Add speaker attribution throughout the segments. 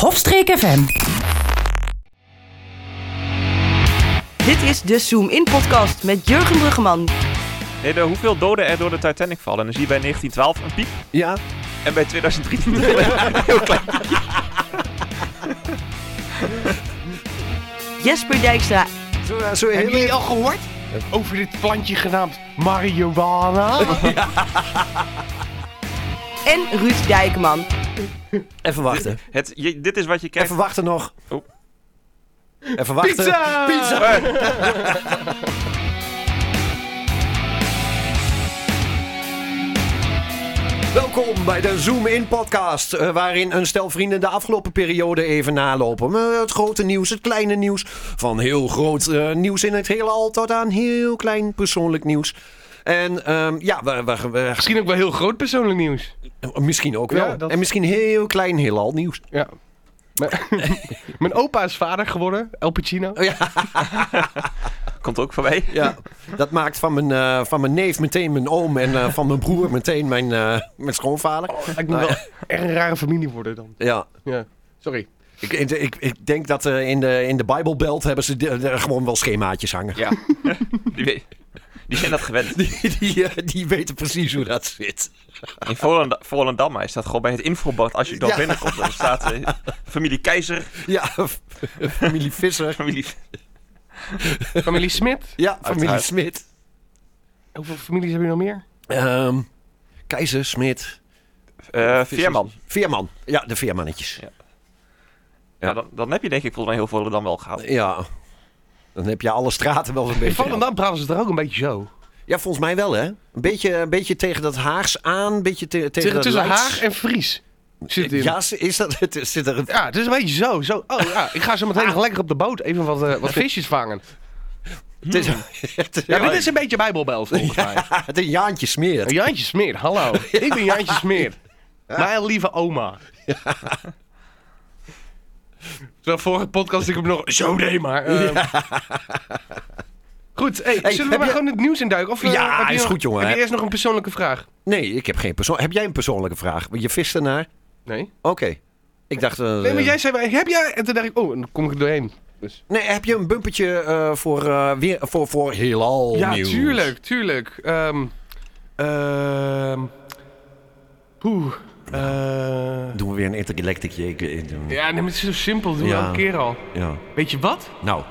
Speaker 1: Hofstreek FM.
Speaker 2: Dit is de Zoom In Podcast met Jurgen Bruggeman.
Speaker 3: Nee, de, eh, hoeveel doden er door de Titanic vallen. Dan zie je bij 1912 een piek.
Speaker 4: Ja,
Speaker 3: En bij 2013 een heel klein.
Speaker 2: Jesper Dijkstra
Speaker 4: zo, ja, zo heel
Speaker 5: Hebben jullie
Speaker 4: even-
Speaker 5: al gehoord over dit plantje genaamd marihuana?
Speaker 2: en Ruud Dijkman.
Speaker 4: Even wachten.
Speaker 3: Het, je- dit is wat je krijgt.
Speaker 4: Even wachten nog.
Speaker 3: Oh.
Speaker 4: Even wachten.
Speaker 5: Pizza!
Speaker 4: Pizza!
Speaker 3: Eh,
Speaker 4: Welkom bij de Zoom In podcast, eh, waarin een stel vrienden de afgelopen periode even nalopen. Eh, Het grote nieuws, het kleine nieuws, van heel groot eh, nieuws in het heelal tot aan heel klein persoonlijk nieuws. En ehm, ja, we, we, we-
Speaker 5: Misschien ook wel heel groot persoonlijk nieuws.
Speaker 4: misschien ook wel.
Speaker 5: Ja, dat-
Speaker 4: En misschien heel klein heelal nieuws.
Speaker 5: Ja. Maar- Mijn opa is vader geworden, El Pacino.
Speaker 4: Oh, ja.
Speaker 3: Komt ook van mij.
Speaker 4: Ja, dat maakt van mijn, eh, van mijn neef meteen mijn oom en eh, van mijn broer meteen mijn, eh, mijn schoonvader.
Speaker 5: Ik moet wel Nou echt een rare familie worden dan.
Speaker 4: Ja,
Speaker 5: Ja. Sorry.
Speaker 4: ik, ik- ik, ik denk dat eh, in de, in de Bijbelbelt hebben ze de- de- gewoon wel schemaatjes hangen.
Speaker 3: Ja. die, we- die zijn dat gewend.
Speaker 4: Die, die, eh, die weten precies hoe dat zit.
Speaker 3: In Volenda, Volendamma is dat gewoon bij het infobord. Als je dan
Speaker 4: Ja.
Speaker 3: binnenkomt, dan staat eh, familie Keizer,
Speaker 4: Ja, familie Visser.
Speaker 3: familie... eh,
Speaker 5: Familie Smit.
Speaker 4: Ja, familie
Speaker 3: Uiteraard.
Speaker 4: Smit.
Speaker 5: Hoeveel families hebben je nog meer?
Speaker 4: Ehm, Keizer, Smit,
Speaker 3: eh Veerman.
Speaker 4: Veerman. Ja, de Veermannetjes.
Speaker 3: Ja, dan, dan heb je denk ik volgens mij heel Volendam wel gehaald.
Speaker 4: Ja. Dan heb je alle straten wel zo'n
Speaker 5: In
Speaker 4: beetje.
Speaker 5: Volendam praten ze er ook een beetje zo.
Speaker 4: Ja, volgens mij wel, hè? Een beetje, een beetje tegen dat Haags aan, een beetje te- tegen
Speaker 5: Tussen,
Speaker 4: dat
Speaker 5: tussen
Speaker 4: Leids.
Speaker 5: Haag en Fries zit het in.
Speaker 4: Ja, is- is dat, het- zit er een...
Speaker 5: Ja, het is een beetje zo. zo. Oh ja, ik ga zo meteen nog lekker op de boot even wat, eh, wat visjes vangen.
Speaker 4: Het is, het-
Speaker 5: Ja, dit is een beetje bijbelbel volgens mij.
Speaker 4: het een Jaantje smeert.
Speaker 5: Oh, Jantje Smeer, hallo. Ik ben Jantje Smeer. Mijn lieve oma. Terwijl vorige podcast ik hem nog... Zo nee maar. eh. Goed, hey,
Speaker 4: Hey,
Speaker 5: zullen we
Speaker 4: heb
Speaker 5: maar
Speaker 4: je-
Speaker 5: gewoon het nieuws induiken? Of, eh,
Speaker 4: Ja,
Speaker 5: heb je
Speaker 4: is
Speaker 5: nog-
Speaker 4: goed, jongen,
Speaker 5: Heb je
Speaker 4: hè?
Speaker 5: eerst nog een persoonlijke vraag?
Speaker 4: Nee, ik heb geen persoon. Heb jij een persoonlijke vraag? Je vist ernaar?
Speaker 5: Nee?
Speaker 4: Oké. Ik dacht... eh,
Speaker 5: Nee, maar jij zei... Heb jij... En toen dacht ik... Oh, dan kom ik er doorheen. Dus.
Speaker 4: nee, heb je een bumpertje eh, voor, eh, weer, voor, voor heelal
Speaker 5: Ja,
Speaker 4: nieuws?
Speaker 5: tuurlijk, tuurlijk. Ehm ehm poeh. eh,
Speaker 4: Doen we weer een intergalactic jake in doen. Ja.
Speaker 5: ja, nee, maar het is zo simpel. Doe
Speaker 4: Ja.
Speaker 5: elke keer al. Weet je wat?
Speaker 4: Nou,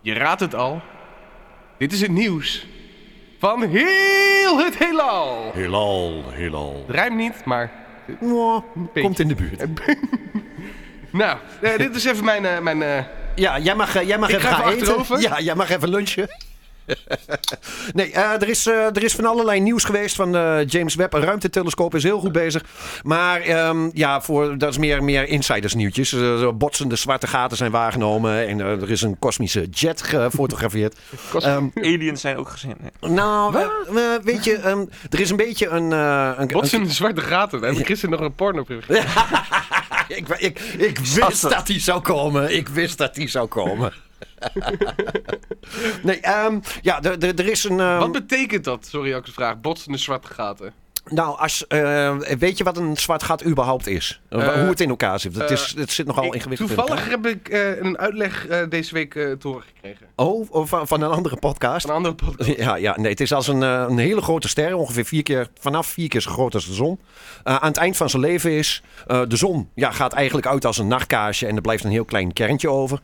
Speaker 5: Je raadt het al. Dit is het nieuws van heel het heelal.
Speaker 4: heelal, heelal.
Speaker 5: Het rijmt niet, maar...
Speaker 4: Nou,
Speaker 5: beetje.
Speaker 4: komt in de buurt.
Speaker 5: Nou, eh, dit is even mijn... eh, mijn eh,
Speaker 4: Ja, jij mag, eh, jij mag
Speaker 5: Ik
Speaker 4: even
Speaker 5: ga
Speaker 4: gaan
Speaker 5: even
Speaker 4: eten.
Speaker 5: achterover.
Speaker 4: Ja, jij mag even lunchen. nee, eh, er, is, eh, er is van allerlei nieuws geweest van eh, James Webb. Een ruimtetelescoop is heel goed bezig. Maar ehm, ja, voor, dat is meer, meer insidersnieuwtjes. Eh, zo botsende zwarte gaten zijn waargenomen. En eh, er is een kosmische jet gefotografeerd. Ehm,
Speaker 3: Aliens zijn ook gezien. Nee.
Speaker 4: nou, eh, eh, weet je, ehm, er is een beetje een... eh, een
Speaker 5: Wat zijn de zwarte gaten? Daar heb ik gisteren nog een porno gezien.
Speaker 4: een- ik, ik, ik wist
Speaker 3: Zassen.
Speaker 4: dat die zou komen. Ik wist dat die zou komen. nee, ehm, ja, er- er er is een... ehm,
Speaker 5: Wat betekent dat? Sorry, dat ik het vraag. Botsende zwarte gaten.
Speaker 4: Nou, als, eh, weet je wat een zwart gat überhaupt is?
Speaker 5: Eh,
Speaker 4: Hoe het in elkaar zit. Het,
Speaker 5: eh,
Speaker 4: is, het zit nogal
Speaker 5: Ik-
Speaker 4: ingewikkeld in
Speaker 5: toevallig heb ik eh, een uitleg eh, deze week eh te horen gekregen.
Speaker 4: elkaar. Oh, of van, van een andere podcast?
Speaker 5: Van een andere podcast.
Speaker 4: Ja, ja, nee, het is als een, eh, een hele grote ster, ongeveer vier keer, vanaf vier keer zo groot als de zon. Eh, aan het eind van zijn leven is, eh, de zon ja, gaat eigenlijk uit als een nachtkaarsje en er blijft een heel klein kerntje over.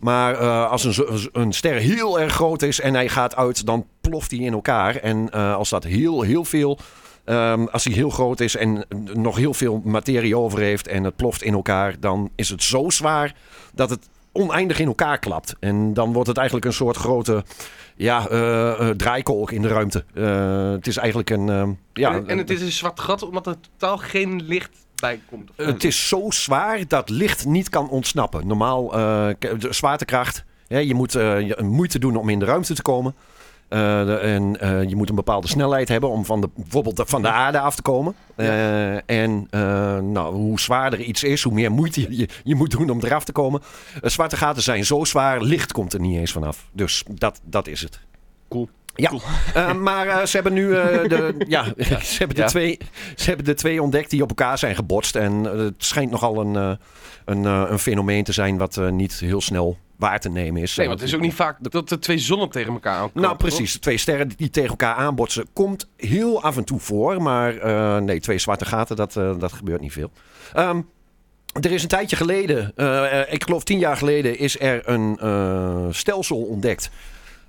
Speaker 4: Maar eh, als een, zo- een ster heel erg groot is en hij gaat uit, dan ploft hij in elkaar. En eh, als dat heel, heel veel, ehm, als hij heel groot is en nog heel veel materie over heeft en het ploft in elkaar, dan is het zo zwaar dat het oneindig in elkaar klapt. En dan wordt het eigenlijk een soort grote ja, eh, eh, draaikolk in de ruimte. Eh, het is eigenlijk een... ehm, ja,
Speaker 5: en, en het is een zwart gat omdat er totaal geen licht bij komt.
Speaker 4: eh, het is zo zwaar dat licht niet kan ontsnappen. Normaal, eh, k- de zwaartekracht. Hè, je moet eh, je- moeite doen om in de ruimte te komen. Eh, de- en eh, je moet een bepaalde snelheid hebben om van de, bijvoorbeeld de- van de aarde af te komen. Eh, en eh, nou, hoe zwaarder iets is, hoe meer moeite je, je, je moet doen om eraf te komen. Eh, zwarte gaten zijn zo zwaar, licht komt er niet eens vanaf. Dus dat, dat is het.
Speaker 5: Cool.
Speaker 4: Ja, Eh, maar eh, ze hebben nu eh, de, ja, ze hebben de
Speaker 3: Ja.
Speaker 4: twee, ze hebben de twee ontdekt die op elkaar zijn gebotst. En eh, het schijnt nogal een, eh, een, eh, een fenomeen te zijn wat eh, niet heel snel waar te nemen is.
Speaker 5: Nee, want het is ook niet vaak dat er twee zonnen tegen elkaar aankomen.
Speaker 4: Nou, precies. Twee sterren die tegen elkaar aanbotsen komt heel af en toe voor. Maar eh, nee, twee zwarte gaten, dat, eh, dat gebeurt niet veel. Ehm, er is een tijdje geleden, eh, eh, ik geloof tien jaar geleden, is er een eh, stelsel ontdekt.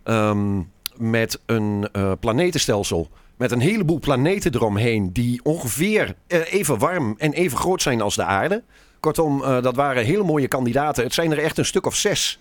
Speaker 4: Ehm, met een eh, planetenstelsel. Met een heleboel planeten eromheen die ongeveer eh, even warm en even groot zijn als de aarde. Kortom, eh, dat waren hele mooie kandidaten. Het zijn er echt een stuk of zes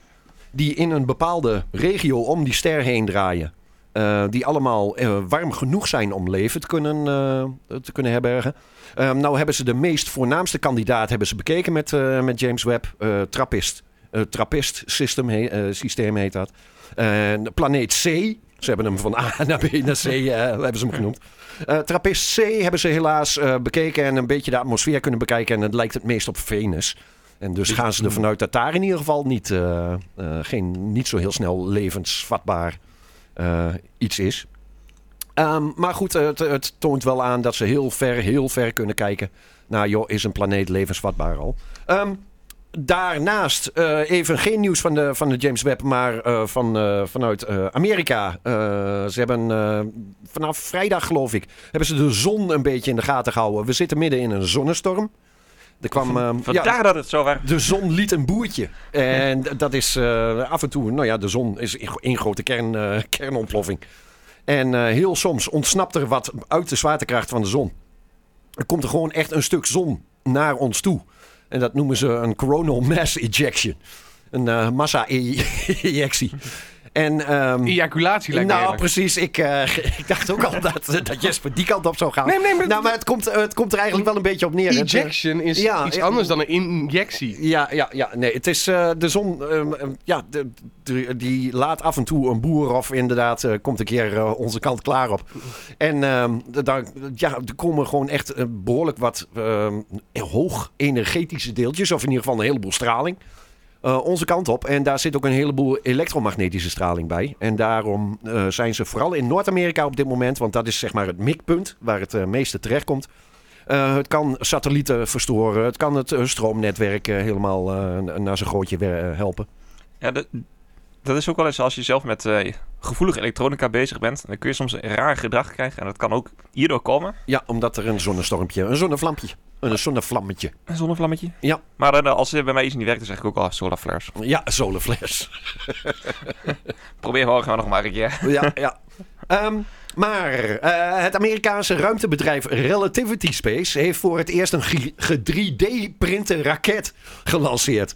Speaker 4: die in een bepaalde regio om die ster heen draaien. Eh, die allemaal eh, warm genoeg zijn om leven te kunnen, eh, te kunnen herbergen. Eh, nou hebben ze de meest voornaamste kandidaat hebben ze bekeken met, eh, met James Webb. eh Trappist. Eh, Trappist system, he- eh, systeem heet dat. En de planeet C. Ze hebben hem van A naar B naar C eh, hebben ze hem genoemd. Eh Trappist C hebben ze helaas eh, bekeken en een beetje de atmosfeer kunnen bekijken. En het lijkt het meest op Venus. En dus gaan ze er vanuit dat daar in ieder geval niet, eh, eh, geen, niet zo heel snel levensvatbaar eh, iets is. Ehm, maar goed, eh, het, het toont wel aan dat ze heel ver, heel ver kunnen kijken. Nou joh, is een planeet levensvatbaar al? Ehm, daarnaast, eh, even geen nieuws van de, van de James Webb, maar eh, van, eh, vanuit eh, Amerika. Eh, ze hebben eh, vanaf vrijdag, geloof ik, hebben ze de zon een beetje in de gaten gehouden. We zitten midden in een zonnestorm. Er kwam, ehm, ja,
Speaker 3: Vandaar dat het zo warm
Speaker 4: de zon liet een boertje. En d- dat is eh, af en toe, nou ja, de zon is in- één grote kern, eh, kernontploffing. En eh, heel soms ontsnapt er wat uit de zwaartekracht van de zon. Er komt er gewoon echt een stuk zon naar ons toe. En dat noemen ze een coronal mass ejection. Een eh, massa-ejectie. En, ehm,
Speaker 5: Ejaculatie lijkt
Speaker 4: nou,
Speaker 5: me eerlijk.
Speaker 4: precies. Ik, eh, ik dacht ook al dat, dat Jesper die kant op zou gaan.
Speaker 5: Nee, nee, maar-
Speaker 4: nou, maar het komt, het komt er eigenlijk wel een beetje op neer. Het, eh,
Speaker 5: Ejection is
Speaker 4: Ja,
Speaker 5: iets
Speaker 4: ja.
Speaker 5: anders dan een injectie.
Speaker 4: ja, ja, ja. Nee, het is eh, de zon. ehm, ehm, ja, de- de- die laat af en toe een boer of inderdaad eh, komt een keer eh, onze kant klaar op. En ehm, d- daar, ja, er komen gewoon echt eh, behoorlijk wat ehm, hoog energetische deeltjes, of in ieder geval een heleboel straling. eh, onze kant op. En daar zit ook een heleboel elektromagnetische straling bij. En daarom eh, zijn ze vooral in Noord-Amerika op dit moment, want dat is zeg maar het mikpunt waar het eh, meeste terechtkomt. Eh, het kan satellieten verstoren. Het kan het eh, stroomnetwerk eh, helemaal eh, na- naar zijn gootje weer, eh, helpen.
Speaker 3: Ja, dat, dat is ook wel eens als je zelf met eh, gevoelige elektronica bezig bent. Dan kun je soms raar gedrag krijgen. En dat kan ook hierdoor komen.
Speaker 4: Ja, omdat er een zonnestormpje, een zonnevlampje, een zonnevlammetje.
Speaker 3: Een zonnevlammetje.
Speaker 4: Ja.
Speaker 3: Maar eh, als er bij mij iets niet werkt, dan zeg ik ook al solar flares.
Speaker 4: Ja, zonnefles.
Speaker 3: Probeer morgen nog maar een keer.
Speaker 4: ja, ja. Ehm, maar eh, het Amerikaanse ruimtebedrijf Relativity Space heeft voor het eerst een ge- ge 3D-printen raket gelanceerd.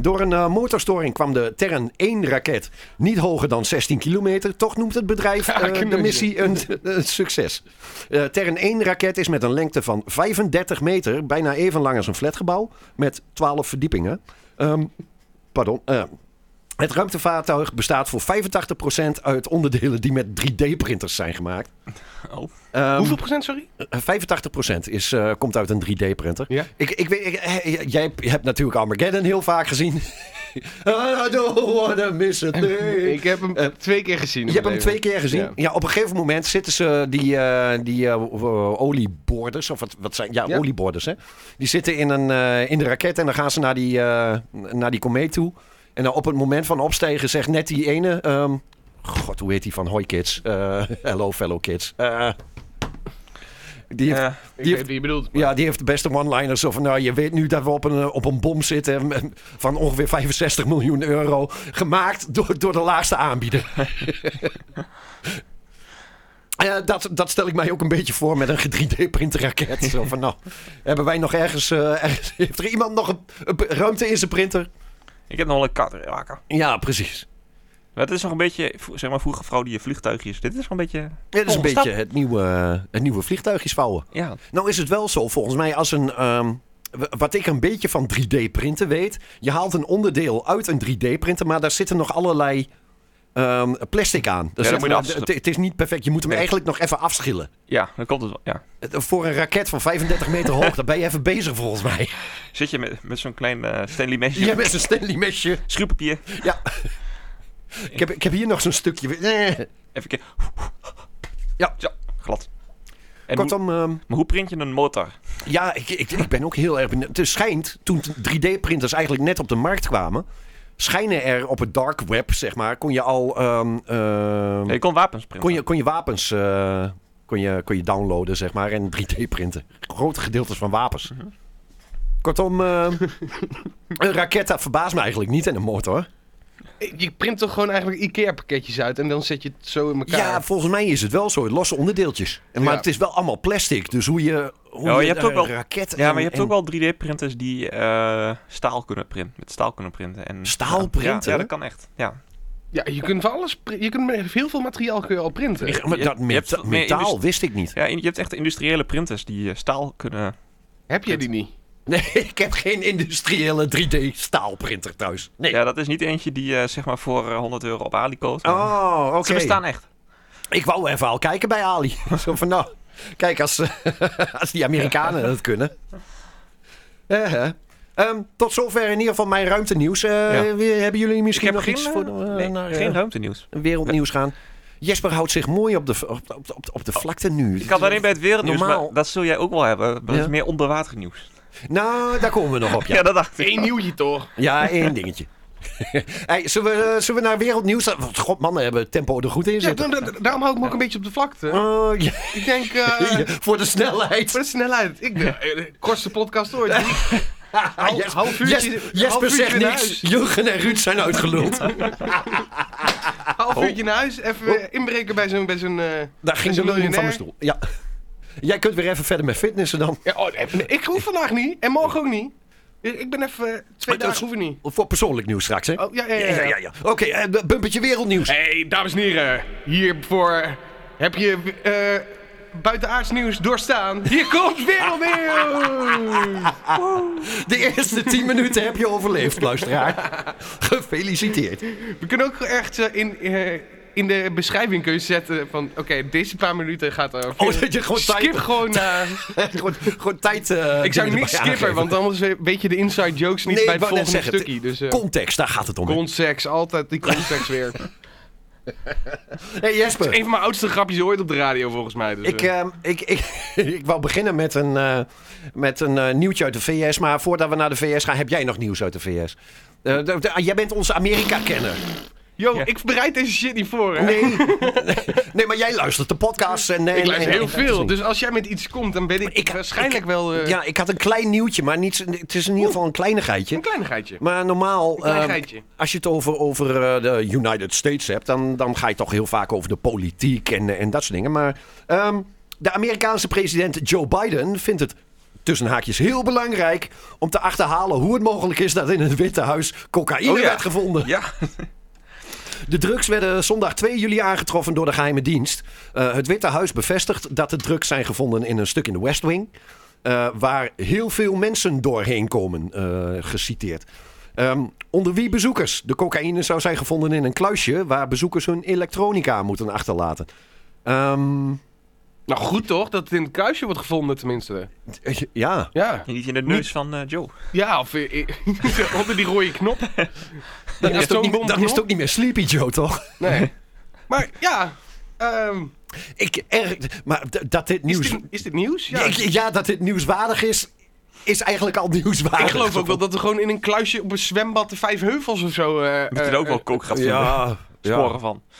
Speaker 4: Door een eh, motorstoring kwam de Terran 1-raket niet hoger dan 16 kilometer. Toch noemt het bedrijf eh, de
Speaker 5: knutje.
Speaker 4: missie een, een succes. Eh Terran 1-raket is met een lengte van 35 meter, bijna even lang als een flatgebouw, met 12 verdiepingen. Ehm, pardon, eh, het ruimtevaartuig bestaat voor 85% uit onderdelen die met 3D-printers zijn gemaakt.
Speaker 3: Oh.
Speaker 4: Ehm,
Speaker 5: Hoeveel procent, sorry?
Speaker 4: 85% is, eh, komt uit een 3D-printer.
Speaker 5: Ja.
Speaker 4: Ik, ik weet, ik- eh, jij hebt- je hebt natuurlijk Armageddon heel vaak gezien. I don't wanna miss a thing.
Speaker 5: Ik heb hem
Speaker 4: Eh,
Speaker 5: twee keer gezien. in
Speaker 4: Je hebt
Speaker 5: mijn
Speaker 4: hem twee
Speaker 5: leven.
Speaker 4: keer gezien. Ja.
Speaker 5: Ja.
Speaker 4: op een gegeven moment zitten ze die, eh, die eh, w- w- olieborders, of wat, wat zijn, ja,
Speaker 5: Ja.
Speaker 4: olieborders, hè? Die zitten in, een, eh, in de raket en dan gaan ze naar die, eh, naar die komeet toe. En dan op het moment van opstijgen zegt net die ene, ehm, god, hoe heet die van Hoi Kids? Eh, hello fellow kids. Eh, die heeft-
Speaker 3: Eh,
Speaker 5: Ik
Speaker 4: Die
Speaker 5: weet wie je bedoelt.
Speaker 4: ja, die heeft de beste one-liners. Of nou, je weet nu dat we op een, eh, op een bom zitten met- van ongeveer 65 miljoen euro. Gemaakt door, door de laagste aanbieder. Eh, dat, dat stel ik mij ook een beetje voor met een 3D-printerraket. Zo van nou, hebben wij nog ergens... eh, ergens- heeft er iemand nog een, een p- ruimte in zijn printer?
Speaker 3: ik heb nog wel een kat. raken.
Speaker 4: Ja, precies.
Speaker 3: Maar het is nog een beetje, v- zeg maar, vroeger vrouw die je vliegtuigjes. Dit is nog een beetje...
Speaker 4: Dit is een
Speaker 3: Volgende
Speaker 4: beetje het nieuwe, eh, het nieuwe vliegtuigjes vouwen.
Speaker 3: Ja.
Speaker 4: Nou is het wel zo, volgens mij, als een. ehm, w- wat ik een beetje van 3D-printen weet. Je haalt een onderdeel uit een 3D-printer, maar daar zitten nog allerlei ehm, plastic aan. Dus
Speaker 3: Ja, dat
Speaker 4: zeg
Speaker 3: moet je
Speaker 4: maar,
Speaker 3: afschillen.
Speaker 4: het, het is niet perfect. Je moet hem
Speaker 3: Nee.
Speaker 4: eigenlijk nog even afschillen.
Speaker 3: Ja, dan komt het wel. Ja.
Speaker 4: Het- Voor een raket van 35 meter hoog, daar ben je even bezig volgens mij.
Speaker 3: Zit je met, met zo'n klein eh, Stanley mesje,
Speaker 4: Je bent een Stanley mesje.
Speaker 3: schuurpapier.
Speaker 4: Ja. Ik heb, ik heb hier nog zo'n stukje. Eh.
Speaker 3: Even kijken.
Speaker 4: Ja.
Speaker 3: ja, glad. En hoe,
Speaker 4: Kortom, ehm,
Speaker 3: maar hoe print je een motor?
Speaker 4: ja, ik, ik, ik ben ook heel erg benieuwd. Het schijnt, toen 3D-printers eigenlijk net op de markt kwamen... schijnen er op het dark web, zeg maar, kon je al... ehm, ehm,
Speaker 3: Nee, je kon wapens printen.
Speaker 4: kon, je, kon je wapens... eh, kon je, kon je downloaden, zeg maar, en 3D-printen. Grote gedeeltes van wapens. Kortom, ehm, een raket, dat verbaast me eigenlijk niet en een motor.
Speaker 5: Je print toch gewoon eigenlijk IKEA-pakketjes uit en dan zet je het zo in elkaar.
Speaker 4: Ja, volgens mij is het wel zo. Losse onderdeeltjes. En, maar
Speaker 5: Ja.
Speaker 4: het is wel allemaal plastic. Dus hoe je, hoe
Speaker 3: Ja, Oh, je hebt
Speaker 4: eh,
Speaker 3: ook wel-
Speaker 4: raket
Speaker 3: Ja,
Speaker 4: en-
Speaker 3: maar je hebt
Speaker 4: en
Speaker 3: ook wel 3D-printers die eh, staal kunnen printen. Met staal kunnen printen. En,
Speaker 4: Staal
Speaker 3: Ja,
Speaker 4: printen?
Speaker 3: Ja, dat kan echt. Ja.
Speaker 5: Ja, je kunt van alles. pri- Je kunt met heel veel materiaal kun je al printen.
Speaker 4: Ja, maar
Speaker 3: je-
Speaker 4: dat
Speaker 3: je
Speaker 4: met-
Speaker 3: hebt veel meer
Speaker 4: metaal
Speaker 3: industrie-
Speaker 4: wist ik niet.
Speaker 3: Ja, en je hebt echt industriële printers die eh, staal kunnen...
Speaker 5: Heb jij die niet?
Speaker 4: Nee, ik heb geen industriële 3D-staalprinter thuis. Nee.
Speaker 3: Ja, dat is niet eentje die eh, zeg maar voor eh, 100 euro op Ali koopt. maar
Speaker 4: Oh, oké.
Speaker 3: Ze bestaan echt.
Speaker 4: Ik wou even al kijken bij Ali. Zo van, nou, kijk, als, eh, als die Amerikanen dat kunnen. Eh, hè. Ehm, tot zover in ieder geval mijn ruimtenieuws. Eh,
Speaker 3: Ja.
Speaker 4: we- Hebben jullie
Speaker 3: Ik
Speaker 4: misschien
Speaker 3: heb
Speaker 4: nog
Speaker 3: geen,
Speaker 4: iets
Speaker 3: eh,
Speaker 4: voor eh,
Speaker 3: nee,
Speaker 4: naar, eh,
Speaker 3: geen ruimtenieuws.
Speaker 4: wereldnieuws gaan. Jesper houdt zich mooi op de, v- op, op, op, op de vlakte nu.
Speaker 3: Oh. Ik had alleen bij het wereldnieuws,
Speaker 4: Normaal-
Speaker 3: maar dat zul jij ook wel hebben. Maar Dat
Speaker 4: Ja.
Speaker 3: is meer onderwaternieuws.
Speaker 4: Nou, daar komen we nog op,
Speaker 3: Ja.
Speaker 4: ja.
Speaker 3: dat dacht ik.
Speaker 5: Eén nieuwtje toch?
Speaker 4: Ja, één dingetje. hey, zullen, we, eh, zullen we naar wereldnieuws? Want god, mannen hebben het tempo er goed in
Speaker 5: Ja,
Speaker 4: zitten.
Speaker 5: da- da- daarom hou ik me ook een beetje op de vlakte.
Speaker 4: Oh, ja,
Speaker 5: Ik denk, eh
Speaker 4: voor de snelheid.
Speaker 5: voor de snelheid. Ik ben, eh, de kortste podcast ooit. Hou-
Speaker 4: Jes-
Speaker 5: half uurtje-
Speaker 4: Jes-
Speaker 5: half
Speaker 4: Jesper
Speaker 5: uurtje
Speaker 4: zegt
Speaker 5: naar
Speaker 4: niks.
Speaker 5: huis.
Speaker 4: Jurgen en Ruud zijn uitgeluld.
Speaker 5: Half uurtje naar huis, even inbreken bij zo'n... Bij zo'n eh,
Speaker 4: Oh. Daar ging de
Speaker 5: Is een
Speaker 4: leuning van
Speaker 5: miljonair.
Speaker 4: mijn stoel. Ja. Jij kunt weer even verder met fitnessen dan.
Speaker 5: ja, oh, nee, ik hoef vandaag niet en morgen ook niet. Ik ik ben even... eh, Twee
Speaker 4: dat is-
Speaker 5: dagen hoef ik niet.
Speaker 4: Voor persoonlijk nieuws straks, hè?
Speaker 5: Oh, ja, ja, ja. ja.
Speaker 4: Oké, eh, b- bumpertje wereldnieuws.
Speaker 5: Hey, dames en heren. Hiervoor heb je eh buitenaards nieuws doorstaan. Hier komt wereldnieuws!
Speaker 4: De eerste 10 minuten heb je overleefd, luisteraar. Gefeliciteerd.
Speaker 5: We kunnen ook echt eh, in, eh, in de beschrijving kun je zetten van... Oké, deze paar minuten gaat er...
Speaker 4: Oh, dat je gewoon
Speaker 5: Skip
Speaker 4: tijd-
Speaker 5: gewoon naar...
Speaker 4: gewoon, gewoon tijd. eh,
Speaker 5: Ik zou
Speaker 4: dingen
Speaker 5: niet
Speaker 4: erbij
Speaker 5: skippen,
Speaker 4: aangeven.
Speaker 5: want anders weet je de inside jokes niet
Speaker 4: Nee,
Speaker 5: bij
Speaker 4: ik
Speaker 5: het
Speaker 4: wou net
Speaker 5: volgende
Speaker 4: zeggen,
Speaker 5: stukje. Dus eh
Speaker 4: Context, daar gaat het om. hè.
Speaker 5: context, altijd die context weer.
Speaker 4: hey Jesper,
Speaker 5: Een van mijn oudste grapjes ooit op de radio volgens mij. Dus,
Speaker 4: ik,
Speaker 5: eh,
Speaker 4: ehm, ik, ik, ik wou beginnen met een, eh, met een eh, nieuwtje uit de VS. Maar voordat we naar de VS gaan, heb jij nog nieuws uit de VS? Eh, de- de- ah, jij bent onze Amerika-kenner.
Speaker 5: Yo,
Speaker 3: Ja.
Speaker 5: ik bereid deze shit niet voor, hè?
Speaker 4: Nee. nee, maar jij luistert de podcast. En,
Speaker 5: ik luister heel veel,
Speaker 4: Dus...
Speaker 5: dus als jij met iets komt, dan ben ik,
Speaker 4: Ik-
Speaker 5: waarschijnlijk wel eh,
Speaker 4: Ja, ik had een klein nieuwtje, maar niet, het is in ieder geval een kleinigheidje.
Speaker 5: een kleinigheidje.
Speaker 4: Maar normaal,
Speaker 5: klein
Speaker 4: ehm,
Speaker 5: geitje.
Speaker 4: als je het over, over eh, de United States hebt, dan, dan ga je toch heel vaak over de politiek en, eh, en dat soort dingen. Maar ehm, de Amerikaanse president Joe Biden vindt het tussen haakjes heel belangrijk om te achterhalen hoe het mogelijk is dat in het Witte Huis cocaïne
Speaker 3: Oh ja.
Speaker 4: werd gevonden.
Speaker 3: Ja,
Speaker 4: De drugs werden zondag 2 juli aangetroffen door de geheime dienst. Eh, het Witte Huis bevestigt dat de drugs zijn gevonden in een stuk in de West Wing. eh, waar heel veel mensen doorheen komen, eh, geciteerd. Ehm, onder wie bezoekers? De cocaïne zou zijn gevonden in een kluisje waar bezoekers hun elektronica moeten achterlaten. Ehm,
Speaker 5: Nou goed toch, dat het in het kruisje wordt gevonden tenminste.
Speaker 4: ja,
Speaker 5: Ja,
Speaker 3: niet in de neus van eh, Joe.
Speaker 5: ja of eh, eh, onder die rode knop.
Speaker 4: dan, is het, ook niet,
Speaker 5: atoombomknop.
Speaker 4: dan is het ook niet meer Sleepy Joe, toch?
Speaker 5: Nee. Maar ja, ehm,
Speaker 4: Ik erg, maar d- dat dit
Speaker 5: is,
Speaker 4: nieuws.
Speaker 5: dit, is dit nieuws?
Speaker 4: Ja. Ik- ja, dat dit nieuwswaardig is, is eigenlijk al nieuwswaardig.
Speaker 5: Ik geloof ook wel dat er gewoon in een kluisje op een zwembad de Vijf Heuvels of zo... eh,
Speaker 3: Dat je er
Speaker 5: eh,
Speaker 3: ook wel kook gaat vinden.
Speaker 4: Ja,
Speaker 3: Sporen
Speaker 4: ja.
Speaker 3: van.
Speaker 5: eh,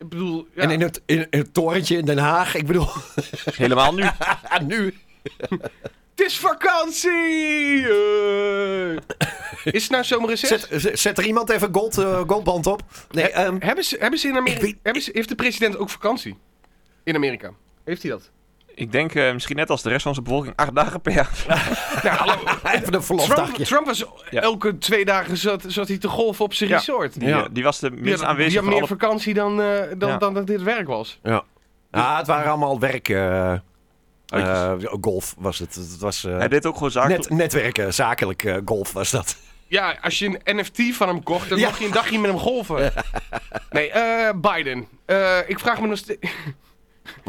Speaker 5: Ik bedoel, ja.
Speaker 4: En in het, in het torentje in Den Haag, ik bedoel,
Speaker 3: Helemaal nu.
Speaker 4: ah, nu.
Speaker 5: het is vakantie! eh. is het nou zomerreces?
Speaker 4: Zet, zet- zet er iemand even gold, eh, goldband op? Nee, ehm,
Speaker 5: Hebben ze, hebben ze in
Speaker 4: Ik
Speaker 5: Amerika...
Speaker 4: weet-
Speaker 5: hebben ze, heeft de president ook vakantie? In Amerika. Heeft hij dat?
Speaker 3: Ik denk eh, misschien net als de rest van onze bevolking acht dagen per jaar.
Speaker 5: Nou, hallo.
Speaker 4: even een
Speaker 5: Trump,
Speaker 4: verlofdagje.
Speaker 5: Trump was
Speaker 3: Ja.
Speaker 5: elke twee dagen zat, zat hij te golven op zijn
Speaker 3: Ja.
Speaker 5: resort.
Speaker 3: Die,
Speaker 4: Ja.
Speaker 3: eh, die was de
Speaker 5: Die
Speaker 3: minst
Speaker 5: had, die
Speaker 3: aanwezige
Speaker 5: had
Speaker 3: van
Speaker 5: meer
Speaker 3: alle...
Speaker 5: vakantie dan, eh, dan,
Speaker 3: Ja.
Speaker 5: dan dat dit werk was.
Speaker 4: Ja. Ah, het waren allemaal werk. eh, eh,
Speaker 3: Uitjes.
Speaker 4: golf was het. Het was eh,
Speaker 3: Oh, Hij deed ook gewoon zaken.
Speaker 4: net, netwerken, zakelijk eh, golf was dat.
Speaker 5: Ja, als je een NFT van hem kocht, dan
Speaker 4: Ja.
Speaker 5: mocht je een dagje met hem golven. Nee, eh, Biden. Eh, ik vraag me nog steeds...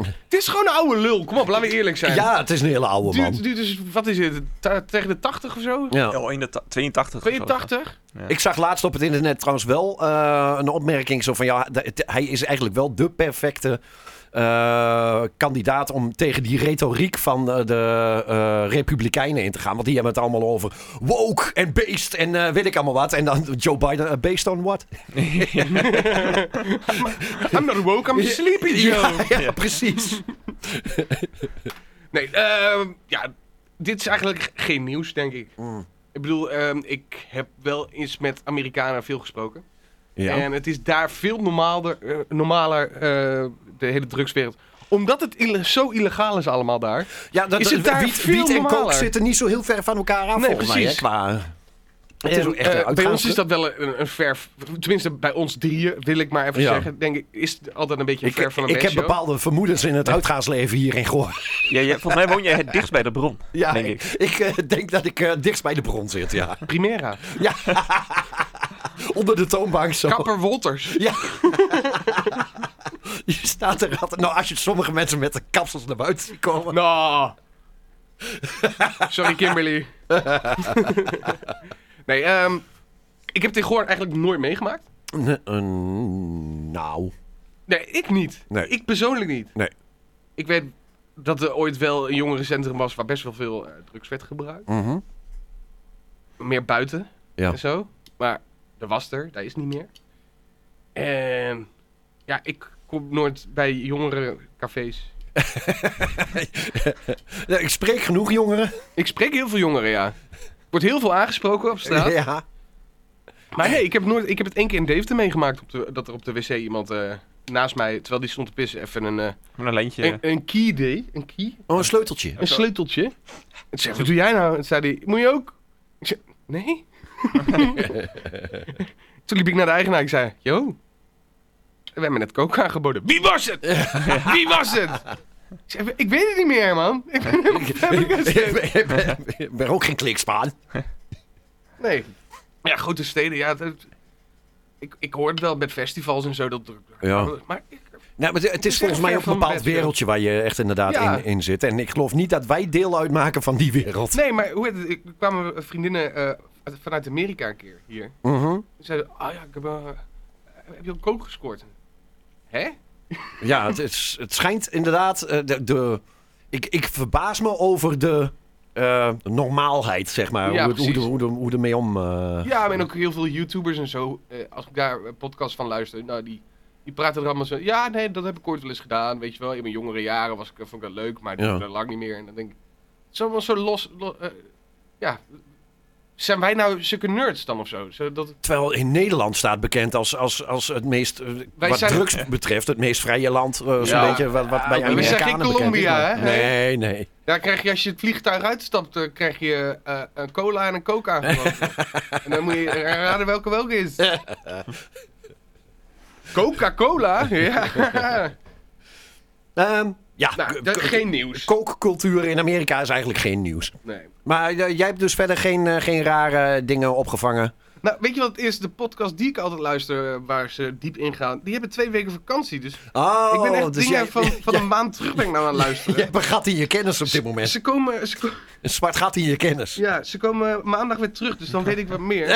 Speaker 5: Het is gewoon een oude lul. Kom op, laten we eerlijk zijn.
Speaker 4: Ja, het is een hele oude man.
Speaker 5: Duurt, duurt dus, wat is het? ta- tegen de 80 of zo?
Speaker 4: Ja.
Speaker 3: Oh, in de ta- 82. of zo.
Speaker 5: 82?
Speaker 4: Ik zag laatst op het internet trouwens wel eh, een opmerking zo van ja, de- het- hij is eigenlijk wel de perfecte eh, kandidaat om tegen die retoriek van eh, de eh, Republikeinen in te gaan. Want die hebben het allemaal over woke en beest en eh, weet ik allemaal wat. En dan Joe Biden, eh, based on what?
Speaker 5: I'm not woke, I'm sleepy Joe.
Speaker 4: Ja, precies.
Speaker 5: Nee, ehm, ja, dit is eigenlijk geen nieuws, denk ik.
Speaker 4: Mm.
Speaker 5: Ik bedoel, ehm, ik heb wel eens met Amerikanen veel gesproken. En het is daar veel normaalder, eh, normaler, eh, de hele drugswereld. Omdat het ille- zo illegaal is allemaal daar.
Speaker 4: Ja, dat,
Speaker 5: Is het daar
Speaker 4: wiet,
Speaker 5: veel
Speaker 4: wiet en coke
Speaker 5: normaler?
Speaker 4: zitten niet zo heel ver van elkaar af
Speaker 5: Nee,
Speaker 4: volgens mij. Hè,
Speaker 5: precies.
Speaker 4: qua, het is ook echt
Speaker 5: Eh,
Speaker 4: een
Speaker 5: bij ons
Speaker 4: uitgaansge-
Speaker 5: is dat wel een, een ver... Tenminste, bij ons drieën, wil ik maar even
Speaker 4: Ja.
Speaker 5: zeggen. Denk ik, is het altijd een beetje een
Speaker 4: Ik,
Speaker 5: ver van een
Speaker 4: ik heb
Speaker 5: bedshow.
Speaker 4: bepaalde vermoedens in het uitgaansleven hier in Goor.
Speaker 3: Ja, jij- volgens mij woon jij het dichtst bij de bron,
Speaker 4: Ja,
Speaker 3: denk
Speaker 4: ik,
Speaker 3: ik.
Speaker 4: eh, denk dat ik eh, dichtst bij de bron zit, ja.
Speaker 5: Primera.
Speaker 4: ja. Onder de toonbank zo.
Speaker 5: Kapper Wolters.
Speaker 4: Ja. je staat er altijd... Nou, als je sommige mensen met de kapsels naar buiten ziet komen...
Speaker 5: Nou. Sorry, Kimberly. nee, ehm, ik heb dit gewoon eigenlijk nooit meegemaakt.
Speaker 4: Nee, eh, nou...
Speaker 5: Nee, ik niet.
Speaker 4: Nee.
Speaker 5: Ik persoonlijk niet.
Speaker 4: Nee.
Speaker 5: Ik weet dat er ooit wel een jongerencentrum was waar best wel veel eh, drugs werd gebruikt.
Speaker 4: Mhm.
Speaker 5: Meer buiten
Speaker 4: Ja.
Speaker 5: en zo. Maar er was er, daar is niet meer. En ja, ik kom nooit bij jongerencafés.
Speaker 4: Nee, Eh, Ik spreek genoeg, jongeren.
Speaker 5: Ik spreek heel veel jongeren, ja. Wordt heel veel aangesproken op straat.
Speaker 4: Ja.
Speaker 5: Maar nee, ik heb, nooit, ik heb het één keer in Deventer meegemaakt op de, dat er op de wc iemand eh, naast mij, terwijl die stond te pissen, even een, eh,
Speaker 3: Met een lijntje.
Speaker 5: een, een key deed. Een key?
Speaker 4: Oh, een sleuteltje.
Speaker 5: Een sleuteltje. En toen zei ik, wat doe jij nou? En toen zei hij, moet je ook? Ik zei, nee. toen liep ik naar de eigenaar, ik zei, yo, we hebben net coke aangeboden. Wie was het? Wie was het? Ik, zei, ik weet het niet meer, man. Ik ben helemaal flabbergasted.
Speaker 4: ik ben- ik ben ook geen klikspaan.
Speaker 5: Nee. Ja, grote steden, ja. dat- ik, ik hoor het wel met festivals en zo. Dat,
Speaker 4: Ja.
Speaker 5: Maar ik-
Speaker 4: Nou, maar het- het is
Speaker 5: is
Speaker 4: volgens
Speaker 5: echt
Speaker 4: mij
Speaker 5: ver
Speaker 4: ook
Speaker 5: van
Speaker 4: een
Speaker 5: mijn
Speaker 4: bepaald
Speaker 5: bed, joh.
Speaker 4: wereldje waar je echt inderdaad
Speaker 5: Ja.
Speaker 4: in, in zit. En ik geloof niet dat wij deel uitmaken van die wereld.
Speaker 5: nee, maar hoe heet het? Ik er kwamen vriendinnen eh, uit- vanuit Amerika een keer hier.
Speaker 4: Mhm.
Speaker 5: Ze zeiden, ah ja, ik heb, eh, heb je ook coke gescoord? Hè?
Speaker 4: Ja, het, is, het schijnt inderdaad. eh, de, de, ik, ik verbaas me over de eh, normaalheid, zeg maar.
Speaker 5: Ja,
Speaker 4: hoe, het- hoe, de,
Speaker 5: precies.
Speaker 4: hoe, de, hoe ermee om. eh,
Speaker 5: Ja, maar en ook heel veel YouTubers en zo. eh, als ik daar eh, podcasts van luister, nou, die, die praten er allemaal zo. Ja, nee, dat heb ik ooit wel eens gedaan. Weet je wel, in mijn jongere jaren was ik, eh, vond ik dat leuk, maar dat
Speaker 4: Ja.
Speaker 5: doe ik dat lang niet meer. En dan denk ik, het is allemaal zo los. lo- eh, ja, zijn wij nou zulke nerds dan of zo? Zodat,
Speaker 4: Terwijl in Nederland staat bekend als, als, als het meest. eh,
Speaker 5: Wij
Speaker 4: wat
Speaker 5: zijn-
Speaker 4: drugs betreft, het meest vrije land. eh, Zo'n
Speaker 5: Ja.
Speaker 4: beetje wat, wat bij
Speaker 5: maar we zijn geen
Speaker 4: Amerikanen bekend is,
Speaker 5: Colombia,
Speaker 4: maar-
Speaker 5: hè?
Speaker 4: Nee, nee.
Speaker 5: ja, krijg je als je het vliegtuig uitstapt, eh, krijg je eh, een cola en een coke aangeboden. en dan moet je raden welke welke is. Coca-Cola? Ja.
Speaker 4: Ehm, ja,
Speaker 5: nou, dat, geen nieuws.
Speaker 4: kookcultuur in Amerika is eigenlijk geen nieuws.
Speaker 5: Nee.
Speaker 4: Maar eh, jij hebt dus verder geen, eh, geen rare dingen opgevangen.
Speaker 5: Nou, weet je wat het is? De podcast die ik altijd luister, eh, waar ze diep ingaan, die hebben twee weken vakantie. Dus
Speaker 4: Oh,
Speaker 5: ik ben echt
Speaker 4: dus
Speaker 5: dingen
Speaker 4: jij,
Speaker 5: van, van een maand terug ben ik nou aan het luisteren.
Speaker 4: jij hebt een gat in je kennis op dit moment.
Speaker 5: Ze komen, ze, ko-
Speaker 4: Een zwart gat in je kennis.
Speaker 5: ja, ze komen maandag weer terug, dus dan weet ik wat meer.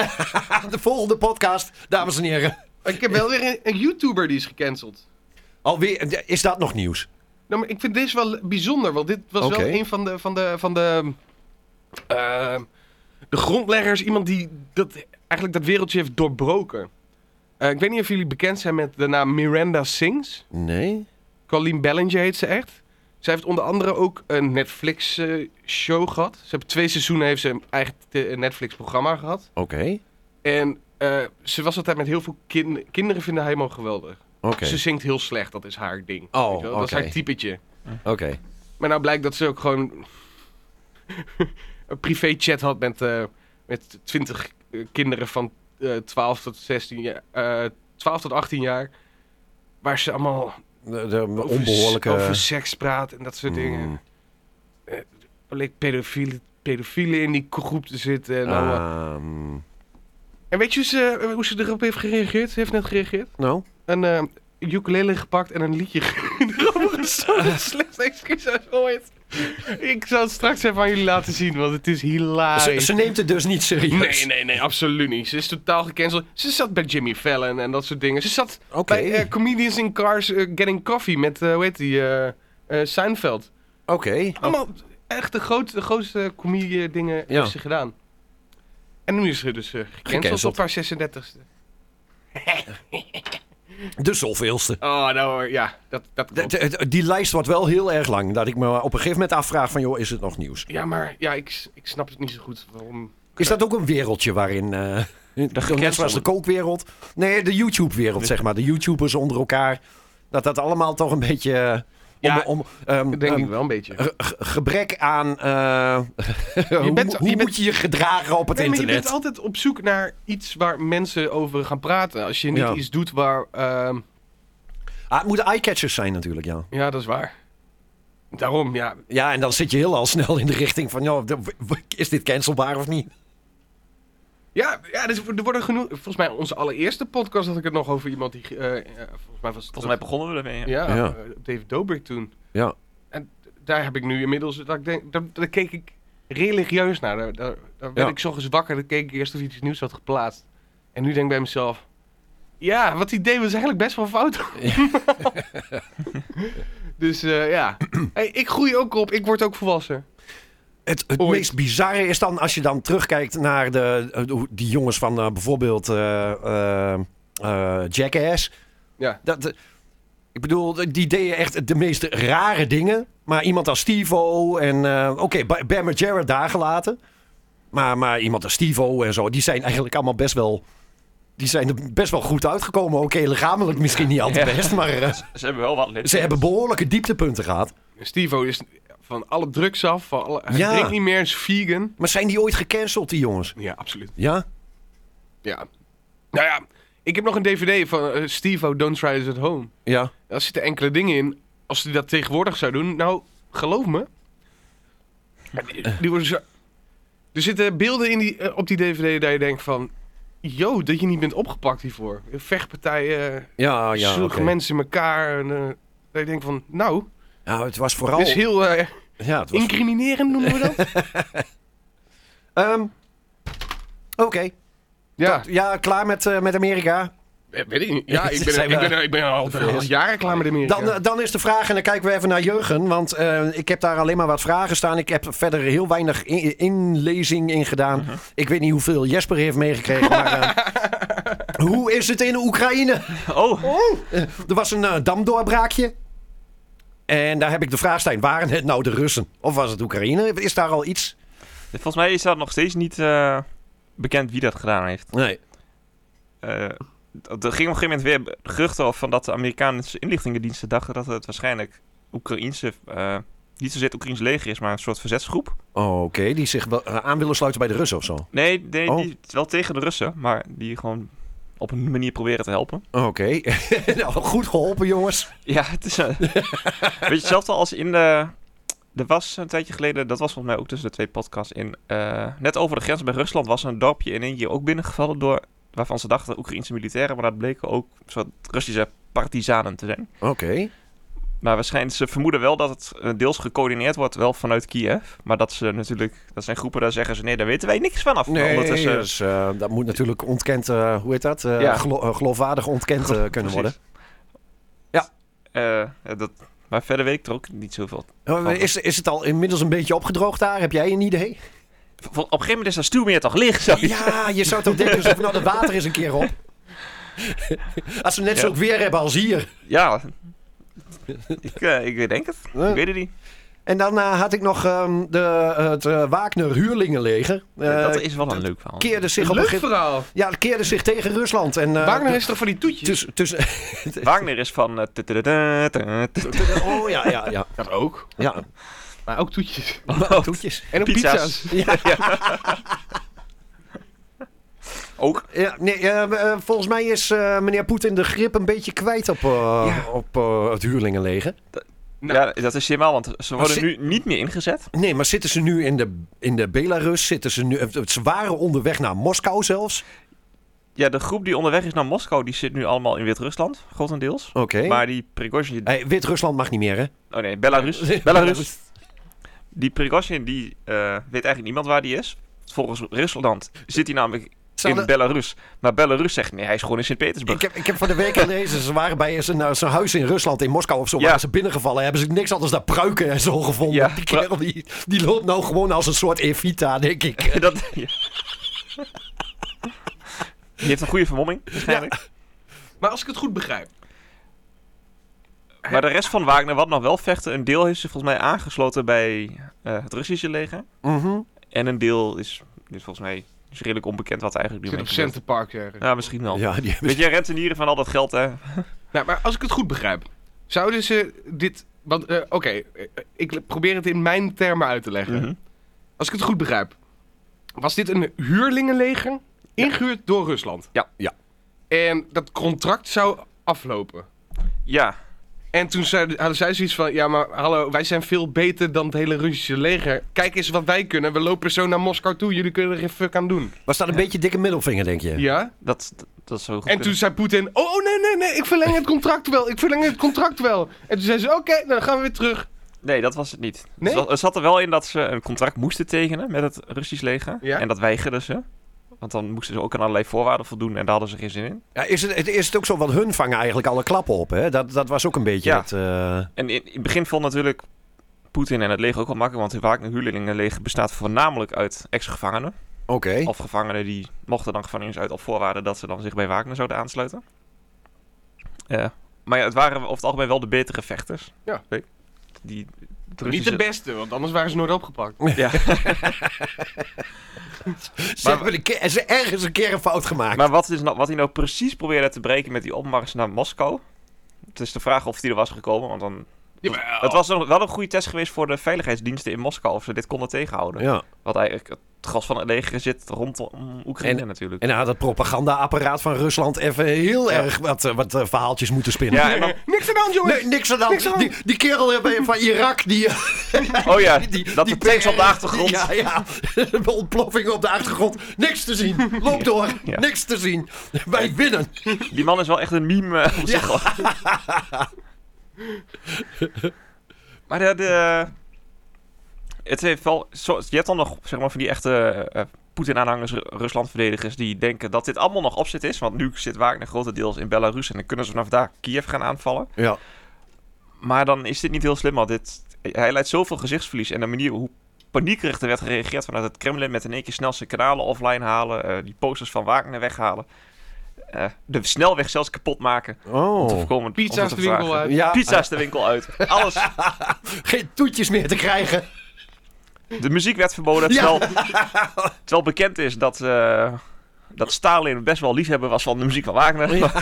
Speaker 4: De volgende podcast, dames en heren.
Speaker 5: Ik heb wel weer een, een YouTuber die is gecanceld.
Speaker 4: Alweer, is dat nog nieuws?
Speaker 5: Nou, maar ik vind deze wel bijzonder, want dit was
Speaker 4: Oké.
Speaker 5: wel een van de, van de, van de, eh, de grondleggers. Iemand die dat, eigenlijk dat wereldje heeft doorbroken. Eh, ik weet niet of jullie bekend zijn met de naam Miranda Sings.
Speaker 4: Nee.
Speaker 5: Colleen Bellinger heet ze echt. Zij heeft onder andere ook een Netflix-show gehad. Ze heeft twee seizoenen heeft ze een eigen te- een Netflix-programma gehad.
Speaker 4: Oké.
Speaker 5: En eh, ze was altijd met heel veel kin- kinderen vinden haar helemaal geweldig.
Speaker 4: Oké.
Speaker 5: Ze zingt heel slecht, dat is haar ding.
Speaker 4: Oh,
Speaker 5: weet je wel. Dat is
Speaker 4: oké.
Speaker 5: haar typetje.
Speaker 4: Oké.
Speaker 5: Maar nou blijkt dat ze ook gewoon een privé-chat had met, eh met 20 eh, kinderen van eh 12 tot 16 jaar. eh, 12 tot 18 jaar. Waar ze allemaal
Speaker 4: De, de
Speaker 5: over
Speaker 4: onbehoorlijke.
Speaker 5: s- Over seks praat en dat soort dingen.
Speaker 4: Mm.
Speaker 5: Eh, Er leek pedofielen, pedofielen in die groep te zitten.
Speaker 4: Ah.
Speaker 5: En, allemaal. eh.
Speaker 4: Ehm,
Speaker 5: en weet je hoe ze, hoe ze erop heeft gereageerd? Ze heeft net gereageerd.
Speaker 4: nou.
Speaker 5: Een eh ukulele gepakt en een liedje erop is zo'n slecht excuus als ooit. Ik zal het straks even aan jullie laten zien, want het is
Speaker 4: Ze,
Speaker 5: hilarisch.
Speaker 4: ze neemt het dus niet serieus.
Speaker 5: Ah, Nee, nee, nee, absoluut niet. Ze is totaal gecanceld. Ze zat bij Jimmy Fallon en dat soort dingen. Ze zat
Speaker 4: Oké.
Speaker 5: bij eh, Comedians in Cars eh, Getting Coffee met, eh, hoe heet die, eh, eh, Seinfeld.
Speaker 4: Oké.
Speaker 5: Allemaal echt de, groot, de grootste comedie dingen heeft ze gedaan. En nu is ze dus eh, gecanceld
Speaker 4: Gecanceld.
Speaker 5: op haar 36e.
Speaker 4: De zoveelste.
Speaker 5: Oh, nou ja, dat, dat
Speaker 4: De-
Speaker 5: klopt.
Speaker 4: de- de- die lijst wordt wel heel erg lang. Dat ik me op een gegeven moment afvraag van... joh, is het nog nieuws?
Speaker 5: Ja, maar ja, ik, ik snap het niet zo goed waarom...
Speaker 4: Is dat ook een wereldje waarin... eh de net zoals de kookwereld. Nee, de YouTube-wereld, zeg maar. De YouTubers onder elkaar. Dat dat allemaal toch een beetje... eh,
Speaker 5: Ja,
Speaker 4: om, om, ehm,
Speaker 5: Dat denk
Speaker 4: ehm,
Speaker 5: ik wel een beetje.
Speaker 4: ge- ge- gebrek aan... eh, hoe
Speaker 5: bent-
Speaker 4: mo-
Speaker 5: je
Speaker 4: hoe
Speaker 5: bent-
Speaker 4: moet je je gedragen op het
Speaker 5: Nee, maar je
Speaker 4: internet?
Speaker 5: bent altijd op zoek naar iets waar mensen over gaan praten. Als je niet
Speaker 4: Ja.
Speaker 5: iets doet waar... ehm,
Speaker 4: Ah, het moeten eyecatchers zijn natuurlijk, ja.
Speaker 5: ja, dat is waar. Daarom, ja.
Speaker 4: Ja, en dan zit je heel al snel in de richting van... joh, de- w- w- is dit cancelbaar of niet?
Speaker 5: Ja, ja dus er worden genoeg... Volgens mij onze allereerste podcast had ik het nog over iemand die... eh, eh, volgens mij was het...
Speaker 3: Volgens mij begonnen we ermee. Ja.
Speaker 5: Ja,
Speaker 4: Ja.
Speaker 5: eh, David Dobrik toen.
Speaker 4: Ja.
Speaker 5: En daar heb ik nu inmiddels... Dat ik denk, daar, daar keek ik religieus naar. Daar, daar, daar werd
Speaker 4: Ja.
Speaker 5: ik zo wakker. Dan keek ik eerst of hij iets nieuws had geplaatst. En nu denk ik bij mezelf... Ja, wat hij deed was eigenlijk best wel fout. dus eh, ja. Hey, ik groei ook op. Ik word ook volwassen.
Speaker 4: Het, het
Speaker 5: Ooit.
Speaker 4: meest bizarre is dan als je dan terugkijkt naar de, eh, hoe die jongens van eh, bijvoorbeeld eh, eh, eh, Jackass.
Speaker 5: Ja.
Speaker 4: Dat, eh, ik bedoel, die deden echt de meest rare dingen. Maar iemand als Steve-O en... eh, Oké, Ba- Bam en Jarrett daar gelaten. Maar, maar iemand als Steve-O en zo, die zijn eigenlijk allemaal best wel... Die zijn er best wel goed uitgekomen. Oké, lichamelijk misschien niet altijd
Speaker 3: Ja.
Speaker 4: best, maar... eh,
Speaker 3: Ze hebben wel wat lid.
Speaker 4: Ze hebben behoorlijke dieptepunten gehad.
Speaker 5: Stevo is van alle drugs af. Van alle, hij
Speaker 4: Ja.
Speaker 5: drinkt niet meer. is vegan.
Speaker 4: Maar zijn die ooit gecanceld, die jongens?
Speaker 5: Ja, absoluut.
Speaker 4: Ja?
Speaker 5: Ja. Nou ja, ik heb nog een dvd van eh, Steve-O Don't Try This At Home.
Speaker 4: Ja.
Speaker 5: Daar zitten enkele dingen in. Als hij dat tegenwoordig zou doen, nou, geloof me.
Speaker 4: Eh.
Speaker 5: Die, die worden zo... Er zitten beelden in die, eh, op die dvd dat je denkt van... Yo, dat je niet bent opgepakt hiervoor. Vechtpartijen,
Speaker 4: Oh Ja, ja.
Speaker 5: zulke
Speaker 4: oké.
Speaker 5: mensen in elkaar. En, eh, dat je denkt van, nou,
Speaker 4: Ja, het was vooral...
Speaker 5: dit is heel eh,
Speaker 4: Ja, het was...
Speaker 5: incriminerend noemen we dat.
Speaker 4: Ehm, Oké.
Speaker 5: ja,
Speaker 4: Ja, klaar met, eh, met Amerika.
Speaker 5: eh, weet ik niet. Ja, ik ben,
Speaker 4: Zijn we-
Speaker 5: ik ben, ik ben al, al jaren klaar met Amerika.
Speaker 4: Dan, eh, dan is de vraag, en dan kijken we even naar Jurgen. Want eh, ik heb daar alleen maar wat vragen staan. Ik heb verder heel weinig in- inlezing in gedaan. Ik weet niet hoeveel Jesper heeft meegekregen. Maar, eh, hoe is het in Oekraïne?
Speaker 3: Oh,
Speaker 4: Er was een eh, damdoorbraakje. En daar heb ik de vraag staan. Waren het nou de Russen? Of was het Oekraïne? Is daar al iets?
Speaker 3: volgens mij is dat nog steeds niet eh, bekend wie dat gedaan heeft.
Speaker 4: Nee.
Speaker 3: Eh, d- er ging op een gegeven moment weer geruchten af van dat de Amerikaanse inlichtingendiensten dachten dat het waarschijnlijk Oekraïnse, eh, niet zozeer het Oekraïns leger is, maar een soort verzetsgroep.
Speaker 4: Oh, Oké, die zich wel, eh, aan willen sluiten bij de Russen of zo.
Speaker 3: Nee, nee
Speaker 4: Oh.
Speaker 3: die, wel tegen de Russen, maar die gewoon op een manier proberen te helpen.
Speaker 4: Oké. nou, goed geholpen, jongens.
Speaker 3: Ja, het is... eh, weet je, hetzelfde als in de... Er was een tijdje geleden, dat was volgens mij ook tussen de twee podcasts in... eh, net over de grens bij Rusland was een dorpje in Indië ook binnengevallen door... Waarvan ze dachten Oekraïnse militairen, maar dat bleken ook soort Russische partizanen te zijn.
Speaker 4: Oké.
Speaker 3: Maar waarschijnlijk, ze vermoeden wel dat het eh, deels gecoördineerd wordt, wel vanuit Kiev. Maar dat ze natuurlijk, dat zijn groepen, daar zeggen ze nee, daar weten wij niks vanaf. Nou, Maar
Speaker 4: Nee,
Speaker 3: ondertussen-
Speaker 4: dus, eh, dat moet natuurlijk ontkend, eh, hoe heet dat? Eh,
Speaker 3: Ja.
Speaker 4: gelo- eh, geloofwaardig ontkend eh, kunnen worden.
Speaker 3: Precies. Eh, dat, maar verder weet ik er ook niet zoveel.
Speaker 4: Eh, Is, is het al inmiddels een beetje opgedroogd daar? Heb jij een idee?
Speaker 3: Op een gegeven moment is dat stuwmeer toch leeg, zo.
Speaker 4: Ja, je zou toch denken, alsof, nou, dat water is een keer op. Als we net
Speaker 3: Ja.
Speaker 4: zo weer hebben als hier.
Speaker 3: Ja. ik, eh, ik denk het.
Speaker 4: Eh.
Speaker 3: Ik weet het niet.
Speaker 4: En dan eh, had ik nog ehm, de, het eh, Wagner huurlingenleger. Eh,
Speaker 3: dat is wel een leuk verhaal.
Speaker 4: keerde zich op
Speaker 5: Leuk
Speaker 4: een gegeven Eh,
Speaker 5: verhaal.
Speaker 4: Ja, het keerde zich tegen Rusland. En, eh,
Speaker 5: Wagner is toch van die toetjes?
Speaker 4: tussen, tussen,
Speaker 3: Wagner is van... eh, tudududu, tudududu.
Speaker 4: oh ja, ja, ja.
Speaker 5: Dat ook.
Speaker 4: ja.
Speaker 5: Maar ook toetjes.
Speaker 4: Toetjes.
Speaker 5: En ook
Speaker 3: Pizza's.
Speaker 5: pizza's.
Speaker 3: ook.
Speaker 4: Ja, nee, eh, eh, volgens mij is eh, meneer Poetin de grip een beetje kwijt op, eh, op eh, het huurlingenleger.
Speaker 5: Nou.
Speaker 3: Ja, dat is helemaal, want ze worden
Speaker 4: ze-
Speaker 3: nu niet meer ingezet.
Speaker 4: Nee, maar zitten ze nu in de, in de Belarus? Zitten ze, nu, eh, ze waren onderweg naar Moskou zelfs.
Speaker 3: ja, de groep die onderweg is naar Moskou, die zit nu allemaal in Wit-Rusland, grotendeels.
Speaker 4: Oké.
Speaker 3: Maar die Prigozhin...
Speaker 4: Hey, Wit-Rusland mag niet meer, hè?
Speaker 3: Oh nee, Belarus. Belarus. Die Prigozhin, die eh, weet eigenlijk niemand waar die is. Volgens Rusland zit hij namelijk
Speaker 4: Zou
Speaker 3: in
Speaker 4: dat-
Speaker 3: Belarus. Maar Belarus zegt, nee, hij is gewoon in Sint-Petersburg.
Speaker 4: Ik heb, ik heb van de week gelezen, ze waren bij zijn, eh, zijn huis in Rusland, in Moskou of zo,
Speaker 3: Ja.
Speaker 4: waren ze binnengevallen. Hebben ze niks anders dan pruiken en zo gevonden.
Speaker 3: Ja.
Speaker 4: Die kerel die, die loopt nou gewoon als een soort Evita, denk ik.
Speaker 3: Dat, ja. Die heeft een goede vermomming, waarschijnlijk.
Speaker 5: Maar als ik het goed begrijp.
Speaker 3: Maar de rest van Wagner, wat nog wel vechten, een deel heeft zich volgens mij aangesloten bij eh, het Russische leger.
Speaker 4: Mhm.
Speaker 3: En een deel is, is volgens mij is redelijk onbekend wat er eigenlijk nu
Speaker 5: Zit op
Speaker 3: mee gebeurt.
Speaker 5: Center Park ergens.
Speaker 3: Ja, misschien wel.
Speaker 4: Ja, die hebben
Speaker 3: Weet je, rentenieren van al dat geld, hè?
Speaker 5: Nou, maar als ik het goed begrijp, zouden ze dit. Want, eh, oké, eh, ik probeer het in mijn termen uit te leggen.
Speaker 3: Mhm.
Speaker 5: Als ik het goed begrijp, was dit een huurlingenleger ingehuurd door Rusland?
Speaker 3: Ja.
Speaker 4: Ja.
Speaker 5: En dat contract zou aflopen.
Speaker 3: Ja,
Speaker 5: En toen zeiden, hadden zij zoiets van: ja, maar hallo, wij zijn veel beter dan het hele Russische leger. Kijk eens wat wij kunnen. We lopen zo naar Moskou toe. Jullie kunnen er geen fuck aan doen.
Speaker 4: Was dat een beetje dikke middelvinger, denk je?
Speaker 5: Ja.
Speaker 3: dat, dat, dat is zo goed.
Speaker 5: En toen
Speaker 3: kunnen.
Speaker 5: zei Poetin: oh, oh, nee, nee, nee, ik verleng het contract wel. Ik verleng het contract wel. En toen zei ze: oké, nou, dan gaan we weer terug.
Speaker 3: Nee, dat was het niet.
Speaker 5: Nee?
Speaker 3: Het zat- Het zat er wel in dat ze een contract moesten tekenen met het Russisch leger.
Speaker 5: Ja.
Speaker 3: En dat weigerden ze. Want dan moesten ze ook aan allerlei voorwaarden voldoen en daar hadden ze geen zin in.
Speaker 4: Ja, is, het, het- is het ook zo, want hun vangen eigenlijk alle klappen op. Hè? Dat, dat was ook een beetje
Speaker 3: Ja.
Speaker 4: het... eh,
Speaker 3: En in, in het begin vond natuurlijk Poetin en het leger ook wel makkelijk, want het Wagner huurlingenleger bestaat voornamelijk uit ex-gevangenen.
Speaker 4: Oké.
Speaker 3: Of gevangenen die mochten dan gevangenis uit op voorwaarde dat ze dan zich bij Wagner zouden aansluiten. Eh, maar ja, het waren over het algemeen wel de betere vechters.
Speaker 5: Ja.
Speaker 3: Die, het
Speaker 5: Niet de
Speaker 3: Russische-
Speaker 5: beste, want anders waren ze nooit opgepakt.
Speaker 3: Ja.
Speaker 4: Ze hebben een keer- ze ergens een keer een fout gemaakt.
Speaker 3: Maar wat, is nou, wat hij nou precies probeerde te breken met die opmars naar Moskou? Het is de vraag of die er was gekomen, want dan...
Speaker 5: Jawel.
Speaker 3: Het was een- wel een goede test geweest voor de veiligheidsdiensten in Moskou, of ze dit konden tegenhouden.
Speaker 4: ja.
Speaker 3: Wat eigenlijk het gas van het leger zit rondom Oekraïne natuurlijk.
Speaker 4: En dan had het propagandaapparaat van Rusland even heel erg wat, eh, wat eh, verhaaltjes moeten spinnen.
Speaker 3: ja, en dan,
Speaker 5: Niks aan de hand, jongens!
Speaker 4: Nee, niks aan de hand.
Speaker 5: Niks aan de
Speaker 4: Die, die kerel eh, van Irak, die... eh,
Speaker 3: oh ja,
Speaker 4: die-
Speaker 3: dat
Speaker 4: die-
Speaker 3: de tanks op de achtergrond.
Speaker 4: Ja, ja. Een ontploffing op de achtergrond. Niks te zien. Loop door.
Speaker 3: Ja.
Speaker 4: Niks te zien. Wij winnen.
Speaker 3: Die man is wel echt een meme eh, op zich. hoor. maar de, de- het heeft wel... Zo, je hebt dan nog zeg maar, van die echte eh, eh, Poetin-aanhangers, Ru- Rusland-verdedigers... die denken dat dit allemaal nog opzet is. Want nu zit Wagner grotendeels in Belarus... en dan kunnen ze vanaf daar Kiev gaan aanvallen.
Speaker 4: Ja.
Speaker 3: Maar dan is dit niet heel slim, want dit, hij leidt zoveel gezichtsverlies. En de manier hoe paniekerig er werd gereageerd vanuit het Kremlin... met in één keer snel zijn kanalen offline halen... eh, die posters van Wagner weghalen... eh, de snelweg zelfs kapot maken... Om te
Speaker 4: Oh.
Speaker 3: voorkomen.
Speaker 5: Pizza's
Speaker 3: om
Speaker 5: de
Speaker 3: te
Speaker 5: winkel
Speaker 3: vragen.
Speaker 5: uit.
Speaker 4: Ja,
Speaker 3: Pizza's de winkel uit. Alles.
Speaker 4: geen toetjes meer te krijgen.
Speaker 3: De muziek werd verboden. Terwijl, terwijl bekend is dat, eh, dat Stalin best wel liefhebber was van de muziek van Wagner.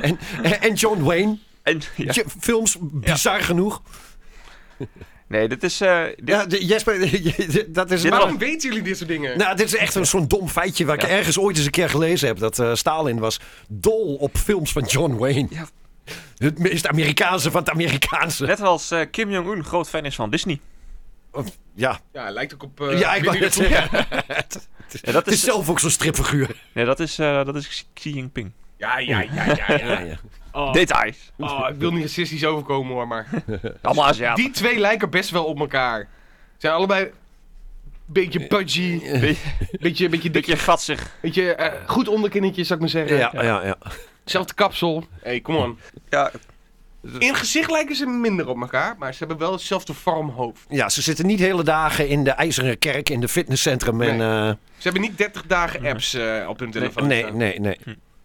Speaker 4: En, en John Wayne.
Speaker 3: En, ja.
Speaker 4: Je- Films, bizar genoeg.
Speaker 3: Nee, dit is. eh, dit,
Speaker 4: Ja, de- Jesper, je- dat is...
Speaker 3: Dit
Speaker 4: maar-
Speaker 5: Waarom weten jullie dit soort dingen?
Speaker 4: Nou, dit is echt een- zo'n dom feitje waar ik
Speaker 3: Ja.
Speaker 4: ergens ooit eens een keer gelezen heb. Dat eh, Stalin was dol op films van John Wayne.
Speaker 3: Ja.
Speaker 4: Het meest Amerikaanse van het Amerikaanse.
Speaker 3: Net als eh, Kim Jong-un groot fan is van Disney.
Speaker 4: Ja,
Speaker 5: Ja, lijkt ook op... eh,
Speaker 4: ja ik wou net zeggen.
Speaker 3: Ja, dat,
Speaker 4: Het is
Speaker 3: is,
Speaker 4: zelf ook zo'n stripfiguur.
Speaker 3: nee, dat, is, eh, dat is Xi- Xi Jinping.
Speaker 5: Ja, ja, ja, ja. ja. Oh,
Speaker 3: Oh. Details.
Speaker 5: oh, ik wil niet racistisch overkomen hoor, maar...
Speaker 3: Allemaal Aziaten.
Speaker 5: Die twee lijken best wel op elkaar. Zijn allebei... Beetje pudgy.
Speaker 3: Beetje-
Speaker 5: Beetje, beetje dik.
Speaker 3: Beetje gatsig.
Speaker 5: Beetje eh, goed onderkinnetje, zou ik maar zeggen.
Speaker 4: Ja, ja, ja.
Speaker 5: Zelfde kapsel. hey, kom on.
Speaker 3: Ja,
Speaker 5: In gezicht lijken ze minder op elkaar, maar ze hebben wel hetzelfde vorm hoofd.
Speaker 4: Ja, ze zitten niet hele dagen in de IJzeren Kerk, in de fitnesscentrum. En, eh,
Speaker 5: Ze hebben niet 30 dagen apps eh, op hun telefoon
Speaker 4: nee,
Speaker 5: staan.
Speaker 4: nee, nee.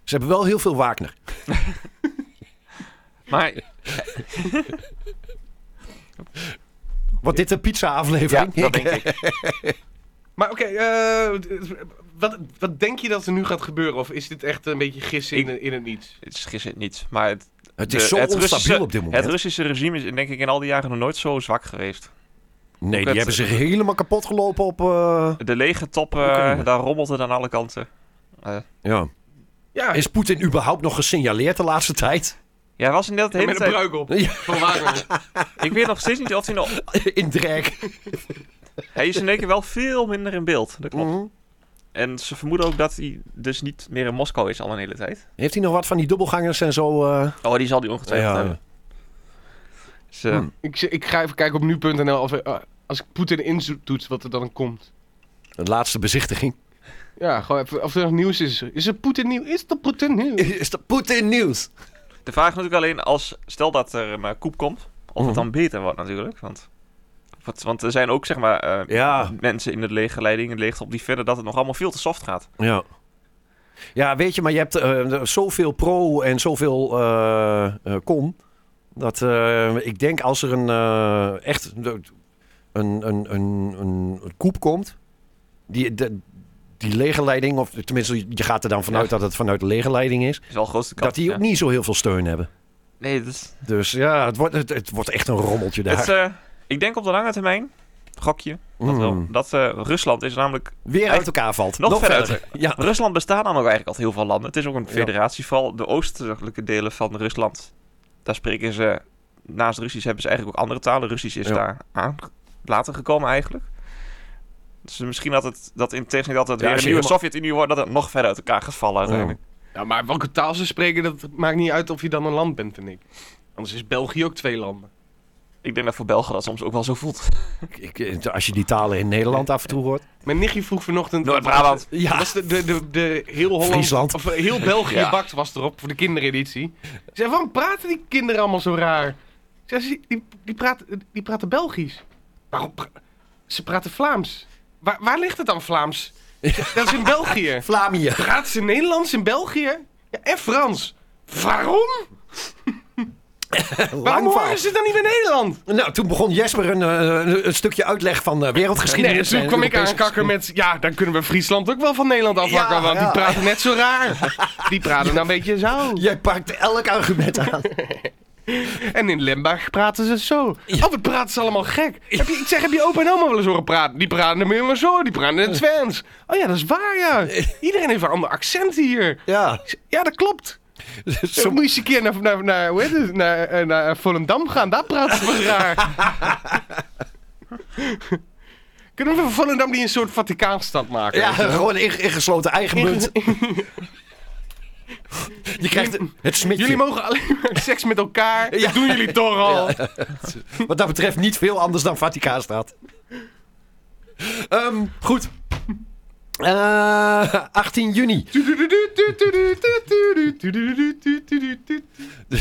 Speaker 4: Ze hebben wel heel veel Wagner.
Speaker 3: maar
Speaker 4: Wordt dit een pizza-aflevering?
Speaker 3: dat denk ik.
Speaker 5: Maar oké, eh, wat, wat denk je dat er nu gaat gebeuren? Of is dit echt een beetje gissen in, in het niets?
Speaker 3: Het is gisteren niet. Maar het,
Speaker 4: Het is
Speaker 3: de-
Speaker 4: zo onstabiel
Speaker 3: Russische-
Speaker 4: op dit moment.
Speaker 3: Het Russische regime is denk ik in al die jaren nog nooit zo zwak geweest.
Speaker 4: nee, die
Speaker 3: het-
Speaker 4: hebben zich helemaal kapot gelopen op... eh,
Speaker 3: De legertop, eh,
Speaker 4: Oekraïne.
Speaker 3: daar rommelt het aan alle kanten. Eh,
Speaker 4: ja.
Speaker 5: Ja,
Speaker 4: Is Poetin überhaupt nog gesignaleerd de laatste tijd?
Speaker 3: ja, hij was inderdaad de hele
Speaker 5: met een
Speaker 3: tijd...
Speaker 5: bruik op.
Speaker 4: Ja.
Speaker 5: Van Wagner.
Speaker 3: Ik weet nog steeds niet of hij nog...
Speaker 4: In drag.
Speaker 3: Hij is in één keer wel veel minder in beeld, dat klopt.
Speaker 4: Mhm.
Speaker 3: En ze vermoeden ook dat hij dus niet meer in Moskou is al een hele tijd.
Speaker 4: Heeft hij nog wat van die dubbelgangers en zo? eh?
Speaker 3: Oh, die zal die ongetwijfeld
Speaker 4: Ja.
Speaker 3: hebben. Dus, eh,
Speaker 4: Hmm.
Speaker 5: Ik, z- ik ga even kijken op nu.nl of eh, als ik Poetin intoets wat er dan komt.
Speaker 4: De laatste bezichtiging.
Speaker 5: Ja, gewoon even of er nog nieuws is. Is er Poetin nieuws? Is er Poetin nieuws?
Speaker 4: Is dat Poetin nieuws?
Speaker 3: De vraag is natuurlijk alleen als, stel dat er een eh, koep komt, of
Speaker 4: Mhm.
Speaker 3: het dan beter wordt natuurlijk. Want, wat- want er zijn ook zeg maar eh,
Speaker 4: Ja.
Speaker 3: mensen in de legerleiding, in het legertop, die vinden dat het nog allemaal veel te soft gaat.
Speaker 4: Ja. Ja, weet je, maar je hebt eh, zoveel pro en zoveel eh eh, con. Dat eh, ik denk als er een eh, echt een, een, een, een, een koep komt, die, de, die legerleiding, of tenminste, je gaat er dan vanuit
Speaker 3: Ja.
Speaker 4: dat het vanuit de legerleiding is,
Speaker 3: Dat is wel de grootste kans.
Speaker 4: dat die
Speaker 3: ja.
Speaker 4: ook niet zo heel veel steun hebben.
Speaker 3: Nee, dat is,
Speaker 4: Dus ja, het wordt, het, het wordt echt een rommeltje daar.
Speaker 3: het is, eh, ik denk op de lange termijn, gokje, dat,
Speaker 4: Mm.
Speaker 3: wel, dat eh, Rusland is namelijk,
Speaker 4: Weer uit elkaar valt.
Speaker 3: nog verder
Speaker 4: Ja.
Speaker 3: Rusland bestaat namelijk eigenlijk al heel veel landen. Het is ook een
Speaker 4: Ja.
Speaker 3: federatieval. De oostelijke delen van Rusland, daar spreken ze, naast Russisch hebben ze eigenlijk ook andere talen. Russisch is
Speaker 4: Ja.
Speaker 3: daar aan later gekomen eigenlijk. Dus misschien dat het dat in tegenstelling dat het
Speaker 4: Ja,
Speaker 3: weer
Speaker 4: als
Speaker 3: een
Speaker 4: je
Speaker 3: nieuwe
Speaker 4: helemaal-
Speaker 3: Sovjet-Unie wordt, dat het nog verder uit elkaar gaat vallen uiteindelijk.
Speaker 5: Ja, maar welke taal ze spreken, dat maakt niet uit of je dan een land bent, vind ik. Anders is België ook twee landen.
Speaker 3: Ik denk dat voor Belgen dat soms ook wel zo voelt.
Speaker 4: Ik- ik- als je die talen in Nederland af en toe hoort.
Speaker 5: Mijn nichtje vroeg vanochtend...
Speaker 3: Noord-Brabant.
Speaker 4: Ja.
Speaker 5: Was de, de, de, de heel Holland,
Speaker 4: Friesland.
Speaker 5: Of eh, heel België
Speaker 3: Ja.
Speaker 5: bakt was erop voor de kindereditie. Ik zei, waarom praten die kinderen allemaal zo raar? Ik zei, "Ze- die, die, praten, die praten Belgisch. Waarom pra- Ze praten Vlaams. Waar, waar ligt het dan Vlaams? Ik zei, Dat is in België.
Speaker 4: Vlaamië.
Speaker 5: Praten ze Nederlands in België? Ja, en Frans. Waarom? Waarom
Speaker 4: Langvaal.
Speaker 5: horen ze het dan niet in Nederland?
Speaker 4: Nou, toen begon Jesper een, eh, een stukje uitleg van eh,
Speaker 5: Nee, en
Speaker 4: wereldgeschiedenis.
Speaker 5: toen
Speaker 4: en
Speaker 5: kwam ik aan
Speaker 4: Europese
Speaker 5: kakker met... Ja, dan kunnen we Friesland ook wel van Nederland afwakken,
Speaker 4: Ja,
Speaker 5: want
Speaker 4: ja.
Speaker 5: die praten net zo raar. Die praten nou een beetje zo.
Speaker 4: geschiedenis. Jij pakt elk argument aan.
Speaker 5: En in Limburg praten ze zo. Oh, wat praten ze allemaal gek. Heb je, ik zeg, heb je opa en oma wel eens horen praten? Die praten er meer maar zo, die praten in het Twents. Oh ja, dat is waar, ja. Iedereen heeft een ander accent hier.
Speaker 4: ja.
Speaker 5: Ja, dat klopt. Zo moet je eens een keer naar, naar, naar, hoe heet het, naar, eh, naar Volendam gaan. Daar praten ze wel raar. Kunnen we van Volendam die een soort Vaticaanstad maken?
Speaker 4: ja, gewoon in- ingesloten eigen munt. Je krijgt het smitje.
Speaker 5: Jullie mogen alleen maar seks met elkaar.
Speaker 4: Ja.
Speaker 5: Dat doen jullie toch al.
Speaker 4: Wat dat betreft niet veel anders dan Vaticaanstraat. Ehm goed. Eh, 18 juni.
Speaker 5: Ja.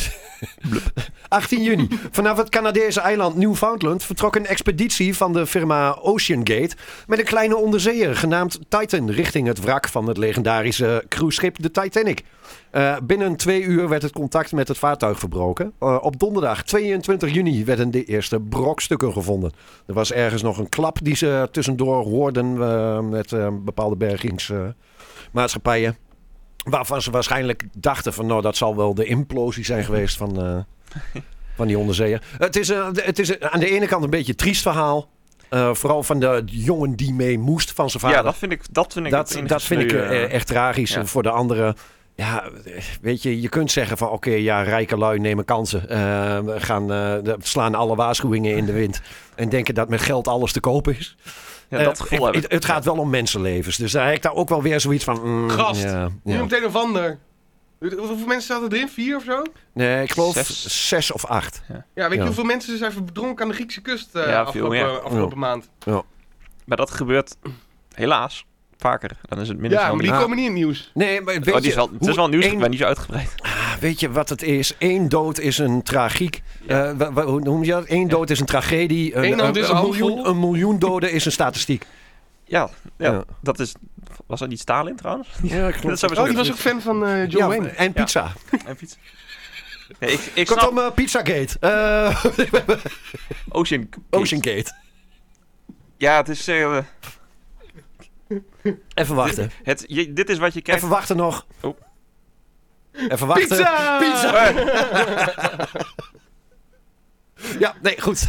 Speaker 4: 18 juni. Vanaf het Canadese eiland Newfoundland vertrok een expeditie van de firma Oceangate met een kleine onderzeeër genaamd Titan richting het wrak van het legendarische cruiseschip de Titanic. Eh, binnen twee uur werd het contact met het vaartuig verbroken. Eh, op donderdag 22 juni werden de eerste brokstukken gevonden. Er was ergens nog een klap die ze tussendoor hoorden eh, met eh, bepaalde bergingsmaatschappijen. waarvan ze waarschijnlijk dachten van nou dat zal wel de implosie zijn geweest van... eh, van die onderzeeër. Het is, eh, het is eh, aan de ene kant een beetje een triest verhaal. Eh, vooral van de jongen die mee moest van zijn vader.
Speaker 3: Ja, dat vind ik, dat vind ik, het
Speaker 4: dat,
Speaker 3: enige
Speaker 4: dat vind ik
Speaker 3: sneu, eh,
Speaker 4: eh, echt tragisch.
Speaker 3: ja.
Speaker 4: En voor de anderen, ja, eh, weet je, je kunt zeggen van oké, ja, rijke lui nemen kansen. Eh, we gaan, eh, de- slaan alle waarschuwingen in de wind. En denken dat met geld alles te koop is.
Speaker 3: ja,
Speaker 4: Eh,
Speaker 3: dat gevoel
Speaker 4: het,
Speaker 3: heb ik.
Speaker 4: het, het gaat wel om mensenlevens. Dus daar heb ik daar ook wel weer zoiets van. mm,
Speaker 5: Gast.
Speaker 4: ja,
Speaker 5: Nu
Speaker 4: ja.
Speaker 5: meteen of ander. Hoeveel mensen zaten erin? Vier of zo?
Speaker 4: Nee, ik geloof
Speaker 3: Zes.
Speaker 4: zes, of acht.
Speaker 5: Ja, weet je
Speaker 4: Ja.
Speaker 5: hoeveel mensen ze zijn verdronken aan de Griekse kust eh,
Speaker 3: Ja, veel
Speaker 5: afgelopen,
Speaker 3: meer.
Speaker 5: afgelopen maand?
Speaker 3: Maar dat gebeurt helaas vaker. Dan is het minder
Speaker 5: Ja,
Speaker 3: snel
Speaker 5: maar die
Speaker 3: nieuws.
Speaker 5: komen niet in het nieuws.
Speaker 4: Nee, maar weet
Speaker 3: Oh, die
Speaker 4: je,
Speaker 3: is wel, het
Speaker 4: hoe
Speaker 3: is wel nieuws,
Speaker 4: één- Ah,
Speaker 3: maar niet zo uitgebreid.
Speaker 4: Weet je wat het is? Eén dood is een tragiek. Eh, wa- wa- hoe noem je dat? Eén dood is een tragedie. Een,
Speaker 5: Eén hand is een
Speaker 4: miljoen,
Speaker 5: handvol.
Speaker 4: een miljoen doden is een statistiek.
Speaker 3: Ja, ja,
Speaker 4: Ja.
Speaker 3: dat is... Was dat niet Stalin trouwens?
Speaker 4: Ja,
Speaker 3: Dat zou best
Speaker 5: Oh, die
Speaker 3: kunnen.
Speaker 5: was ook fan van eh, John
Speaker 4: Ja,
Speaker 5: Wayne.
Speaker 4: en pizza.
Speaker 3: En fiets. Nee, ik, ik snap
Speaker 4: Kortom, eh, Pizzagate. Eh
Speaker 3: Ocean.
Speaker 4: Oceangate.
Speaker 3: Ja, het is. eh,
Speaker 4: Even wachten.
Speaker 3: het, je- dit is wat je krijgt.
Speaker 4: Even wachten nog.
Speaker 3: Oh.
Speaker 4: Even wachten.
Speaker 5: Pizza!
Speaker 4: Pizza!
Speaker 3: Eh,
Speaker 4: Ja, nee, goed.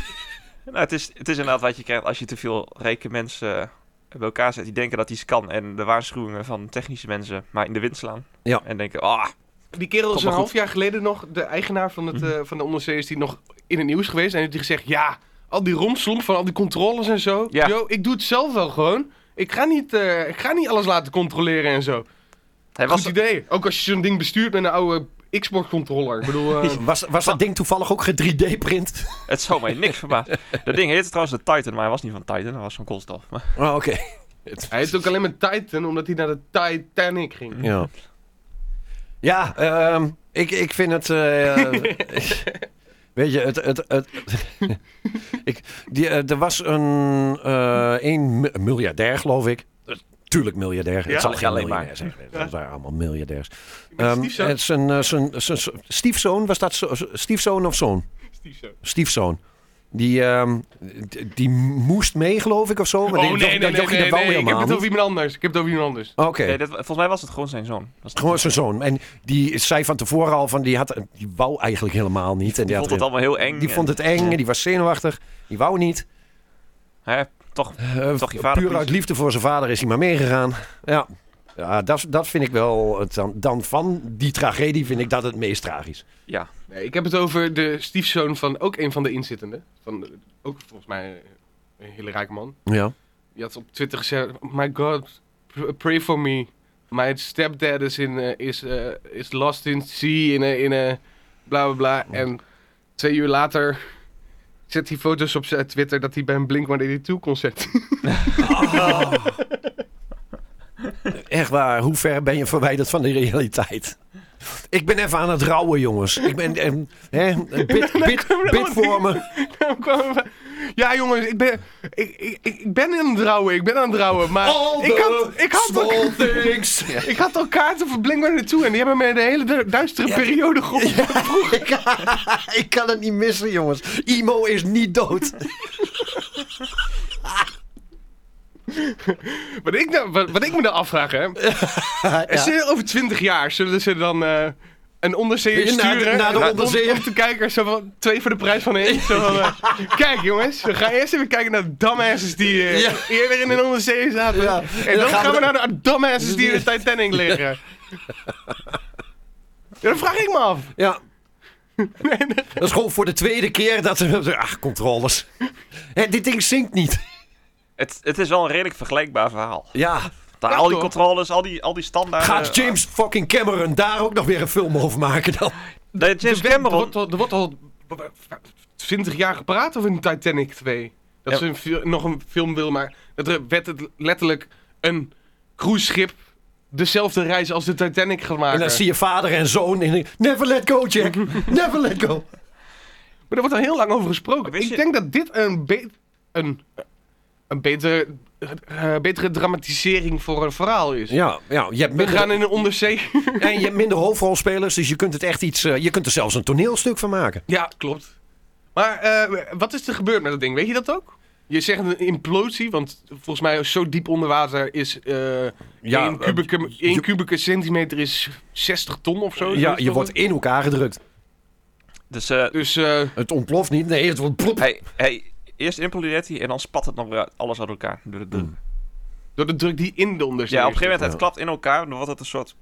Speaker 3: nou, het, is, het is inderdaad wat je krijgt als je te veel rijke mensen eh, bij elkaar zet. Die denken dat iets kan. En de waarschuwingen van technische mensen maar in de wind slaan.
Speaker 4: Ja.
Speaker 3: En denken, ah,
Speaker 5: Die kerel
Speaker 3: Komt
Speaker 5: is
Speaker 3: maar
Speaker 5: een
Speaker 3: goed.
Speaker 5: half jaar geleden nog de eigenaar van, het, eh, van de onderzee is die nog in het nieuws geweest. En heeft hij gezegd, ja, al die romslomp van al die controles en zo.
Speaker 3: Ja.
Speaker 5: Yo, ik doe het zelf wel gewoon. Ik ga niet, eh, ik ga niet alles laten controleren en zo.
Speaker 3: Hij
Speaker 5: Goed
Speaker 3: was,
Speaker 5: idee. Ook als je zo'n ding bestuurt met een oude Xbox-controller. Ik bedoel, eh,
Speaker 4: Was, was dat ding toevallig ook 3D-print?
Speaker 3: het zou mij niks verbazen. Dat ding heette trouwens de Titan, maar hij was niet van Titan, hij was van koolstof. Maar
Speaker 4: Oh, oké.
Speaker 5: hij heeft ook alleen maar Titan, omdat hij naar de Titanic ging.
Speaker 4: Ja, ja ehm, ik, ik vind het. eh, weet je, het. het, het ik, die, eh, er was een, eh een mi- miljardair, geloof ik. Tuurlijk miljardair.
Speaker 3: Ja,
Speaker 4: het zal geen
Speaker 3: alleen maar.
Speaker 4: miljardair zijn. Dat waren allemaal miljardairs.
Speaker 5: Mijn
Speaker 4: Ehm,
Speaker 5: stiefzoon.
Speaker 4: het zijn, eh, zijn- zijn- zijn- stiefzoon, was dat zo- stiefzoon of zoon?
Speaker 5: Stiefzoon.
Speaker 4: Stiefzoon. Die, ehm, d- die moest mee, geloof ik, of zo. Maar die-
Speaker 5: Oh, nee,
Speaker 4: dat-
Speaker 5: nee,
Speaker 4: dat
Speaker 5: nee,
Speaker 4: jochie,
Speaker 5: nee,
Speaker 4: dat wou
Speaker 5: nee, Ik heb
Speaker 4: helemaal
Speaker 5: het over
Speaker 4: niet.
Speaker 5: iemand anders. Ik heb het over iemand anders.
Speaker 4: Ah, Oké.
Speaker 3: nee, dit, volgens mij was het gewoon zijn zoon. Dat is niet-
Speaker 4: Gewoon zijn zoon. En die zei van tevoren al van die, had, die wou eigenlijk helemaal niet.
Speaker 3: die
Speaker 4: En die,
Speaker 3: vond
Speaker 4: had,
Speaker 3: het allemaal heel eng.
Speaker 4: die vond het eng, en die was zenuwachtig. Die wou niet.
Speaker 3: Hè, toch,
Speaker 4: Eh,
Speaker 3: Toch je vader
Speaker 4: puur
Speaker 3: please.
Speaker 4: uit liefde voor zijn vader is hij maar meegegaan. Ja, ja dat, dat vind ik wel. Het, dan, dan van die tragedie vind ik dat het meest tragisch.
Speaker 3: ja.
Speaker 5: Nee, ik heb het over de stiefzoon van ook een van de inzittenden. Van, eh, ook volgens mij eh, een hele rijke man.
Speaker 4: Ja.
Speaker 5: Die had op Twitter gezegd: "Oh My God, pr- pray for me. My stepdad is, in, eh, is, eh, is lost in sea in een in een bla bla bla. En twee uur later zet hij foto's op zijn Twitter dat hij bij een Blink-182 concert
Speaker 4: Echt waar, hoe ver ben je verwijderd van de realiteit? Ik ben even aan het rouwen, jongens. Ik ben. eh, hè, bid, bid, bid voor me.
Speaker 5: Dan kwamen we- Ja, jongens, ik ben, ik, ik, ik ik ben aan het rouwen, ik ben aan het rouwen, maar ik had, ik had, ook-
Speaker 4: small things.
Speaker 5: ik had al kaarten voor Blink naartoe en die hebben mij de hele du- duistere periode geholpen.
Speaker 4: ik kan het niet missen, jongens. Imo is niet dood.
Speaker 5: Wat, ik nou- wat, wat ik me dan afvraag, hè, is er over 20 jaar zullen ze dan eh, een onderzeeër
Speaker 4: Naar de-
Speaker 5: sturen
Speaker 4: naar de
Speaker 5: om-
Speaker 4: onderzeeër.
Speaker 5: om te kijken, zo van, twee voor de prijs van één. Zo van, eh, kijk jongens, we gaan eerst even kijken naar de dumbasses die eh,
Speaker 4: Ja.
Speaker 5: eerder in een onderzeeër zaten.
Speaker 4: Ja.
Speaker 5: En dan gaan we naar
Speaker 4: naar
Speaker 5: de dumbasses die in de Titanic liggen. Ja, dat vraag ik me af.
Speaker 4: Ja. Dat is gewoon voor de tweede keer dat we... Ach, controles. Hè, dit ding zinkt niet.
Speaker 3: Het, het is wel een redelijk vergelijkbaar verhaal.
Speaker 4: Ja.
Speaker 3: Daar, al die
Speaker 5: toch?
Speaker 3: controles, al die, al die standaarden. Eh,
Speaker 4: Gaat James fucking Cameron daar ook nog weer een film over maken dan?
Speaker 3: Nee, James
Speaker 5: Dus Er wordt
Speaker 3: Cameron.
Speaker 5: al- er wordt al 20 jaar gepraat over een Titanic 2. Dat
Speaker 3: Ja.
Speaker 5: ze een fil- nog een film wil maken. Dat er werd het letterlijk een cruiseschip dezelfde reis als de Titanic gaat maken.
Speaker 4: En dan zie je vader en zoon in... Never let go, Jack. Never let go.
Speaker 5: Maar er wordt al heel lang over gesproken.
Speaker 3: Wist
Speaker 5: Ik
Speaker 3: je-
Speaker 5: denk dat dit een, be- een, een betere, eh, betere dramatisering voor een verhaal is.
Speaker 4: Ja, ja je hebt
Speaker 5: We
Speaker 4: minder,
Speaker 5: gaan in een onderzee.
Speaker 4: en je hebt minder hoofdrolspelers, dus je kunt, het echt iets, eh, je kunt er zelfs een toneelstuk van maken.
Speaker 5: Ja, klopt. Maar eh, wat is er gebeurd met dat ding? Weet je dat ook? Je zegt een implosie, want volgens mij zo diep onder water is eh
Speaker 4: Ja, eh,
Speaker 5: 1 kubieke, één
Speaker 4: je-
Speaker 5: kubieke centimeter is 60 ton of zo.
Speaker 4: Ja,
Speaker 5: Zoiets
Speaker 4: je
Speaker 5: was
Speaker 4: wordt
Speaker 5: het.
Speaker 4: in elkaar gedrukt.
Speaker 3: Dus eh,
Speaker 5: Dus eh,
Speaker 4: Het ontploft niet. Nee, het wordt... ploep.
Speaker 3: hij, hij, eerst implodeert hij en dan spat het nog weer uit- alles uit elkaar. Door
Speaker 5: Mm,
Speaker 3: de druk.
Speaker 5: door de druk die in de onderzee
Speaker 3: Ja, op een gegeven moment
Speaker 4: Ja.
Speaker 3: het klapt in elkaar. Dan wordt het een soort.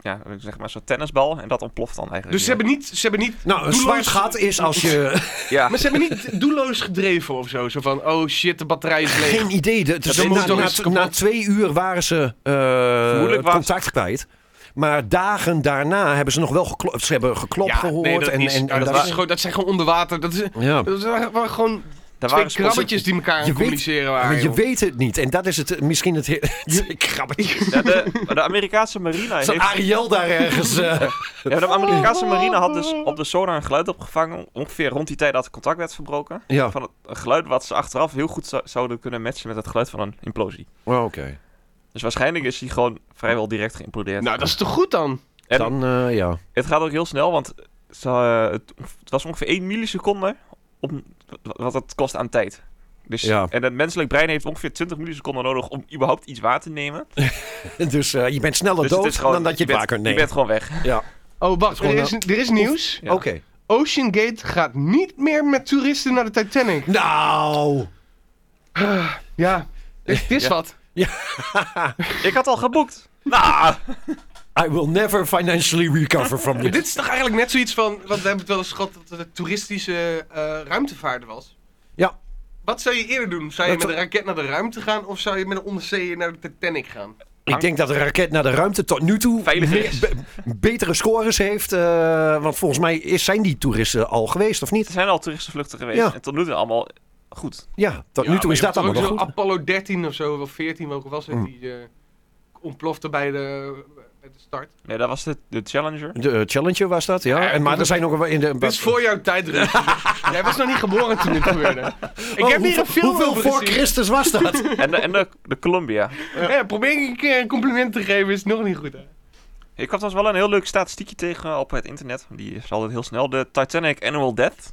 Speaker 3: Ja, zeg maar zo'n tennisbal. En dat ontploft dan eigenlijk.
Speaker 5: Dus ze
Speaker 3: weer.
Speaker 5: hebben niet... Ze hebben niet
Speaker 4: Nou, een
Speaker 5: doelloos-
Speaker 4: zwart gat is als je...
Speaker 3: Ja,
Speaker 5: Maar ze hebben niet doelloos gedreven of zo. Zo van, oh shit, de batterij is leeg.
Speaker 4: Geen idee. De- de-
Speaker 5: Ze
Speaker 4: na,
Speaker 5: moeten
Speaker 4: na-
Speaker 5: eens
Speaker 4: na
Speaker 5: kapot.
Speaker 4: twee uur waren ze eh
Speaker 3: Vermoedelijk
Speaker 4: het
Speaker 3: waren ze-
Speaker 4: contact kwijt. Maar dagen daarna hebben ze nog wel geklopt. Ze hebben geklopt
Speaker 5: Ja,
Speaker 4: gehoord.
Speaker 5: nee, dat,
Speaker 4: en,
Speaker 5: is,
Speaker 4: en,
Speaker 5: ja,
Speaker 4: en
Speaker 5: dat,
Speaker 4: dat-
Speaker 5: is gewoon, dat zijn gewoon onder water. Dat, is,
Speaker 4: Ja.
Speaker 5: dat waren waren gewoon
Speaker 3: daar
Speaker 5: twee
Speaker 3: waren sponsors-
Speaker 5: krabbetjes die elkaar aan
Speaker 4: Je
Speaker 5: het
Speaker 4: weet-
Speaker 5: communiceren waren.
Speaker 4: Maar je
Speaker 5: joh.
Speaker 4: weet het niet. En dat is het eh, misschien het... he- het krabbetje.
Speaker 3: Ja, de, de Amerikaanse marine heeft.
Speaker 4: Zat Ariel daar ergens... eh,
Speaker 3: Ja, de Amerikaanse marine had dus op de sonar een geluid opgevangen. Ongeveer rond die tijd dat het contact werd verbroken.
Speaker 5: Oh.
Speaker 4: Ja.
Speaker 3: Van het, een geluid wat ze achteraf heel goed zo- zouden kunnen matchen met het geluid van een implosie.
Speaker 4: Oh, Oké.
Speaker 3: Dus waarschijnlijk is hij gewoon vrijwel direct geïmplodeerd.
Speaker 5: Nou, dat is toch goed dan?
Speaker 3: en
Speaker 4: Dan, eh, ja.
Speaker 3: het gaat ook heel snel, want ze, eh, het, het was ongeveer 1 milliseconde op, wat het kost aan tijd. Dus,
Speaker 4: Ja.
Speaker 3: En het menselijk brein heeft ongeveer 20 milliseconden nodig om überhaupt iets waar te nemen.
Speaker 4: Dus eh, je bent sneller
Speaker 3: Dus het
Speaker 4: dood
Speaker 3: is gewoon-
Speaker 4: dan dat je het
Speaker 3: bent-
Speaker 4: waar kunt
Speaker 3: Je
Speaker 4: nemen.
Speaker 3: bent gewoon weg.
Speaker 4: Ja.
Speaker 5: Oh, wacht, er is, er is nieuws.
Speaker 3: Ja.
Speaker 4: Oké.
Speaker 5: Ocean Gate gaat niet meer met toeristen naar de Titanic.
Speaker 4: Nou...
Speaker 5: Ja, dit is
Speaker 3: Ja.
Speaker 5: wat.
Speaker 3: Ik had al geboekt. Nou,
Speaker 4: I will never financially recover from
Speaker 5: Maar
Speaker 4: this.
Speaker 5: dit is toch eigenlijk net zoiets van. Want we hebben het wel eens gehad dat het toeristische eh ruimtevaarden was.
Speaker 4: Ja.
Speaker 5: Wat zou je eerder doen? Zou je
Speaker 4: Dat
Speaker 5: met een
Speaker 4: toch-
Speaker 5: raket naar de ruimte gaan of zou je met een onderzeeër naar de Titanic gaan?
Speaker 4: Ik denk dat de raket naar de ruimte tot nu toe
Speaker 3: Veiliger
Speaker 4: meer-
Speaker 3: is.
Speaker 4: be- betere scores heeft. eh, want volgens mij is, zijn die toeristen al geweest, of
Speaker 3: Er
Speaker 4: niet?
Speaker 3: zijn al toeristenvluchten geweest
Speaker 4: Ja.
Speaker 3: en tot nu toe allemaal goed.
Speaker 4: Ja, tot
Speaker 5: Ja,
Speaker 4: nu toe
Speaker 5: maar
Speaker 4: is
Speaker 5: je
Speaker 4: dat
Speaker 5: hebt
Speaker 4: allemaal wel
Speaker 5: ook
Speaker 4: goed.
Speaker 5: zo'n Apollo 13 of zo, wel 14, welke was het?
Speaker 4: Mm.
Speaker 5: Die eh, ontplofte bij de, bij de start.
Speaker 3: Nee, dat was de, de Challenger.
Speaker 4: De eh, Challenger was dat, ja.
Speaker 5: Ja,
Speaker 4: En, maar er zijn ook wel in de...
Speaker 5: Dit is voor jouw tijd, Ruud. Jij was nog niet geboren toen dit gebeurde. Ik
Speaker 4: Oh,
Speaker 5: heb hier
Speaker 4: hoeveel-
Speaker 5: een film
Speaker 4: Hoeveel
Speaker 5: over
Speaker 4: voor
Speaker 5: gezien.
Speaker 4: Christus was dat?
Speaker 3: En de, en de, de Columbia.
Speaker 5: Ja, probeer een keer een compliment te geven, is nog niet goed. Hè?
Speaker 3: Ik kwam trouwens wel een heel leuk statistiekje tegen op het internet. Die is altijd heel snel. De Titanic Annual Death.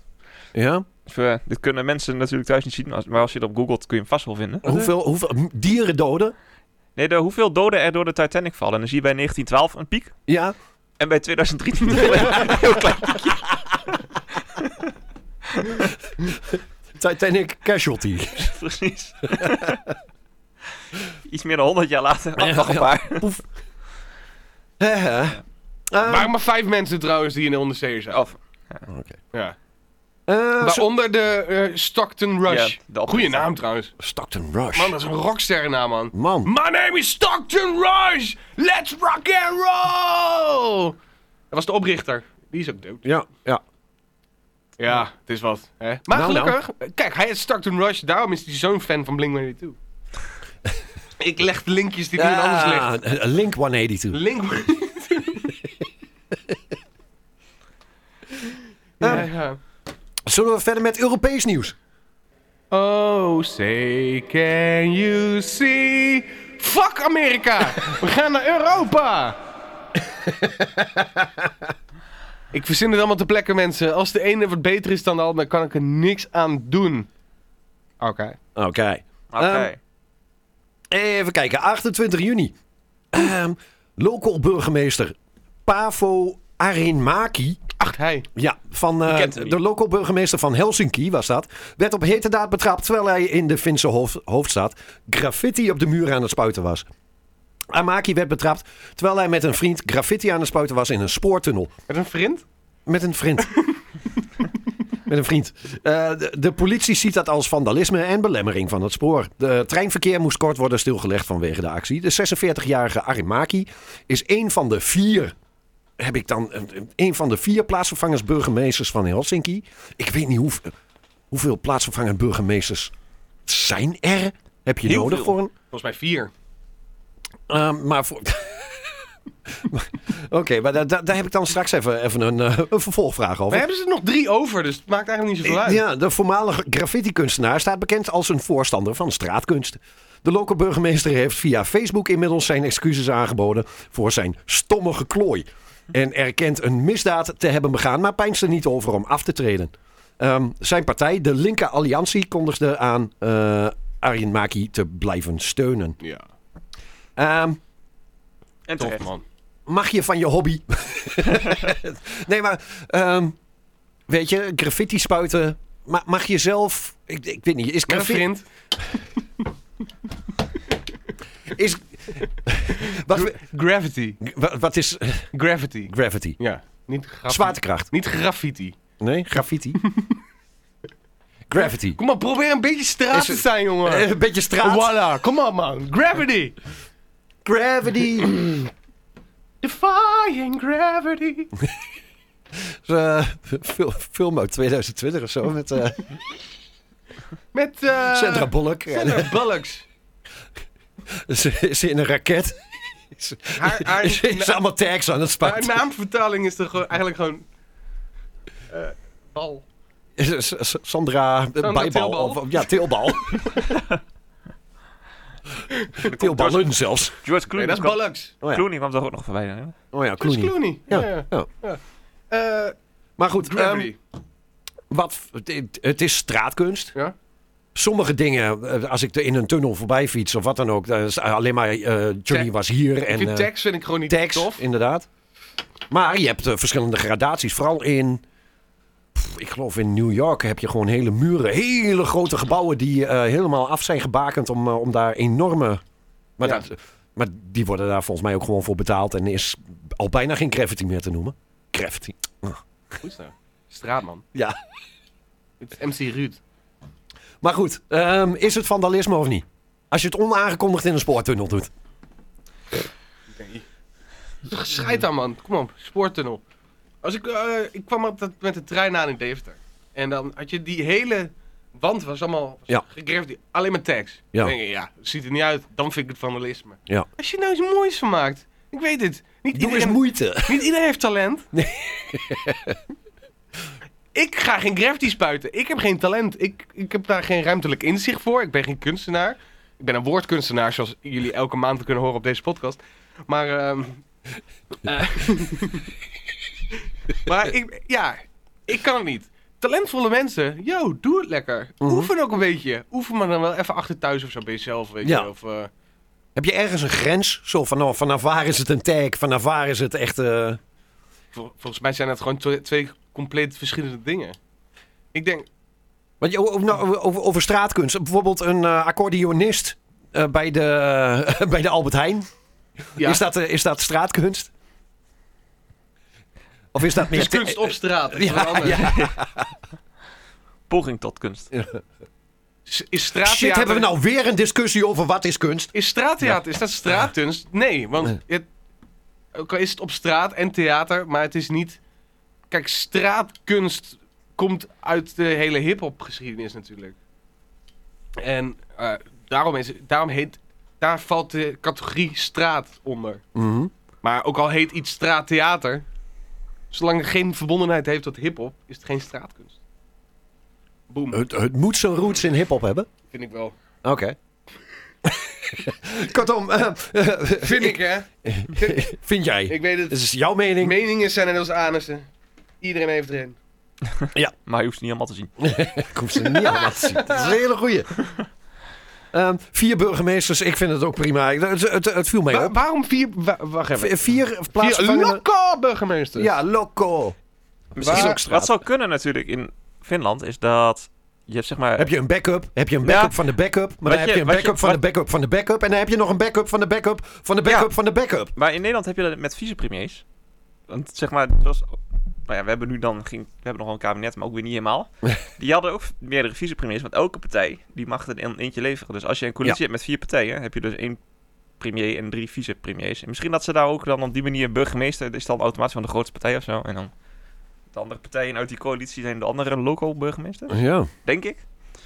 Speaker 4: ja.
Speaker 3: Dus, eh, dit kunnen mensen natuurlijk thuis niet zien, maar als- maar als je het op googelt kun je hem vast wel vinden.
Speaker 4: Hoeveel, hoeveel dieren doden?
Speaker 3: Nee, de, hoeveel doden er door de Titanic vallen. En dan zie je bij 1912 een piek.
Speaker 4: Ja.
Speaker 3: En bij 2013 een heel- heel klein.
Speaker 4: Titanic casualty.
Speaker 3: Precies. Iets meer dan 100 jaar later. Oh, nog een paar.
Speaker 4: Poef. Eh, eh. Eh,
Speaker 5: Waren maar vijf mensen trouwens die in de onderzeeër zijn.
Speaker 3: Of,
Speaker 5: Ja.
Speaker 4: eh, zo-
Speaker 5: Waaronder de eh, Stockton Rush.
Speaker 3: Ja, de oprichter.
Speaker 5: Goeie naam trouwens.
Speaker 4: Stockton Rush.
Speaker 5: Man, dat is een rocksterrennaam, man.
Speaker 4: Man.
Speaker 5: My name is Stockton Rush! Let's rock and roll! Dat was de oprichter. Die is ook dood.
Speaker 4: Ja, ja.
Speaker 5: Ja, het is wat. Hè? Maar
Speaker 4: Nou, nou.
Speaker 5: gelukkig, kijk, hij is Stockton Rush, daarom is hij zo'n fan van Blink-182. Ik leg de linkjes die iemand anders legt.
Speaker 4: Ah, eh, Link 182.
Speaker 5: Link. ja, ja.
Speaker 4: Zullen we verder met Europees nieuws?
Speaker 5: Oh, say can you see? Fuck Amerika! We gaan naar Europa! ik verzin het allemaal te plekken, mensen. Als de ene wat beter is dan de ander, kan ik er niks aan doen. Oké.
Speaker 4: Oké.
Speaker 3: Oké.
Speaker 4: Ehm, Even kijken, 28 juni. Ehm, local burgemeester Pavo Arinmaki.
Speaker 5: Ach, hij.
Speaker 4: Ja, van eh,
Speaker 3: kent hem niet.
Speaker 4: de local burgemeester van Helsinki was dat. Werd op heterdaad betrapt terwijl hij in de Finse hoofd, hoofdstad graffiti op de muur aan het spuiten was. Amaki werd betrapt terwijl hij met een vriend graffiti aan het spuiten was in een spoortunnel.
Speaker 5: Met een vriend?
Speaker 4: Met een vriend. Met een vriend. Eh, de, de politie ziet dat als vandalisme en belemmering van het spoor. De treinverkeer moest kort worden stilgelegd vanwege de actie. De 46-jarige Arimaki is een van de vier. Heb ik dan eh, een van de vier plaatsvervangers burgemeesters van Helsinki? Ik weet niet hoe, hoeveel plaatsvervangend burgemeesters zijn er. Heb je
Speaker 3: Heel
Speaker 4: nodig
Speaker 3: veel.
Speaker 4: voor een
Speaker 5: Volgens mij vier.
Speaker 4: Ehm, maar voor. Oké, maar daar, daar, daar heb ik dan straks even, even een, eh, een vervolgvraag
Speaker 5: We
Speaker 4: over.
Speaker 5: hebben ze er nog drie over, dus het maakt eigenlijk niet zoveel uit.
Speaker 4: Ja, de voormalige graffiti-kunstenaar staat bekend als een voorstander van straatkunst. De lokale burgemeester heeft via Facebook inmiddels zijn excuses aangeboden voor zijn stomme geklooi. En erkent een misdaad te hebben begaan, maar pijnst er niet over om af te treden. Ehm, zijn partij, de Linker Alliantie, kondigde aan eh Arjen Maki te blijven steunen.
Speaker 5: Ja,
Speaker 4: Ehm,
Speaker 3: en
Speaker 5: tof
Speaker 3: terecht.
Speaker 5: man.
Speaker 4: mag je van je hobby. nee, maar ehm, weet je, graffiti spuiten. ma- mag je zelf. Ik, ik weet niet, is
Speaker 5: Met een
Speaker 4: graffiti.
Speaker 5: vriend.
Speaker 4: Is, wat, we-
Speaker 5: Gravity.
Speaker 4: wa- wat is eh,
Speaker 5: Gravity.
Speaker 4: gravity?
Speaker 5: Ja, niet graffiti.
Speaker 4: Zwaartekracht.
Speaker 5: Niet graffiti.
Speaker 4: Nee, graffiti. gravity.
Speaker 5: Kom maar, probeer een beetje straat
Speaker 4: Is
Speaker 5: te
Speaker 4: het-
Speaker 5: zijn, jongen.
Speaker 4: Eh, Een beetje straat.
Speaker 5: Voilà, kom op man. Gravity.
Speaker 4: Gravity.
Speaker 5: Defying gravity.
Speaker 4: Eh, fil- film uit 2020 of zo met eh,
Speaker 5: Met eh
Speaker 4: Sandra Bullock. En, eh,
Speaker 5: Sandra Bullocks.
Speaker 4: ze is in een raket.
Speaker 5: Haar, haar,
Speaker 4: Ze is
Speaker 5: na-
Speaker 4: allemaal tags aan het
Speaker 5: haar
Speaker 4: spuiten.
Speaker 5: naamvertaling is toch gewoon- eigenlijk gewoon... eh, bal.
Speaker 4: S- S- Sandra, Sandra Bijbal.
Speaker 5: Tilbal.
Speaker 4: Of, of- ja, Tilbal. Tilballen zelfs.
Speaker 3: George
Speaker 5: Nee,
Speaker 3: Clooney,
Speaker 5: dat is
Speaker 3: kwam,
Speaker 5: Bullocks.
Speaker 4: Oh ja,
Speaker 3: Clooney kwam toch ook nog voorbij. Hè?
Speaker 4: oh ja
Speaker 5: Dat is
Speaker 4: Clooney.
Speaker 5: Clooney.
Speaker 4: Ja,
Speaker 5: ja.
Speaker 4: ja.
Speaker 5: ja. Eh,
Speaker 4: Maar goed,
Speaker 5: gravity.
Speaker 4: ehm, wat, het- het is straatkunst.
Speaker 5: Ja.
Speaker 4: Sommige dingen, eh, als ik er in een tunnel voorbij fiets of wat dan ook, dan is alleen maar eh, Johnny
Speaker 5: Tag.
Speaker 4: was hier en
Speaker 5: ik vind
Speaker 4: eh,
Speaker 5: tags vind ik gewoon niet
Speaker 4: tags,
Speaker 5: tof.
Speaker 4: inderdaad. Maar je hebt eh, verschillende gradaties, vooral in, pff, ik geloof in New York heb je gewoon hele muren, hele grote gebouwen die eh, helemaal af zijn gebakend om, eh, om daar enorme, maar,
Speaker 5: Ja.
Speaker 4: dat, maar die worden daar volgens mij ook gewoon voor betaald en is al bijna geen gravity meer te noemen. Gravity.
Speaker 5: Goed zo. Straatman.
Speaker 4: Ja.
Speaker 5: Het is MC Ruud.
Speaker 4: Maar goed, ehm, is het vandalisme of niet? Als je het onaangekondigd in een spoortunnel doet.
Speaker 5: Nee. Scheid aan, man. Kom op, spoortunnel. Als ik, eh, ik kwam op dat, met de trein aan in Deventer. En dan had je die hele wand was allemaal
Speaker 4: Ja.
Speaker 5: gegraveerd. Alleen maar tags.
Speaker 4: Ja.
Speaker 5: Dan denk je, ja, ziet er niet uit. Dan vind ik het vandalisme.
Speaker 4: Ja.
Speaker 5: Als je nou iets moois van maakt. Ik weet het. Niet
Speaker 4: Doe eens
Speaker 5: iedereen,
Speaker 4: moeite.
Speaker 5: niet iedereen heeft talent. ik ga geen graffiti spuiten. Ik heb geen talent. Ik, ik heb daar geen ruimtelijk inzicht voor. Ik ben geen kunstenaar. Ik ben een woordkunstenaar, zoals jullie elke maand kunnen horen op deze podcast. Maar, ehm, eh, maar ik, ja, ik kan het niet. Talentvolle mensen, yo, doe het lekker. Oefen ook een beetje. Oefen maar dan wel even achter thuis of zo bij jezelf, weet
Speaker 4: Ja.
Speaker 5: je. Of, eh,
Speaker 4: Heb je ergens een grens? Zo van, oh, vanaf waar is het een tag? Vanaf waar is het echt... eh,
Speaker 5: Vol- volgens mij zijn dat gewoon twe- twee compleet verschillende dingen. Ik denk,
Speaker 4: Want je, over, nou, over, over straatkunst. Bijvoorbeeld een eh, accordeonist eh, bij, de, bij de Albert Heijn.
Speaker 5: ja,
Speaker 4: Is, dat, eh, is dat straatkunst? Of is dat
Speaker 5: het
Speaker 4: meer...
Speaker 5: is kunst op straat. eh, dat is wat
Speaker 4: Ja,
Speaker 5: anders.
Speaker 4: ja.
Speaker 3: Poging tot kunst.
Speaker 5: Is- Is straattheater,
Speaker 4: Shit, hebben we nou weer een discussie over wat is kunst?
Speaker 5: is straattheater, is dat straatkunst? Nee, want het, ook al is het op straat en theater, maar het is niet... Kijk, straatkunst komt uit de hele hip-hop geschiedenis natuurlijk. En eh, daarom, is, daarom heet, daar valt de categorie straat onder.
Speaker 4: Mhm.
Speaker 5: Maar ook al heet iets straattheater, zolang het geen verbondenheid heeft tot hip-hop, is het geen straatkunst. Boom,
Speaker 4: het, het moet zijn roots in hip-hop hebben.
Speaker 5: vind ik wel.
Speaker 4: Oké. Kortom, eh, eh,
Speaker 5: Vind ik, hè?
Speaker 4: vind jij?
Speaker 5: Ik weet het.
Speaker 4: Dit is jouw mening.
Speaker 5: Meningen zijn net als anussen. Iedereen heeft erin.
Speaker 3: Maar je hoeft ze niet allemaal te zien.
Speaker 4: Ik hoef ze niet allemaal te zien. Dat is een hele goeie. Ehm, vier burgemeesters, ik vind het ook prima. Ik- Het, het, het viel mij
Speaker 5: Wa-
Speaker 4: op.
Speaker 5: waarom vier... wa- wacht even.
Speaker 4: V- vier
Speaker 5: Vier
Speaker 4: plaatsvervangende...
Speaker 5: loco burgemeesters.
Speaker 4: Ja, loco. Misschien is
Speaker 3: Maar
Speaker 4: ook straat.
Speaker 3: wat zou kunnen natuurlijk in Finland is dat je hebt zeg maar...
Speaker 4: Heb je een backup? Heb je een backup
Speaker 3: Ja.
Speaker 4: van de backup? Maar
Speaker 3: Wat
Speaker 4: dan heb
Speaker 3: je-
Speaker 4: je een
Speaker 3: wat je-
Speaker 4: backup van de
Speaker 3: wat-
Speaker 4: backup van de backup. En dan heb je nog een backup van de backup van de backup
Speaker 3: Ja.
Speaker 4: van de backup.
Speaker 3: Maar in Nederland heb je dat met vicepremiers. Want zeg maar, zoals, nou ja, we hebben nu dan ging, we hebben nog wel een kabinet, maar ook weer niet helemaal. Die hadden ook meerdere vicepremiers, want elke partij die mag er een eentje leveren. Dus als je een coalitie hebt met vier partijen, heb je dus één premier en drie vicepremiers. En misschien dat ze daar ook dan op die manier burgemeester is dan automatisch van de grootste partij of zo. En dan de andere partijen uit die coalitie zijn de andere local burgemeester,
Speaker 4: Ja.
Speaker 3: denk ik.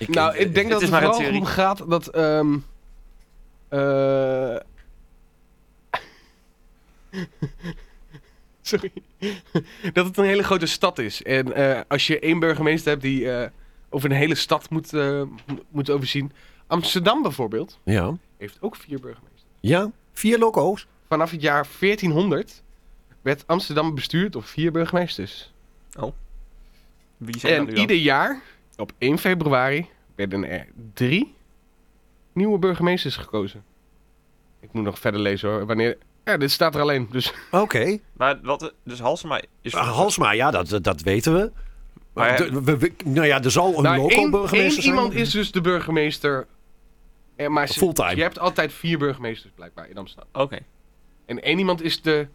Speaker 5: Nou, ik
Speaker 3: het
Speaker 5: denk dat
Speaker 3: is
Speaker 5: het
Speaker 3: maar een
Speaker 5: vooral
Speaker 3: theorie.
Speaker 5: om gaat dat... ehm eh, Sorry. dat het een hele grote stad is. En eh, als je één burgemeester hebt die eh, over een hele stad moet, eh, mo- moet overzien. Amsterdam bijvoorbeeld
Speaker 4: Ja.
Speaker 5: heeft ook vier burgemeesters.
Speaker 4: Ja. Vier loco's.
Speaker 5: Vanaf het jaar 1400 werd Amsterdam bestuurd door vier burgemeesters.
Speaker 3: Wie zijn dat nu
Speaker 5: En
Speaker 3: dan?
Speaker 5: ieder jaar, op 1 februari, werden er drie nieuwe burgemeesters gekozen. Ik moet nog verder lezen hoor. Wanneer... Ja, dit staat er alleen. Dus
Speaker 4: Oké.
Speaker 3: Maar wat, dus Halsema is...
Speaker 4: Ah, Halsma, ja, dat, dat weten we.
Speaker 3: Maar-
Speaker 4: De- we- we- nou ja, er zal een
Speaker 5: Nou,
Speaker 4: loco
Speaker 5: één-
Speaker 4: burgemeester
Speaker 5: één
Speaker 4: zijn.
Speaker 5: iemand is dus de burgemeester. Eh, maar ze-
Speaker 4: Fulltime.
Speaker 5: Je hebt altijd vier burgemeesters blijkbaar in Amsterdam.
Speaker 3: Oké.
Speaker 5: En één iemand is de,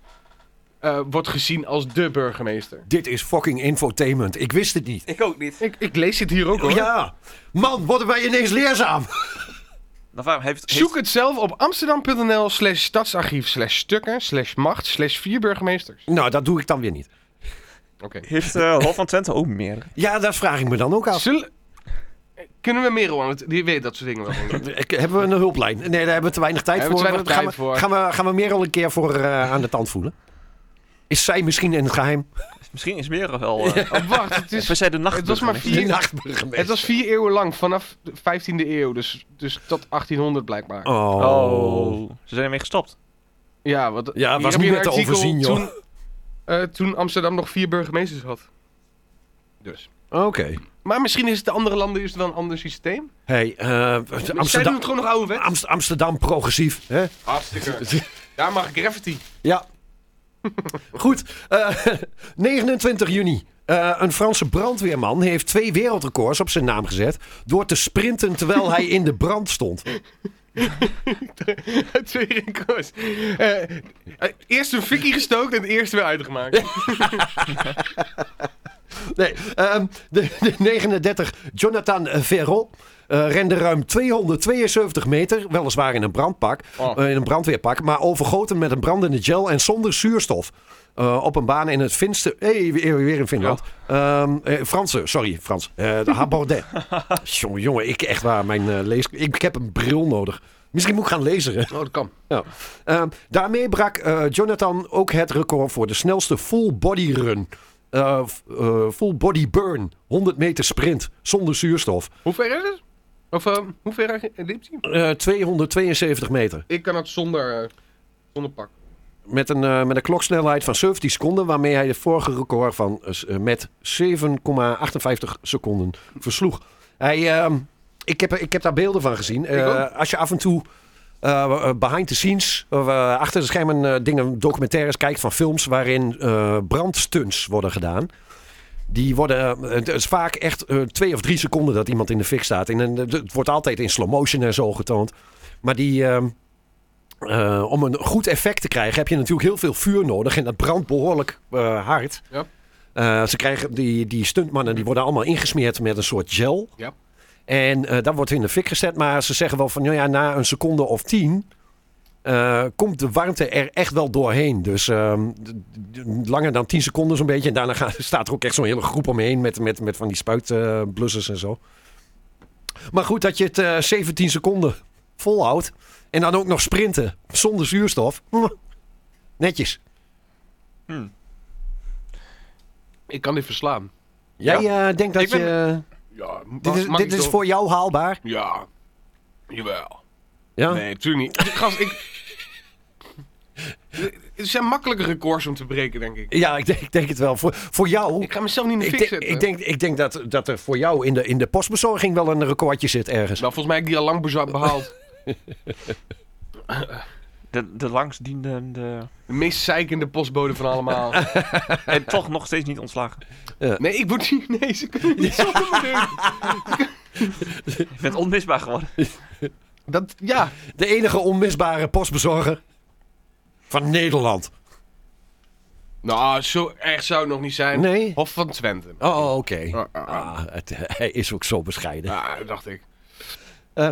Speaker 5: eh, wordt gezien als de burgemeester.
Speaker 4: Dit is fucking infotainment. Ik wist het niet.
Speaker 3: Ik ook niet.
Speaker 5: Ik, ik lees dit hier ook hoor.
Speaker 4: Ja. Man, worden wij ineens leerzaam.
Speaker 3: Dan waarom heeft, heeft-
Speaker 5: Zoek het zelf op amsterdam.nl slash stadsarchief slash stukken slash macht slash vier burgemeesters.
Speaker 4: Nou, dat doe ik dan weer niet.
Speaker 5: Oké.
Speaker 3: Heeft eh Hof van Twente ook meer?
Speaker 4: Ja, dat vraag ik me dan ook af.
Speaker 5: Zullen... Eh, Kunnen we Merel aan het... Die weet dat soort dingen wel. denk ik.
Speaker 4: Ik- Hebben we een hulplijn? Nee, daar hebben we te weinig tijd
Speaker 5: Hebben
Speaker 4: voor.
Speaker 5: we te weinig
Speaker 4: gaan,
Speaker 5: tijd
Speaker 4: we,
Speaker 5: voor.
Speaker 4: gaan, we, gaan we Merel een keer voor eh, aan de tand voelen? Is zij misschien in het geheim?
Speaker 3: Misschien is meer wel. eh
Speaker 5: Oh, wacht, het,
Speaker 3: we
Speaker 5: is,
Speaker 3: zijn de nacht.
Speaker 5: het was maar
Speaker 3: burgemeester.
Speaker 5: Vier-
Speaker 4: Die nachtburgemeester.
Speaker 5: het was vier eeuwen lang, vanaf de 15e eeuw, dus, dus tot 1800 blijkbaar.
Speaker 4: Oh.
Speaker 3: Oh, ze zijn ermee gestopt.
Speaker 5: Ja, wat,
Speaker 4: Ja,
Speaker 5: hier
Speaker 4: was
Speaker 5: heb je
Speaker 4: niet meer
Speaker 5: een
Speaker 4: te
Speaker 5: artikel
Speaker 4: overzien, joh.
Speaker 5: Toen, eh, toen Amsterdam nog vier burgemeesters had. Dus.
Speaker 4: Oké.
Speaker 5: Maar misschien is het de andere landen is het wel een ander systeem.
Speaker 4: Hey, eh,
Speaker 5: Zij doen
Speaker 4: Amsterdam,
Speaker 5: het gewoon nog ouderwet.
Speaker 4: Amst- Amsterdam progressief. Hè?
Speaker 5: Hartstikke. Daar mag graffiti.
Speaker 4: Ja. Goed. eh, 29 juni. Eh, een Franse brandweerman heeft twee wereldrecords op zijn naam gezet. door te sprinten terwijl hij in de brand stond.
Speaker 5: Twee records. Eh, eh, eerst een fikkie gestookt en het eerste weer uitgemaakt.
Speaker 4: Nee, ehm, de, de 39 Jonathan Verro eh, rende ruim 272 meter, weliswaar in een brandpak,
Speaker 5: Oh.
Speaker 4: eh, in een brandweerpak, maar overgoten met een brandende gel en zonder zuurstof. Eh, op een baan in het Finse. Hey, weer, weer in Finland. Ehm, eh, Franse, sorry, Frans. Eh de Habordet. jongen, jongen, ik echt waar, mijn eh, lees. Ik, ik heb een bril nodig. Misschien moet ik gaan lezen. hè?
Speaker 5: Oh, dat kan.
Speaker 4: Ja. Ehm, daarmee brak eh, Jonathan ook het record voor de snelste full body run. Eh, f- eh, full body burn. 100 meter sprint zonder zuurstof.
Speaker 5: Hoe ver is het? Of eh, hoe ver liep hij?
Speaker 4: Eh, 272 meter.
Speaker 5: Ik kan het zonder, eh, zonder pak.
Speaker 4: Met een, eh, met een kloksnelheid van 17 seconden. Waarmee hij het vorige record van, eh, s- eh, met 7,58 seconden versloeg. Hij, ehm, ik, heb, ik heb daar beelden van gezien. Eh, als je af en toe eh, behind the scenes, of, eh, achter de schermen eh, dingen, documentaires kijkt van films waarin eh brandstunts worden gedaan. Die worden, eh, het is vaak echt eh, twee of drie seconden dat iemand in de fik staat. En, een- het wordt altijd in slow motion en zo getoond. Maar die, ehm, eh, om een goed effect te krijgen heb je natuurlijk heel veel vuur nodig. En dat brandt behoorlijk eh, hard.
Speaker 5: Ja.
Speaker 4: Eh, ze krijgen die, die stuntmannen die worden allemaal ingesmeerd met een soort gel.
Speaker 5: Ja.
Speaker 4: En eh dat wordt in de fik gezet. Maar ze zeggen wel van nou ja, na een seconde of tien eh, komt de warmte er echt wel doorheen. Dus ehm, d- d- langer dan 10 seconden zo'n beetje. En daarna gaat, staat er ook echt zo'n hele groep omheen met, met, met van die spuitblussers eh, en zo. Maar goed, dat je het eh, 17 seconden volhoudt. En dan ook nog sprinten zonder zuurstof. Mwah. Netjes.
Speaker 5: Ik kan dit verslaan.
Speaker 4: Jij eh, denkt dat
Speaker 5: Ik ben-
Speaker 4: je...
Speaker 5: Ja,
Speaker 4: Dit is, dit is voor jou haalbaar.
Speaker 5: Ja, jawel.
Speaker 4: Ja?
Speaker 5: Nee, natuurlijk niet. Gast, ik... Het zijn makkelijke records om te breken, denk ik.
Speaker 4: Ja, ik denk, ik denk het wel. Voor, voor jou.
Speaker 5: Ik ga mezelf niet in de
Speaker 4: Ik
Speaker 5: fik
Speaker 4: denk,
Speaker 5: zetten.
Speaker 4: ik denk, ik denk dat, dat er voor jou in de, in de postbezorging wel een recordje zit ergens.
Speaker 5: Nou, volgens mij heb ik die al lang beza- behaald.
Speaker 3: De, de langstdienende...
Speaker 5: De meest zeikende postbode van allemaal.
Speaker 3: En toch nog steeds niet ontslagen.
Speaker 5: Nee, ik word niet... Nee, ze kunnen niet zonder me doen.
Speaker 3: Je bent onmisbaar geworden.
Speaker 5: Dat, ja.
Speaker 4: De enige onmisbare postbezorger van Nederland.
Speaker 5: Nou, zo erg zou het nog niet zijn.
Speaker 4: Nee?
Speaker 5: Hof van Twente.
Speaker 4: Oh, oké.
Speaker 5: Ah, ah, ah.
Speaker 4: Ah, het, hij is ook zo bescheiden.
Speaker 5: Ah, dat dacht ik.
Speaker 4: Eh,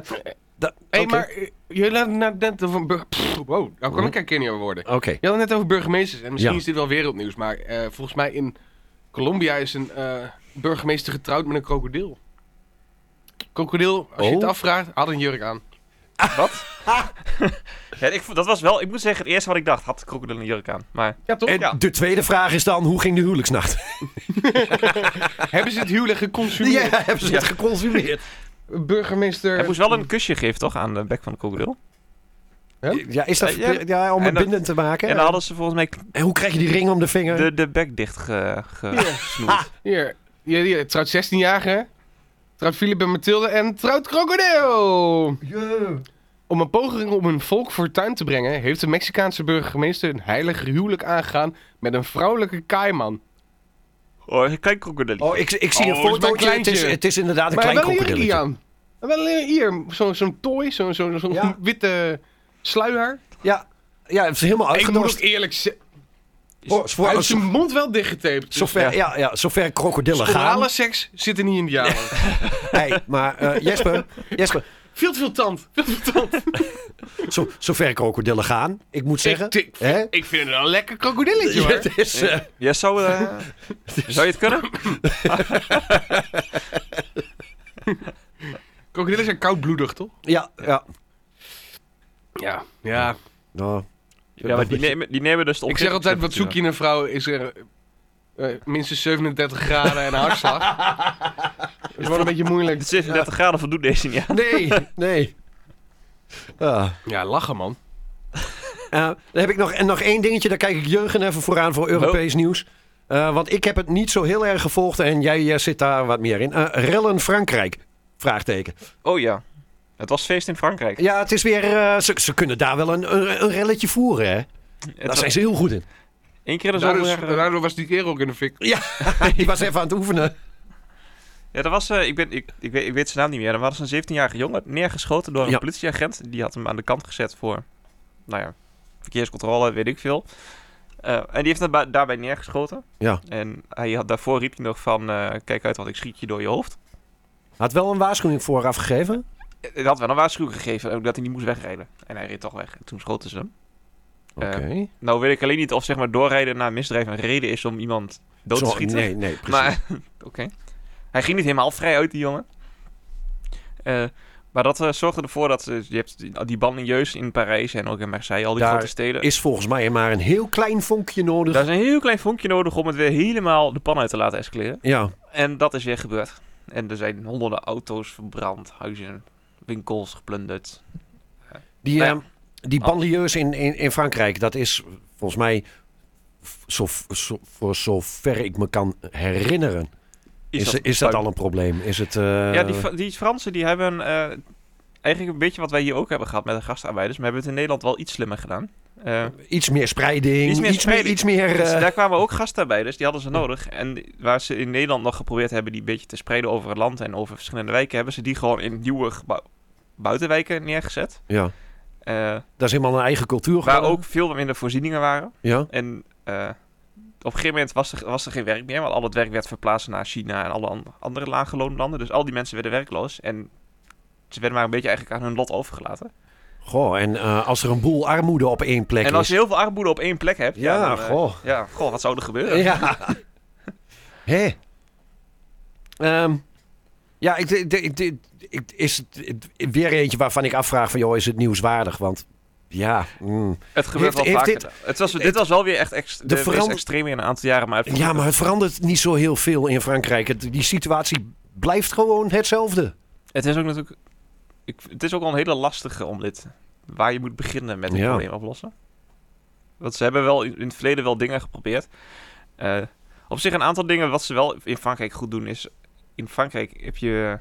Speaker 4: da-
Speaker 5: Hé,
Speaker 4: oké.
Speaker 5: maar eh, jullie hadden net- net over... bur- Pff, Wow, nou kan ik er keer niet over worden.
Speaker 4: Oké.
Speaker 5: Je had het net over burgemeesters. En misschien
Speaker 4: Ja.
Speaker 5: is dit wel wereldnieuws. Maar eh, volgens mij in Colombia is een eh, burgemeester getrouwd met een krokodil. Krokodil, als je
Speaker 4: Oh.
Speaker 5: het afvraagt, had een jurk aan.
Speaker 3: Ja, ik, vond- dat was wel... Ik moet zeggen, het eerste wat ik dacht, had de krokodil een jurk aan. Maar
Speaker 5: Ja, toch?
Speaker 4: En de tweede vraag is dan, hoe ging de huwelijksnacht?
Speaker 5: Hebben ze het huwelijk
Speaker 4: Ja,
Speaker 5: geconsumeerd?
Speaker 4: hebben ze het geconsumeerd?
Speaker 5: Burgemeester...
Speaker 3: hij moest wel een kusje geven, toch? Aan de bek van de krokodil.
Speaker 4: Ja, is dat
Speaker 3: Eh, ja.
Speaker 4: verpli- ja, om het
Speaker 3: En dan-
Speaker 4: bindend te maken?
Speaker 3: En dan hadden ze volgens mij
Speaker 4: En hoe krijg je die ring om de vinger?
Speaker 3: de, de bek dicht ge, gesnoerd.
Speaker 5: Hier, hier, hier, trouwt 16-jarige. Trouwt Filip en Mathilde en trouwt krokodil. Om een poging om hun volk fortuin te brengen... heeft de Mexicaanse burgemeester een heilig huwelijk aangegaan... met een vrouwelijke kaaiman.
Speaker 3: Oh, kijk krokodil.
Speaker 4: Oh, ik, ik zie
Speaker 5: Oh,
Speaker 4: een
Speaker 5: het is maar een
Speaker 4: fotootje. Het is,
Speaker 5: kleintje.
Speaker 4: het is inderdaad een
Speaker 5: maar
Speaker 4: klein
Speaker 5: wel een jurkje
Speaker 4: krokodilletje.
Speaker 5: aan. Wel een- hier, zo'n zo'n tooi, zo'n zo'n zo'n
Speaker 4: Ja.
Speaker 5: witte sluier.
Speaker 4: Ja, ja, het is helemaal
Speaker 5: Ik moet ook
Speaker 4: uitgedost.
Speaker 5: eerlijk zeggen,
Speaker 4: Oh, voor-
Speaker 5: hij heeft
Speaker 4: zo-
Speaker 5: zijn mond wel dichtgetaped. Dus
Speaker 4: zover, ja, ja, zover krokodillen
Speaker 5: orale
Speaker 4: gaan.
Speaker 5: seks zit er niet in die jaren.
Speaker 4: Hey, maar eh, Jesper, Jesper
Speaker 5: Veel te veel tand. Veel te veel tand.
Speaker 4: zo, zover krokodillen gaan, ik moet zeggen.
Speaker 5: Ik, ik,
Speaker 4: hè?
Speaker 5: ik vind het wel een lekker krokodilletje hoor.
Speaker 4: Het is, eh,
Speaker 3: Ja, zou, eh, zou je het kunnen?
Speaker 5: Krokodillen zijn koudbloedig toch?
Speaker 4: ja, ja.
Speaker 5: Ja. Ja.
Speaker 4: Nou,
Speaker 3: Ja, maar die nemen, die nemen dus de
Speaker 5: Ik zeg altijd, wat zoek
Speaker 3: opzichte-
Speaker 5: je in een vrouw? Is er eh, eh, minstens 37 graden en een hartslag? Dat is wel een beetje moeilijk.
Speaker 3: 36 graden voldoet deze niet aan.
Speaker 4: nee, nee. Ah.
Speaker 5: Ja, lachen man.
Speaker 4: Eh, dan heb ik nog, en nog één dingetje, daar kijk ik Jurgen even vooraan voor Europees nieuws. Eh, want ik heb het niet zo heel erg gevolgd en jij eh, zit daar wat meer in. Eh, rellen Frankrijk? Vraagteken.
Speaker 3: Oh ja. Het was feest in Frankrijk.
Speaker 4: Ja, het is weer. eh, ze, ze kunnen daar wel een, een, een relletje voeren, hè? Daar
Speaker 3: was-
Speaker 4: zijn ze heel goed in.
Speaker 3: Eén keer de
Speaker 5: Daardoor,
Speaker 3: zoveel
Speaker 5: is-
Speaker 3: jaar, eh,
Speaker 5: daardoor was die kerel ook in de fik.
Speaker 4: Die was even aan het oefenen.
Speaker 3: Ja, dat was... eh, ik, ben, ik, ik, weet, ik weet zijn naam niet meer. Er was een 17-jarige jongen neergeschoten door een
Speaker 4: Ja.
Speaker 3: politieagent. Die had hem aan de kant gezet voor... Nou ja, verkeerscontrole, weet ik veel. Eh, Eh, en die heeft hem ba- daarbij neergeschoten.
Speaker 4: Ja.
Speaker 3: En hij had, daarvoor riep hij nog van, eh, kijk uit, want ik schiet je door je hoofd.
Speaker 4: Had wel een waarschuwing vooraf gegeven.
Speaker 3: Eh, Hij had wel een waarschuwing gegeven ook dat hij niet moest wegrijden. En hij reed toch weg. En toen schoten ze hem.
Speaker 4: Oké.
Speaker 3: Nou weet ik alleen niet of zeg maar, doorrijden naar misdrijf een reden is om iemand dood
Speaker 4: Zo-
Speaker 3: te schieten.
Speaker 4: Nee, nee, precies.
Speaker 3: Maar, oké. Hij ging niet helemaal vrij uit, die jongen. Eh, maar dat eh, zorgde ervoor dat eh, je hebt die, die banden jeus in Parijs en ook in Marseille, al die
Speaker 4: Daar
Speaker 3: grote steden.
Speaker 4: Is volgens mij maar een heel klein vonkje nodig.
Speaker 3: Daar is een heel klein vonkje nodig om het weer helemaal de pan uit te laten escaleren.
Speaker 4: Ja,
Speaker 3: En dat is weer gebeurd. En er zijn honderden auto's verbrand, huizen, winkels geplunderd.
Speaker 4: die,
Speaker 3: Nou ja.
Speaker 4: ehm, die banlieues in, in, in Frankrijk, dat is volgens mij, f- zo, zo, voor zover ik me kan herinneren, is, is, dat, al een probleem? Is het, eh,
Speaker 3: Ja, die, Fra- die Fransen die hebben eh, eigenlijk een beetje wat wij hier ook hebben gehad met de gastarbeiders. Maar hebben het in Nederland wel iets slimmer gedaan. Eh,
Speaker 4: iets meer spreiding,
Speaker 3: Iets
Speaker 4: iets
Speaker 3: meer
Speaker 4: meer, iets meer, eh,
Speaker 3: spreiding. dus daar kwamen ook gastarbeiders, die hadden ze nodig. En die- waar ze in Nederland nog geprobeerd hebben die een beetje te spreiden over het land en over verschillende wijken, hebben ze die gewoon in nieuwe gebou- buitenwijken neergezet.
Speaker 4: ja,
Speaker 3: Eh,
Speaker 4: dat is helemaal een eigen cultuur.
Speaker 3: waar
Speaker 4: geworden.
Speaker 3: ook veel minder voorzieningen waren.
Speaker 4: Ja,
Speaker 3: En eh, op een gegeven moment was er, was er geen werk meer, want al het werk werd verplaatst naar China en alle an- andere laaggeloonde landen. Dus al die mensen werden werkloos en ze werden maar een beetje eigenlijk aan hun lot overgelaten.
Speaker 4: goh, en eh, als er een boel armoede op één plek
Speaker 3: en als je
Speaker 4: is.
Speaker 3: heel veel armoede op één plek hebt, ja,
Speaker 4: Ja,
Speaker 3: dan, eh,
Speaker 4: goh.
Speaker 3: ja goh, wat zou er gebeuren?
Speaker 4: Ja. Hé. Ehm, ja, ik, ik, ik- ik- ik- is het ik- weer eentje waarvan ik afvraag van... joh, is het nieuwswaardig? Want ja... mm.
Speaker 3: Het gebeurt
Speaker 4: Heeft-
Speaker 3: wel
Speaker 4: heeft
Speaker 3: vaker. het was, dit was wel weer echt ex, de, meest
Speaker 4: verand-
Speaker 3: extreme in een aantal jaren, maar het
Speaker 4: Ja, maar het verandert niet zo heel veel in Frankrijk. Het- die situatie blijft gewoon hetzelfde.
Speaker 3: Het is ook natuurlijk. Ik, het is ook al een hele lastige om dit. Waar je moet beginnen met een
Speaker 4: Ja.
Speaker 3: probleem oplossen. Want ze hebben wel in, in het verleden wel dingen geprobeerd. Eh, op zich een aantal dingen wat ze wel in Frankrijk goed doen is. In Frankrijk heb je.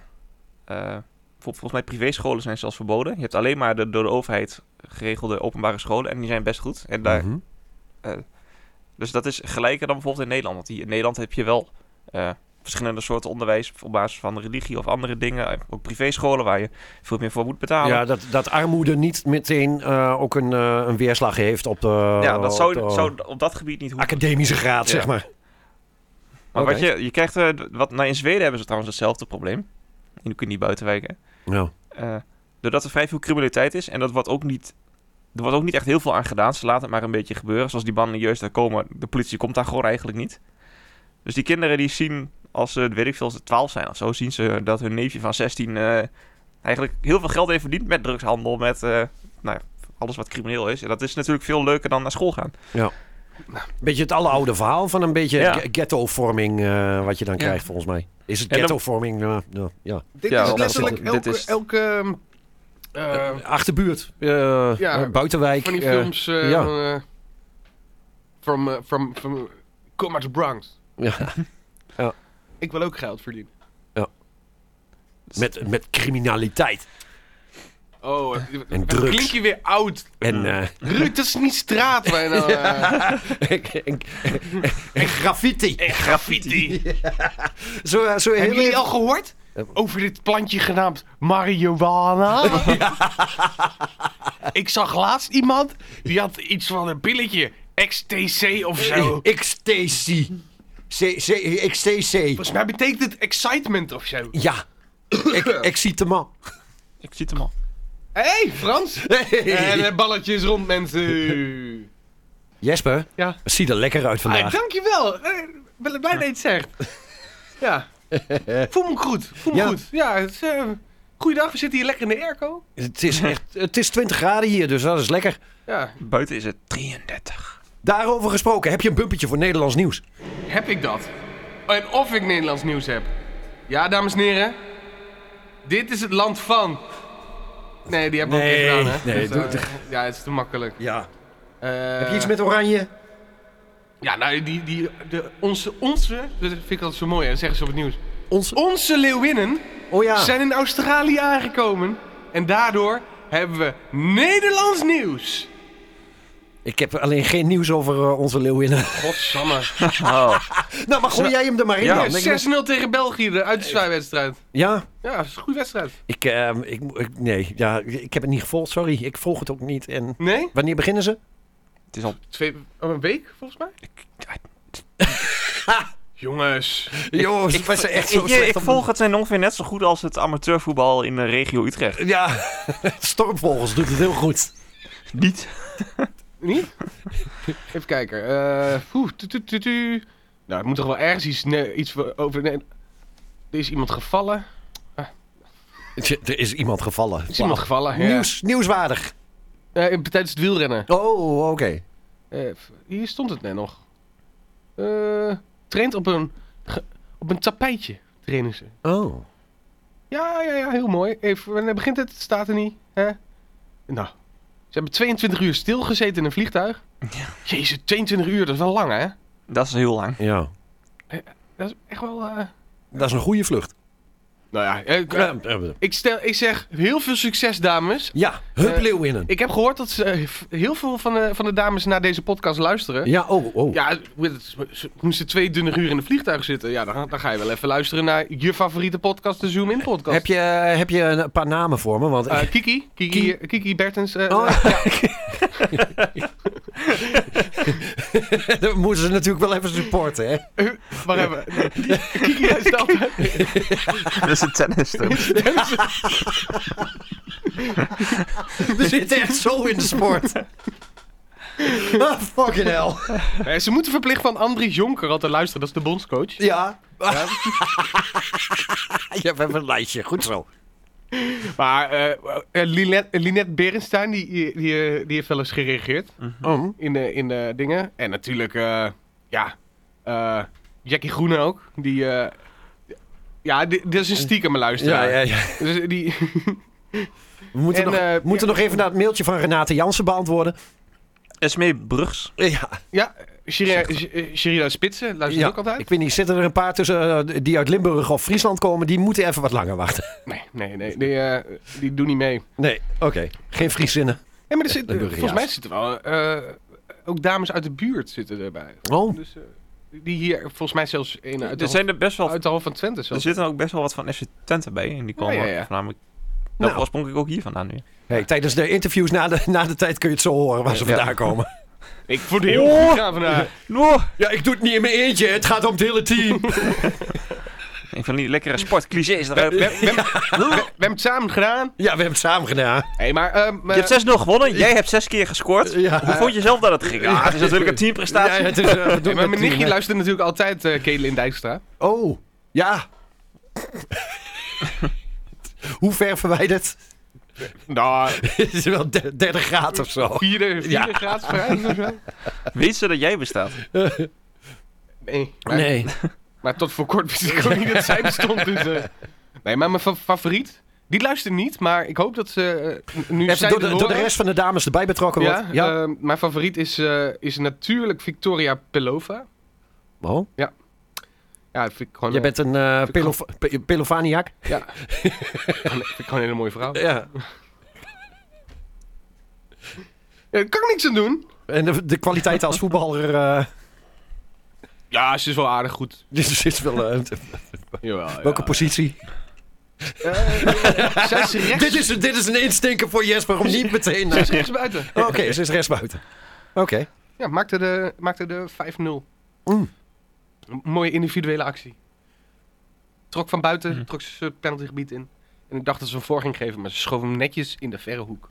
Speaker 3: eh, vol- volgens mij privéscholen zijn zelfs verboden. Je hebt alleen maar de door de overheid geregelde openbare scholen. En die zijn best goed. En daar,
Speaker 4: Mhm.
Speaker 3: Dus dat is gelijker dan bijvoorbeeld in Nederland. Want hier in Nederland heb je wel eh, verschillende soorten onderwijs op basis van religie of andere dingen. Eh, Ook privéscholen waar je veel meer voor moet betalen.
Speaker 4: Ja, dat, dat armoede niet meteen eh, ook een, eh, een weerslag heeft op de...
Speaker 3: Ja, dat zou,
Speaker 4: op de
Speaker 3: zou op dat gebied niet hoeven.
Speaker 4: Academische graad,
Speaker 3: Ja.
Speaker 4: zeg maar.
Speaker 3: Maar
Speaker 4: Ah, Oké.
Speaker 3: wat je, je krijgt, eh, wat, nou in Zweden hebben ze trouwens hetzelfde probleem. In, in die buitenwijken.
Speaker 4: Ja.
Speaker 3: Eh, doordat er vrij veel criminaliteit is en dat wordt ook niet... Er wordt ook niet echt heel veel aan gedaan. Ze laten het maar een beetje gebeuren. Zoals die banden juist daar komen. De politie komt daar gewoon eigenlijk niet. Dus die kinderen die zien, als ze, weet ik veel, als ze 12 zijn of zo, zien ze dat hun neefje van 16 eh, eigenlijk heel veel geld heeft verdiend met drugshandel, met eh, nou ja, alles wat crimineel is. En dat is natuurlijk veel leuker dan naar school gaan.
Speaker 4: Beetje het alleroude verhaal van een beetje
Speaker 3: Ja.
Speaker 4: ge- ghetto-vorming eh, wat je dan
Speaker 3: Ja.
Speaker 4: krijgt volgens mij. Is het
Speaker 3: En dan-
Speaker 4: ghetto-vorming? Ja, ja, ja.
Speaker 5: Dit
Speaker 3: Ja,
Speaker 5: is
Speaker 3: dat is-
Speaker 5: letterlijk
Speaker 3: dit
Speaker 5: elke...
Speaker 3: is-
Speaker 5: elke ehm, eh,
Speaker 4: Achterbuurt, eh,
Speaker 5: Ja,
Speaker 4: eh, buitenwijk.
Speaker 5: van die
Speaker 4: eh,
Speaker 5: films... eh,
Speaker 4: ja.
Speaker 5: van, eh, from, eh, from, from Come out the Bronx.
Speaker 4: ja,
Speaker 5: Ik wil ook geld verdienen.
Speaker 4: met, met criminaliteit.
Speaker 5: Oh, eh, dan
Speaker 4: drugs.
Speaker 5: klink je weer oud.
Speaker 4: En, eh,
Speaker 5: Ruud, dat is niet straat waar je nou... eh,
Speaker 4: en, en, en graffiti.
Speaker 3: Graffiti!
Speaker 4: Zo, eh, zo heel
Speaker 5: Hebben jullie
Speaker 4: even-
Speaker 5: al gehoord? Over dit plantje genaamd marihuana. Ik zag laatst iemand die had iets van een pilletje. XTC of zo.
Speaker 4: XTC. C, C, XTC.
Speaker 5: Volgens mij betekent het excitement of zo.
Speaker 4: Ja. Ik, excitement.
Speaker 3: Ik zie het hem al.
Speaker 5: Hé, hey, Frans! En het balletje is rond, mensen.
Speaker 4: Jesper,
Speaker 5: Ja.
Speaker 4: het ziet er lekker uit
Speaker 5: Ah,
Speaker 4: vandaag.
Speaker 5: dankjewel. Eh, Ik ben blij dat je het zegt. Ja. Voel me goed. Voel me
Speaker 4: Ja.
Speaker 5: goed. Ja, het is, eh, goeiedag. We zitten hier lekker in de airco.
Speaker 4: Het is, echt, het is 20 graden hier, dus dat is lekker.
Speaker 5: Ja.
Speaker 3: Buiten is het 33.
Speaker 4: Daarover gesproken, heb je een bumpetje voor Nederlands nieuws?
Speaker 5: Heb ik dat? En of ik Nederlands nieuws heb? Ja, dames en heren. Dit is het land van. Nee, die hebben we
Speaker 4: Nee,
Speaker 5: ook niet gedaan, hè?
Speaker 4: nee, doe-
Speaker 5: eh, ja, het is te makkelijk.
Speaker 4: Ja.
Speaker 5: Eh,
Speaker 4: Heb je iets met oranje?
Speaker 5: Ja, nou, die, die, de, onze, onze, dat vind ik altijd zo mooi, hè, dat zeggen ze op het nieuws.
Speaker 4: Ons...
Speaker 5: Onze leeuwinnen
Speaker 4: Oh ja.
Speaker 5: zijn in Australië aangekomen. En daardoor hebben we Nederlands nieuws.
Speaker 4: Ik heb alleen geen nieuws over eh, onze leeuwinnen.
Speaker 5: Godsamme.
Speaker 4: nou, maar gooi jij hem er maar in
Speaker 5: Ja,
Speaker 4: dan. Ik-
Speaker 5: 6-0 tegen België, de uitwedstrijd.
Speaker 4: ja,
Speaker 5: Ja, dat is een goede wedstrijd.
Speaker 4: ik, ehm, ik, mo- ik- nee, ja, ik heb het niet gevolgd, sorry. Ik volg het ook niet. En
Speaker 5: Nee?
Speaker 4: wanneer beginnen ze?
Speaker 3: Het is al...
Speaker 5: Twee, oh, een week volgens mij? Jongens.
Speaker 4: Jongens,
Speaker 3: Ik,
Speaker 4: wij zijn echt
Speaker 3: ik-
Speaker 4: zo
Speaker 3: ik-
Speaker 4: slecht
Speaker 3: ik
Speaker 4: op-
Speaker 3: volg het en ongeveer net zo goed als het amateurvoetbal in de regio Utrecht.
Speaker 4: Ja, Stormvogels doet het heel goed.
Speaker 3: Niet.
Speaker 5: Niet? Even kijken. eh, poeh, tu, tu, tu, tu. Nou, er moet toch wel ergens iets, ne- iets voor- over... nee, er is iemand gevallen. Er
Speaker 4: Tje, Er is iemand gevallen.
Speaker 5: is
Speaker 4: Wauw.
Speaker 5: iemand gevallen. ja.
Speaker 4: Nieuws, nieuwswaardig.
Speaker 5: Eh, tijdens het wielrennen.
Speaker 4: Oh, oké.
Speaker 5: Eh, f- hier stond het net nog. Eh traint op een, ge- op een tapijtje. Trainen ze.
Speaker 4: Oh.
Speaker 5: Ja, ja, ja, heel mooi. Even, wanneer begint het? Het Staat er niet. Hè? Nou, ze hebben 22 uur stilgezeten in een vliegtuig.
Speaker 3: Ja.
Speaker 5: Jezus, 22 uur, dat is wel lang, hè?
Speaker 3: Dat is heel lang.
Speaker 4: Ja.
Speaker 5: Dat is echt wel... eh,
Speaker 4: Dat is een goede vlucht. Ehm,
Speaker 5: Nou ja, eh, ik, eh, ik, stel, ik zeg heel veel succes, dames.
Speaker 4: Ja, hup
Speaker 5: Eh,
Speaker 4: leeuwinnen.
Speaker 5: Ik heb gehoord dat ze, eh, f- heel veel van de, van de dames naar deze podcast luisteren.
Speaker 4: Ja, oh, oh.
Speaker 5: Ja, ze- ze moesten twee dunne uur in een vliegtuig zitten. Ja, dan, dan ga je wel even luisteren naar je favoriete podcast, de Zoom In podcast.
Speaker 4: Heb, je, eh, heb je een paar namen voor me? Want
Speaker 5: Eh, Kiki, Kiki, Kiki Bertens. eh,
Speaker 4: Oh, dan moeten ze natuurlijk wel even supporten, hè?
Speaker 5: Eh, Waar hebben we? Kiki is altijd.
Speaker 3: Dat is een tennis.
Speaker 4: We zitten echt zo in de sport. Ah, fucking hell.
Speaker 5: Eh, ze moeten verplicht van Andries Jonker altijd luisteren, dat is de bondscoach.
Speaker 4: Ja. je hebt even een lijstje, goed zo.
Speaker 5: Maar eh eh, Linet- eh, Linette Berenstein, die, die, eh, die heeft wel eens gereageerd
Speaker 4: Oh.
Speaker 5: in de, in de dingen. En natuurlijk, eh, ja, eh, Jackie Groene ook. Die, eh, ja, di- dit is een stiekem
Speaker 4: Ja,
Speaker 5: luisteraar.
Speaker 4: ja, ja.
Speaker 5: Dus die,
Speaker 4: We moeten,
Speaker 5: En,
Speaker 4: nog,
Speaker 5: eh,
Speaker 4: we moeten nog even naar het mailtje van Renate Jansen beantwoorden.
Speaker 3: Esmee E Brugs.
Speaker 4: Ja,
Speaker 5: ja, Shira- eh, Sherida Spitsen luistert
Speaker 4: ja.
Speaker 5: ook altijd.
Speaker 4: ik weet niet, zitten er een paar tussen eh, die uit Limburg of Friesland komen? Die moeten even wat langer wachten.
Speaker 5: Nee, nee, nee, die, eh, die doen niet mee.
Speaker 4: Nee, oké. Geen Frieszinnen.
Speaker 5: Ja, maar er zit, eh,
Speaker 4: De burgers.
Speaker 5: volgens mij zitten wel eh, ook dames uit de buurt zitten erbij.
Speaker 4: Oh,
Speaker 5: Dus, eh, die hier, volgens mij zelfs een Nou, uit de,
Speaker 3: Er zijn er best
Speaker 5: hoofd-
Speaker 3: wel...
Speaker 5: uit de hoofd van Twente
Speaker 3: Er
Speaker 5: zelfs.
Speaker 3: zitten ook best wel wat van FC Twente bij. En die komen
Speaker 5: Ja, ja, ja.
Speaker 3: voornamelijk... Dat
Speaker 4: Nou.
Speaker 3: oorspronkelijk ook hier vandaan nu.
Speaker 4: hey, tijdens de interviews na de, na de tijd kun je het zo horen waar ze
Speaker 3: Ja.
Speaker 4: vandaan komen.
Speaker 5: Ik vond het heel
Speaker 3: Oh!
Speaker 5: goed gaan vandaag.
Speaker 4: Ja, ik doe het niet in mijn eentje. Het gaat om het hele team.
Speaker 3: Een van die lekkere sportclichés. daar heb-
Speaker 5: We, we- we- we- we hebben het samen gedaan.
Speaker 4: Ja, we hebben het samen gedaan.
Speaker 5: Hé, maar... ehm, eh,
Speaker 3: Je hebt 6-0 gewonnen. Jij hebt 6 keer gescoord.
Speaker 4: Ja.
Speaker 3: Hoe vond je zelf dat het ging? Ja, het is natuurlijk een teamprestatie.
Speaker 4: Ja, het is, eh, we doen
Speaker 5: hé, maar
Speaker 4: het
Speaker 5: mijn
Speaker 4: team,
Speaker 5: nichtje
Speaker 4: hè.
Speaker 5: luistert natuurlijk altijd eh Kedelin Dijkstra.
Speaker 4: Oh, ja. Hoe ver verwijderd?
Speaker 5: Nou,
Speaker 4: Het is wel de- 30 graden of zo.
Speaker 5: vierde, vierde
Speaker 4: Ja.
Speaker 5: graad vrij of zo.
Speaker 3: Weet ze dat jij bestaat?
Speaker 5: Nee. Maar, maar tot voor kort wist ik ook niet dat zij bestond. Dus, eh. Nee, maar mijn fa- favoriet... Die luistert niet, maar ik hoop dat ze eh, nu
Speaker 4: Even
Speaker 5: zij
Speaker 4: door
Speaker 5: dit
Speaker 4: de, door de
Speaker 5: horen-
Speaker 4: rest van de dames erbij betrokken
Speaker 5: Ja,
Speaker 4: wordt. Ja.
Speaker 5: ehm, mijn favoriet is, eh, is natuurlijk Victoria Pelova.
Speaker 4: oh.
Speaker 5: Ja, dat vind ik gewoon,
Speaker 4: Jij
Speaker 5: eh,
Speaker 4: bent een eh pelof pe- pelofaniac?
Speaker 5: Ja. vind ik gewoon een hele mooie vrouw.
Speaker 4: Ja.
Speaker 5: Ja, daar Eh, kan ik niks aan doen.
Speaker 4: En de, de kwaliteit als voetballer eh,
Speaker 5: Ja, ze is wel aardig goed.
Speaker 4: dus is wel... eh,
Speaker 5: Jawel, ja.
Speaker 4: welke positie?
Speaker 5: Eh, zij is rechts,
Speaker 4: Dit is, dit is een instinker voor Jesper om niet meteen...
Speaker 5: zij
Speaker 4: naar-
Speaker 5: is Oh. rechts buiten.
Speaker 4: Oké, ze is rechtsbuiten. Oké.
Speaker 5: Ja, maakte de, maakte de 5-0.
Speaker 4: Mm.
Speaker 5: Een Mooie individuele actie. Trok van buiten, trok ze het penaltygebied in. En ik dacht dat ze een voor ging geven, maar ze schoof hem netjes in de verre hoek.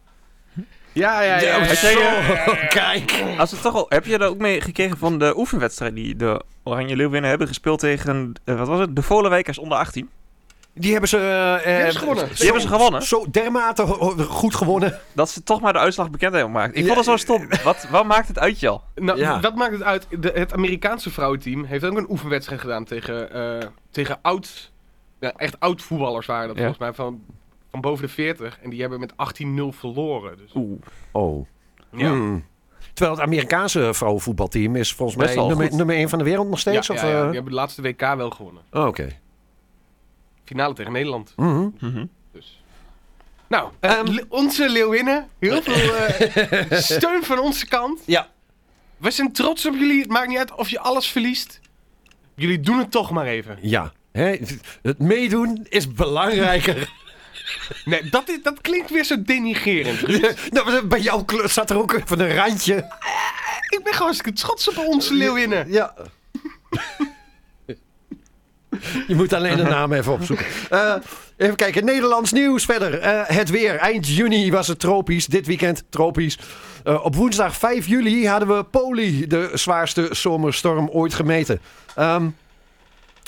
Speaker 5: Ja, ja, ja. ja, ja.
Speaker 4: zo, Oh, kijk.
Speaker 3: Als het toch al, heb je daar ook mee gekregen van de oefenwedstrijd die de Oranje Leeuwinnen hebben gespeeld tegen, eh, wat was het, de Volenwijkers onder 18?
Speaker 4: Die hebben ze... eh,
Speaker 5: hebben ze gewonnen.
Speaker 4: zo-
Speaker 3: Die hebben ze gewonnen,
Speaker 4: Zo dermate ho- ho- goed gewonnen.
Speaker 3: dat ze toch maar de uitslag bekend hebben gemaakt. Ik vond het zo stom. Wat, wat maakt het uit, Jal?
Speaker 5: Nou,
Speaker 4: Ja.
Speaker 5: dat maakt het uit. De- het Amerikaanse vrouwenteam heeft ook een oefenwedstrijd gedaan tegen, eh, tegen oud... ja, echt oud voetballers waren dat
Speaker 3: Ja.
Speaker 5: volgens mij, van, van boven de 40. En die hebben met 18-0 verloren. Dus,
Speaker 3: Oeh.
Speaker 4: Oh.
Speaker 5: ja.
Speaker 4: Hmm. Terwijl het Amerikaanse vrouwenvoetbalteam is volgens
Speaker 3: Best
Speaker 4: mij
Speaker 3: wel
Speaker 4: nummer,
Speaker 3: goed.
Speaker 4: nummer 1 van de wereld nog
Speaker 5: Ja,
Speaker 4: steeds.
Speaker 5: ja,
Speaker 4: of,
Speaker 5: ja,
Speaker 4: eh?
Speaker 5: die hebben de laatste WK wel gewonnen.
Speaker 4: Oh, Oké.
Speaker 5: Finale tegen Nederland.
Speaker 4: Mhm.
Speaker 3: Mhm.
Speaker 5: Dus. Nou, eh,
Speaker 4: Ehm.
Speaker 5: le- onze leeuwinnen. Heel veel eh, steun van onze kant.
Speaker 4: Ja.
Speaker 5: We zijn trots op jullie. Het maakt niet uit of je alles verliest. Jullie doen het toch maar even.
Speaker 4: Ja. Hè, het meedoen is belangrijker.
Speaker 5: Nee, dat, is, dat klinkt weer zo denigerend.
Speaker 4: nou, bij jou kle- zat er ook even een randje.
Speaker 5: ik ben gewoon het schots op onze leeuwinnen.
Speaker 4: Ja. Je moet alleen de naam even opzoeken. Eh, even kijken, Nederlands nieuws verder. Eh, het weer. Eind juni was het tropisch. Dit weekend tropisch. Eh, op woensdag 5 juli hadden we Poli, de zwaarste zomerstorm ooit gemeten. Ehm,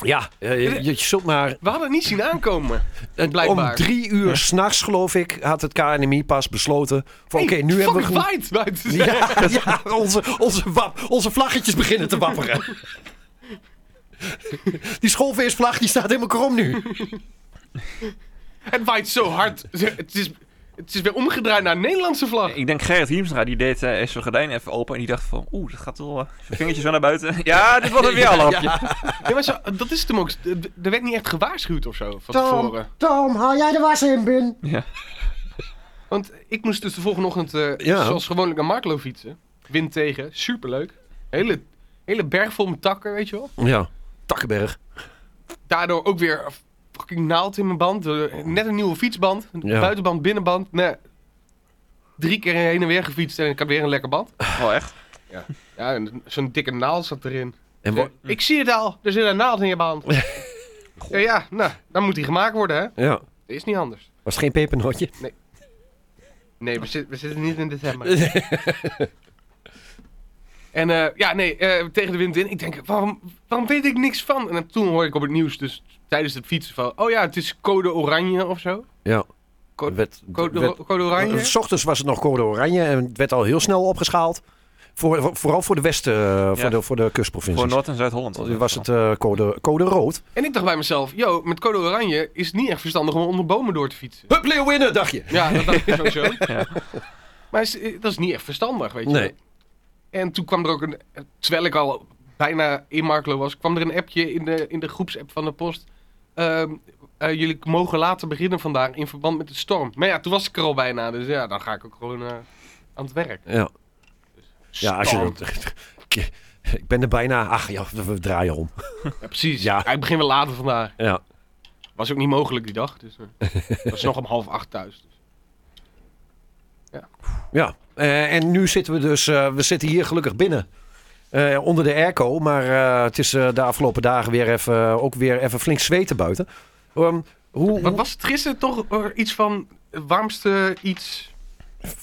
Speaker 4: ja, eh, je, je zult maar
Speaker 5: We hadden het niet zien aankomen. Blijkbaar.
Speaker 4: om drie uur s'nachts, geloof ik, had het KNMI pas besloten. van Oké, nu hebben we
Speaker 5: Fucking
Speaker 4: genoeg.
Speaker 5: waait buiten.
Speaker 4: Ja, ja onze, onze, wap, onze vlaggetjes beginnen te wapperen. Die schoolfeestvlag die staat helemaal krom nu.
Speaker 5: Het waait zo hard. Zeg, Het is, het is weer omgedraaid naar een Nederlandse vlag.
Speaker 3: Ik denk Gerrit Hiemstra, die deed eh zijn gordijn even open en die dacht van... Oeh, dat gaat wel... eh, zijn vingertje zo naar buiten. Ja, dit wordt een weerlampje.
Speaker 5: Ja, maar zo- dat is hem ook. Er werd niet echt gewaarschuwd of zo van tevoren.
Speaker 4: Tom, haal jij de was in, Bin?
Speaker 3: Ja.
Speaker 5: Want ik moest dus de volgende ochtend, eh,
Speaker 4: Ja.
Speaker 5: zoals gewoonlijk, naar Marklo fietsen. Wind tegen, superleuk. Hele, hele berg vol met takken, weet je wel.
Speaker 4: Ja, Takkenberg.
Speaker 5: Daardoor ook weer een fucking naald in mijn band. Eh, Net een nieuwe fietsband. Een
Speaker 4: Ja.
Speaker 5: Buitenband, binnenband. Nee. Drie keer heen en weer gefietst en ik had weer een lekker band.
Speaker 3: Oh, echt?
Speaker 5: Ja, en zo'n dikke naald zat erin.
Speaker 4: En
Speaker 5: Eh,
Speaker 4: wa-
Speaker 5: ik zie het al, er zit een naald in je band. ja, ja, nou, dan moet die gemaakt worden, hè?
Speaker 4: ja,
Speaker 5: Dat is niet anders.
Speaker 4: was het geen pepernootje?
Speaker 5: Nee, we, zit- we zitten niet in december. en eh, ja, nee, eh, tegen de wind in. Ik denk, waarom, waarom weet ik niks van? En toen hoorde ik op het nieuws, dus tijdens het fietsen van... Oh ja, het is code oranje of zo.
Speaker 4: Ja.
Speaker 5: Code-
Speaker 4: Werd-
Speaker 5: Code,
Speaker 4: werd-
Speaker 5: code oranje?
Speaker 4: eh, S ochtends was het nog code oranje en het werd al heel snel opgeschaald. Voor, voor- vooral voor de westen, eh, voor,
Speaker 3: Ja.
Speaker 4: de, voor de kustprovincies.
Speaker 3: Voor Noord- en Zuid-Holland. was
Speaker 4: was het eh, code, code rood.
Speaker 5: En ik dacht bij mezelf, yo, met code oranje is het niet echt verstandig om onder bomen door te fietsen.
Speaker 4: Hup, Leeuwinnen, dacht je.
Speaker 5: Ja, dat dacht ik sowieso.
Speaker 3: Ja.
Speaker 5: Maar is- eh, dat is niet echt verstandig, weet je
Speaker 4: Nee.
Speaker 5: wel. En toen kwam er ook een... Terwijl ik al bijna in Marklo was, kwam er een appje in de, in de groepsapp van de post. Ehm, eh, jullie mogen later beginnen vandaag in verband met de storm. Maar ja, toen was ik er al bijna, dus ja, dan ga ik ook gewoon eh, aan het werk.
Speaker 4: Ja. Ja, als je
Speaker 5: Storm.
Speaker 4: Ik- Ik ben er bijna. Ach ja, we we draaien om.
Speaker 5: Ja, precies.
Speaker 4: Ja.
Speaker 5: Ja. ik begin wel later vandaag.
Speaker 4: Ja.
Speaker 5: Was ook niet mogelijk die dag, dus eh, was nog om half acht thuis. Dus.
Speaker 4: ja. Eh, en nu zitten we dus. eh, we zitten hier gelukkig binnen. Eh, onder de airco. Maar eh, het is eh, de afgelopen dagen weer even, ook weer even flink zweten buiten. Ehm, hoe,
Speaker 5: Wat
Speaker 4: hoe-
Speaker 5: was het gisteren toch eh, iets van het warmste iets?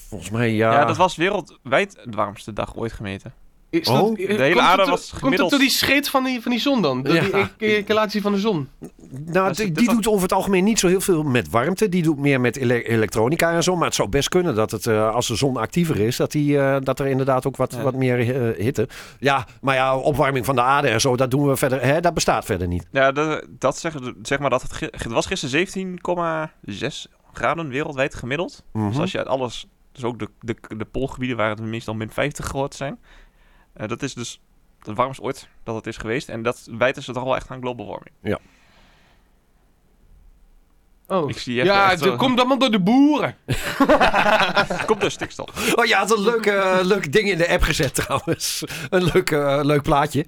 Speaker 4: Volgens mij ja.
Speaker 3: Ja, dat was wereldwijd de warmste dag ooit gemeten.
Speaker 5: Is
Speaker 4: Oh,
Speaker 5: dat,
Speaker 4: de
Speaker 5: eh,
Speaker 3: hele
Speaker 5: komt het
Speaker 3: aarde
Speaker 5: door-
Speaker 3: was
Speaker 5: Komt
Speaker 3: gemiddeld-
Speaker 5: het door die scheet van die, van die zon dan? Door
Speaker 4: Ja.
Speaker 5: die ec- ecalatie van de zon?
Speaker 4: nou,
Speaker 3: dat is-
Speaker 4: die,
Speaker 3: dat
Speaker 4: die
Speaker 3: was-
Speaker 4: doet over het algemeen niet zo heel veel met warmte. Die doet meer met ele- elektronica en zo. Maar het zou best kunnen dat het, eh, als de zon actiever is, dat, die, eh, dat er inderdaad ook wat,
Speaker 3: Ja.
Speaker 4: wat meer eh, hitte. Ja, maar ja, opwarming van de aarde en zo, dat doen we verder. Hè, dat bestaat verder niet.
Speaker 3: Ja, dat, dat zeggen, zeg maar dat het, ge- het was gisteren 17,6 graden wereldwijd gemiddeld. Dus
Speaker 4: Mhm.
Speaker 3: als je uit alles, dus ook de, de, de poolgebieden waar het minstens al min 50 geworden zijn. eh, dat is dus het warmst ooit dat het is geweest. En dat wijten ze toch wel echt aan global warming.
Speaker 5: Oh.
Speaker 3: Ik zie echt,
Speaker 5: Ja,
Speaker 3: echt
Speaker 5: dat
Speaker 3: zo-
Speaker 5: komt allemaal door de boeren.
Speaker 3: komt door stikstof.
Speaker 4: Oh ja, had een leuk, eh, leuk ding in de app gezet trouwens. Een leuk, eh, leuk plaatje.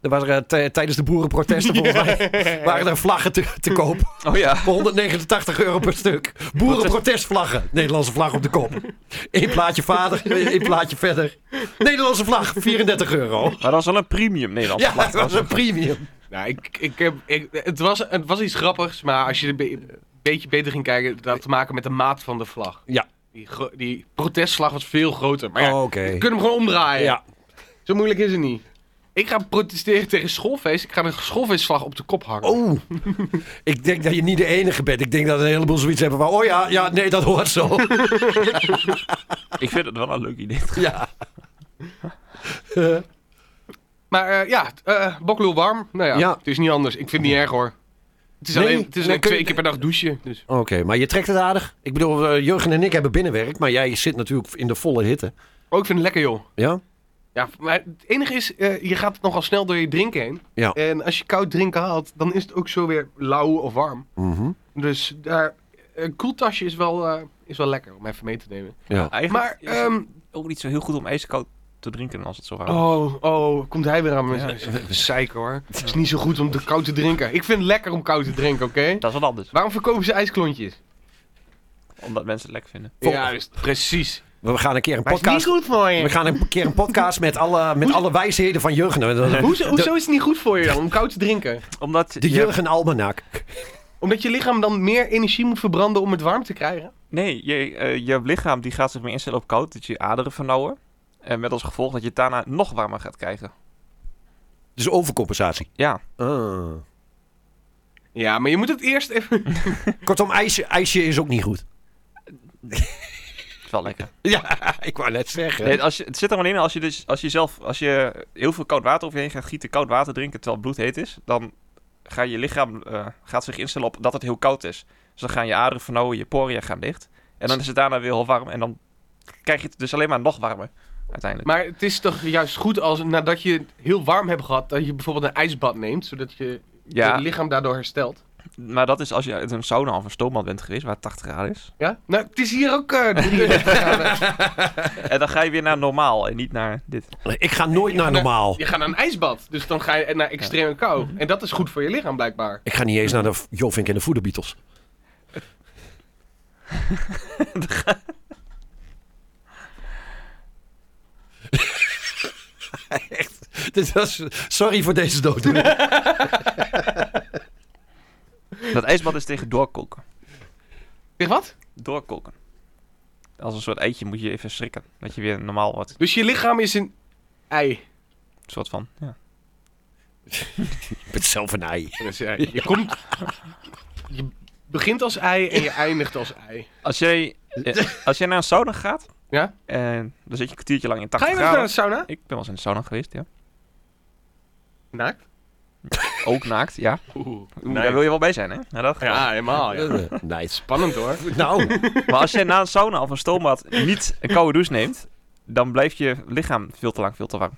Speaker 4: Er waren eh, tij- tijdens de boerenprotesten volgens mij waren er vlaggen te, te koop.
Speaker 3: Oh ja.
Speaker 4: Voor 189 euro per stuk. Boerenprotestvlaggen. Nederlandse vlag op de kop. Eén plaatje vader, eh, één plaatje verder. Nederlandse vlag, 34 euro.
Speaker 3: Maar dat was wel een premium Nederlands
Speaker 4: Ja,
Speaker 3: vlag.
Speaker 4: dat was een premium.
Speaker 5: Nou, ik, ik heb, ik, het, was, het was iets grappigs, maar als je er be- een beetje beter ging kijken, dat had te maken met de maat van de vlag.
Speaker 4: Ja.
Speaker 5: Die, gro- die protestslag was veel groter. Maar ja,
Speaker 4: Oh, oké.
Speaker 5: je kunt hem gewoon omdraaien.
Speaker 4: Ja.
Speaker 5: Zo moeilijk is het niet. Ik ga protesteren tegen schoolfeest. Ik ga een schoolfeestslag op de kop hangen.
Speaker 4: Oh, ik denk dat je niet de enige bent. Ik denk dat een heleboel zoiets hebben van... Oh ja, ja, nee, dat hoort zo.
Speaker 3: Ik vind het wel een leuk idee.
Speaker 4: Ja.
Speaker 5: Maar eh, ja, eh Bokloel warm. Nou ja,
Speaker 4: Ja.
Speaker 5: het is niet anders. Ik vind het niet erg hoor. Het is
Speaker 4: Nee,
Speaker 5: alleen, het
Speaker 4: dan
Speaker 5: is alleen
Speaker 4: kun je-
Speaker 5: twee keer per dag douchen. Dus.
Speaker 4: Oké, maar je trekt het aardig. Ik bedoel, eh, Jurgen en ik hebben binnenwerk, maar jij zit natuurlijk in de volle hitte.
Speaker 5: Oh, ik vind het lekker joh.
Speaker 4: Ja?
Speaker 5: Ja, maar het enige is, eh, je gaat nogal snel door je drinken heen.
Speaker 4: Ja.
Speaker 5: En als je koud drinken haalt, dan is het ook zo weer lauw of warm.
Speaker 4: Mhm.
Speaker 5: Dus daar, een koeltasje is wel, eh, is wel lekker om even mee te nemen.
Speaker 4: ja.
Speaker 5: Maar,
Speaker 3: Eigenlijk is
Speaker 5: ehm,
Speaker 3: het ook niet zo heel goed om ijskoud te drinken als het zo warm is.
Speaker 5: oh, oh, komt hij weer aan met zijn zeiken hoor. Het is niet zo goed om te koud te drinken. Ik vind het lekker om koud te drinken, oké?
Speaker 3: Dat is wat anders.
Speaker 5: Waarom verkopen ze ijsklontjes?
Speaker 3: Omdat mensen het lekker vinden.
Speaker 5: Ja, dus precies.
Speaker 4: We gaan een keer een
Speaker 5: Maar het is niet
Speaker 4: podcast.
Speaker 5: goed voor
Speaker 4: We
Speaker 5: je.
Speaker 4: gaan een keer een podcast met alle, met alle wijsheden van Jurgen. De,
Speaker 5: Hoezo, hoezo is het niet goed voor je dan om koud te drinken?
Speaker 3: Omdat
Speaker 4: de
Speaker 3: je-
Speaker 4: Jurgen Almanak.
Speaker 5: Omdat je lichaam dan meer energie moet verbranden om het warm te krijgen?
Speaker 3: Nee, je, eh, je lichaam die gaat zich meer instellen op koud, dat je aderen vernauwen. En met als gevolg dat je het daarna nog warmer gaat krijgen.
Speaker 4: Dus overcompensatie.
Speaker 3: Ja,
Speaker 4: Ah.
Speaker 5: Ja, maar je moet het eerst even...
Speaker 4: Kortom, ijsje, ijsje is ook niet goed.
Speaker 3: dat is wel lekker.
Speaker 4: Ja, ik wou net zeggen.
Speaker 3: Nee, als je, het zit er maar in, als je, dus, als je zelf als je heel veel koud water over je heen gaat gieten, koud water drinken terwijl het bloed heet is, dan gaat je lichaam eh, gaat zich instellen op dat het heel koud is. Dus dan gaan je aderen vernauwen, je poriën gaan dicht. En dan is het daarna weer heel warm en dan krijg je het dus alleen maar nog warmer uiteindelijk.
Speaker 5: Maar het is toch juist goed als nadat je het heel warm hebt gehad... dat je bijvoorbeeld een ijsbad neemt, zodat je
Speaker 3: ja,
Speaker 5: je lichaam daardoor herstelt.
Speaker 3: maar dat is als je uit een sauna of een stoombad bent geweest waar het 80 graden is.
Speaker 5: Ja? Nou, het is hier ook... eh, 33 graden.
Speaker 3: En dan ga je weer naar normaal en niet naar dit.
Speaker 4: Ik ga nooit naar normaal.
Speaker 5: je gaat naar een ijsbad, dus dan ga je naar extreme kou. En dat is goed voor je lichaam blijkbaar.
Speaker 4: Ik ga niet eens naar de Jovink en de Voeder Beatles. Echt. Dit was, sorry voor deze dood.
Speaker 3: Dat ijsbad is tegen doorkoken.
Speaker 5: Zeg wat?
Speaker 3: Doorkoken. Als een soort eitje moet je even schrikken. Dat je weer normaal wordt.
Speaker 5: Dus je lichaam is een ei.
Speaker 3: Een soort van. Ja.
Speaker 4: Ik ben zelf een ei.
Speaker 5: Dat is een ei. Je komt... Je begint als ei en je eindigt als ei.
Speaker 3: Als jij, eh, als jij naar een sauna gaat.
Speaker 5: Ja?
Speaker 3: En dan zit je een kwartiertje lang in
Speaker 5: Ga
Speaker 3: 80
Speaker 5: je wel eens
Speaker 3: graden.
Speaker 5: naar de sauna?
Speaker 3: Ik ben wel eens in de sauna geweest, ja.
Speaker 5: Naakt?
Speaker 3: Ook naakt, ja.
Speaker 5: Oeh.
Speaker 3: Oeh, Daar wil je wel bij zijn, hè? Nou, dat gaat.
Speaker 5: Ja, helemaal. Ja.
Speaker 4: Eh, Nice.
Speaker 5: Spannend hoor.
Speaker 4: Nou,
Speaker 3: Maar als jij na een sauna of een stoombad niet een koude douche neemt. Dan blijft je lichaam veel te lang, veel te warm.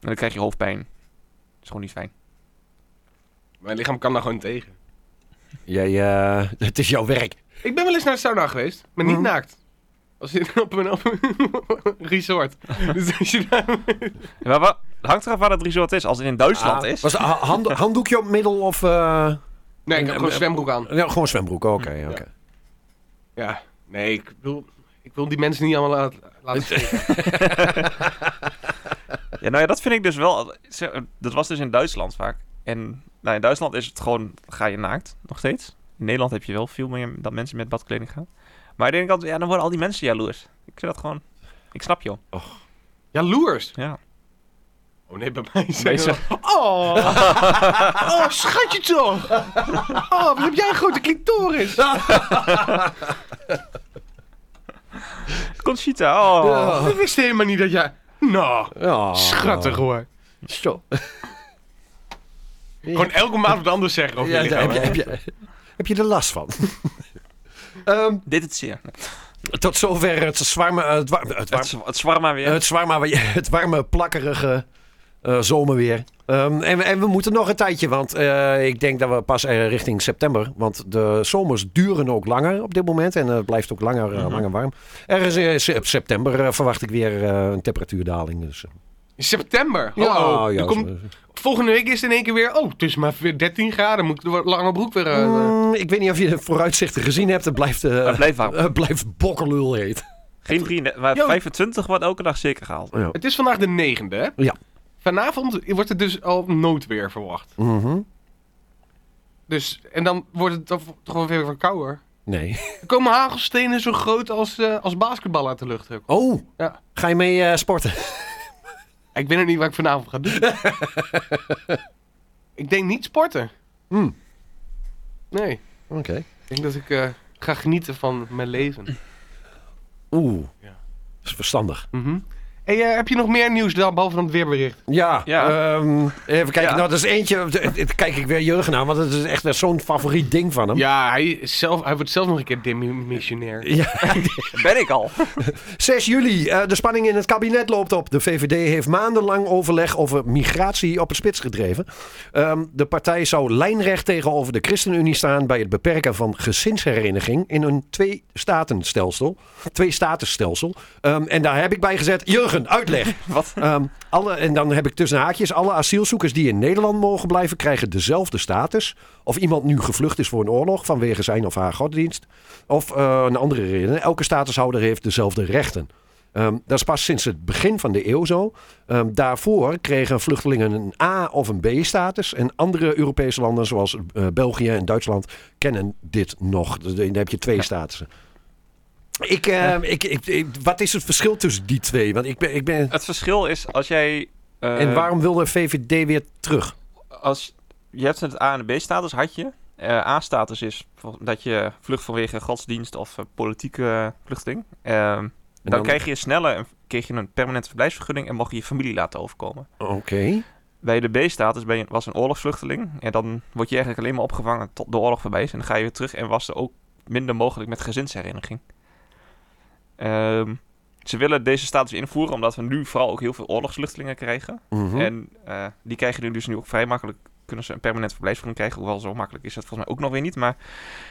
Speaker 3: En dan krijg je hoofdpijn. Dat is gewoon niet fijn.
Speaker 5: Mijn lichaam kan daar gewoon tegen.
Speaker 4: jij, eh, het is jouw werk.
Speaker 5: Ik ben wel eens naar de sauna geweest, maar
Speaker 4: Mhm.
Speaker 5: niet naakt. Als in op een, op een resort. Dus als je daar...
Speaker 3: Maar wat, hangt eraf waar het resort is. Als het in Duitsland
Speaker 4: Ah,
Speaker 3: is.
Speaker 4: Was het ha- handdo- handdoekje op middel of... eh,
Speaker 5: Nee, ik heb gewoon een zwembroek aan.
Speaker 4: ja, gewoon zwembroek, oké. oké.
Speaker 5: Ja. Nee, ik wil, ik wil die mensen niet allemaal laten, laten schrikken.
Speaker 3: Ja, nou ja, dat vind ik dus wel. zeg, Dat was dus in Duitsland vaak. En nou, in Duitsland is het gewoon, ga je naakt, nog steeds. In Nederland heb je wel veel meer dat mensen met badkleding gaan. Maar aan de ene kant, ja, dan worden al die mensen jaloers. Ik vind dat gewoon, ik snap joh.
Speaker 5: Jaloers.
Speaker 3: Ja.
Speaker 5: Oh nee, bij mij zijn
Speaker 3: Deze-
Speaker 5: ze... Oh. oh, schatje toch. Oh, wat heb jij een grote clitoris.
Speaker 3: Conchita, oh.
Speaker 5: Ik wist helemaal niet dat jij... Nou,
Speaker 4: Ja.
Speaker 5: schattig
Speaker 4: Oh.
Speaker 5: hoor. Gewoon elke maand wat anders zeggen over
Speaker 4: Ja,
Speaker 5: je
Speaker 4: daar
Speaker 5: lichaam.
Speaker 4: heb, je, heb, je, heb je er last van? Ehm,
Speaker 3: Dit het zeer.
Speaker 4: tot zover het zwarme, eh, het war- het war-
Speaker 3: Het, zwa- het zwarma weer.
Speaker 4: het zwarme, het warme, plakkerige eh, zomerweer. Ehm, en, we- en we moeten nog een tijdje, want eh, ik denk dat we pas eh, richting september. Want de zomers duren ook langer op dit moment. En eh, het blijft ook langer, eh,
Speaker 3: Mhm.
Speaker 4: langer warm. Ergens in se- september eh, verwacht ik weer eh, een temperatuurdaling. Dus, eh,
Speaker 5: In september. Hallo.
Speaker 4: ja, Oh,
Speaker 5: Er komt-
Speaker 4: zo-
Speaker 5: volgende week is het in één keer weer. Oh, het is maar weer 13 graden. Moet ik de lange broek weer. eh,
Speaker 4: Mm, ik weet niet of je de vooruitzichten gezien hebt. Het blijft, eh,
Speaker 3: Maar blijf warm.
Speaker 4: eh, blijft bokkelul heet.
Speaker 3: Geen 33, maar
Speaker 5: Yo.
Speaker 3: 25 wordt elke dag zeker gehaald.
Speaker 4: Ja.
Speaker 5: Het is vandaag de 9e, hè?
Speaker 4: Ja.
Speaker 5: Vanavond wordt er dus al noodweer verwacht.
Speaker 4: Mhm.
Speaker 5: Dus, en dan wordt het toch toch weer wat kouder.
Speaker 4: Nee.
Speaker 5: Er komen hagelstenen zo groot als, eh, als basketbal uit de lucht. ook.
Speaker 4: Oh,
Speaker 5: Ja.
Speaker 4: ga je mee eh, sporten?
Speaker 5: Ik weet nog niet wat ik vanavond ga doen. ik denk niet sporten.
Speaker 4: Hmm.
Speaker 5: Nee.
Speaker 4: Oké.
Speaker 5: Ik denk dat ik eh, ga genieten van mijn leven.
Speaker 4: Oeh.
Speaker 5: Ja.
Speaker 4: Dat is verstandig.
Speaker 5: Mhm. Hey, eh, heb je nog meer nieuws dan, behalve dan het weerbericht?
Speaker 4: Ja,
Speaker 3: Ja.
Speaker 4: ehm, even kijken.
Speaker 3: Ja.
Speaker 4: Nou, dat is eentje. d- d- Kijk ik weer Jurgen aan, want het is echt weer zo'n favoriet ding van hem.
Speaker 5: Ja, hij, is zelf, hij wordt zelf nog een keer demissionair.
Speaker 3: Ben ik al.
Speaker 4: 6 juli. eh, de spanning in het kabinet loopt op. De VVD heeft maandenlang overleg over migratie op het spits gedreven. Ehm, de partij zou lijnrecht tegenover de ChristenUnie staan bij het beperken van gezinshereniging in een twee-statenstelsel. Twee-statenstelsel. Ehm, en daar heb ik bij gezet. Jurgen, Morgen, uitleg.
Speaker 3: Wat?
Speaker 4: Ehm, alle, en dan heb ik tussen haakjes: alle asielzoekers die in Nederland mogen blijven, krijgen dezelfde status. Of iemand nu gevlucht is voor een oorlog vanwege zijn of haar godsdienst. Of eh, een andere reden. Elke statushouder heeft dezelfde rechten. Ehm, dat is pas sinds het begin van de eeuw zo. Ehm, daarvoor kregen vluchtelingen een A- of een B-status. En andere Europese landen, zoals eh, België en Duitsland, kennen dit nog. Dus Dan heb je twee statussen. Ik, eh, ik, ik, ik- wat is het verschil tussen die twee? Want ik ben, ik ben
Speaker 3: Het verschil is als jij. eh,
Speaker 4: en waarom wilde VVD weer terug?
Speaker 3: Als, je hebt het A- en B-status, had je. Eh, A-status is vol- dat je vlucht vanwege godsdienst of eh, politieke eh, vluchteling. Ehm,
Speaker 4: En
Speaker 3: dan, kreeg je sneller een, kreeg je een permanente verblijfsvergunning en mocht je je familie laten overkomen.
Speaker 4: Oké.
Speaker 3: Bij de B-status ben je, was een oorlogsvluchteling. En dan word je eigenlijk alleen maar opgevangen tot de oorlog voorbij is. En dan ga je weer terug en was er ook minder mogelijk met gezinshereniging. Ehm, ze willen deze status invoeren omdat we nu vooral ook heel veel oorlogsvluchtelingen krijgen.
Speaker 4: Mhm.
Speaker 3: En eh, die krijgen nu dus nu ook vrij makkelijk. Kunnen ze een permanent verblijfsvergunning krijgen? Hoewel zo makkelijk is dat volgens mij ook nog weer niet. Maar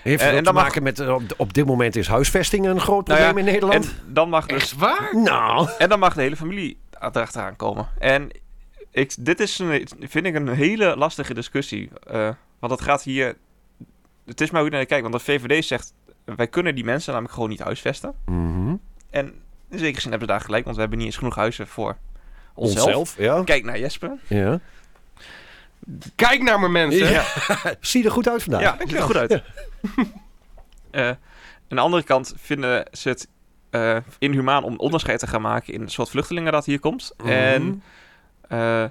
Speaker 4: Heeft
Speaker 3: en-
Speaker 4: dat
Speaker 3: en
Speaker 4: te
Speaker 3: dan mag-
Speaker 4: maken met, eh, op, op dit moment is huisvesting een groot
Speaker 3: Nou
Speaker 4: probleem
Speaker 3: ja, en
Speaker 4: in Nederland?
Speaker 3: dan, mag dus,
Speaker 5: Echt waar?
Speaker 4: Nou,
Speaker 3: en dan mag de hele familie erachteraan komen. En ik, dit is een, vind ik een hele lastige discussie. eh, want het gaat hier. Het is maar hoe je naar kijkt. Want de VVD zegt. Wij kunnen die mensen namelijk gewoon niet huisvesten.
Speaker 4: Mhm.
Speaker 3: En in zekere zin hebben ze daar gelijk. Want we hebben niet eens genoeg huizen voor onszelf.
Speaker 4: ja.
Speaker 3: Kijk naar Jesper.
Speaker 4: ja.
Speaker 5: Kijk naar mijn mensen.
Speaker 4: Ja. Zie er goed uit vandaag.
Speaker 3: Ja, ziet er goed uit. Eh, aan de andere kant vinden ze het eh, inhumaan om onderscheid te gaan maken in het soort vluchtelingen dat hier komt. En eh,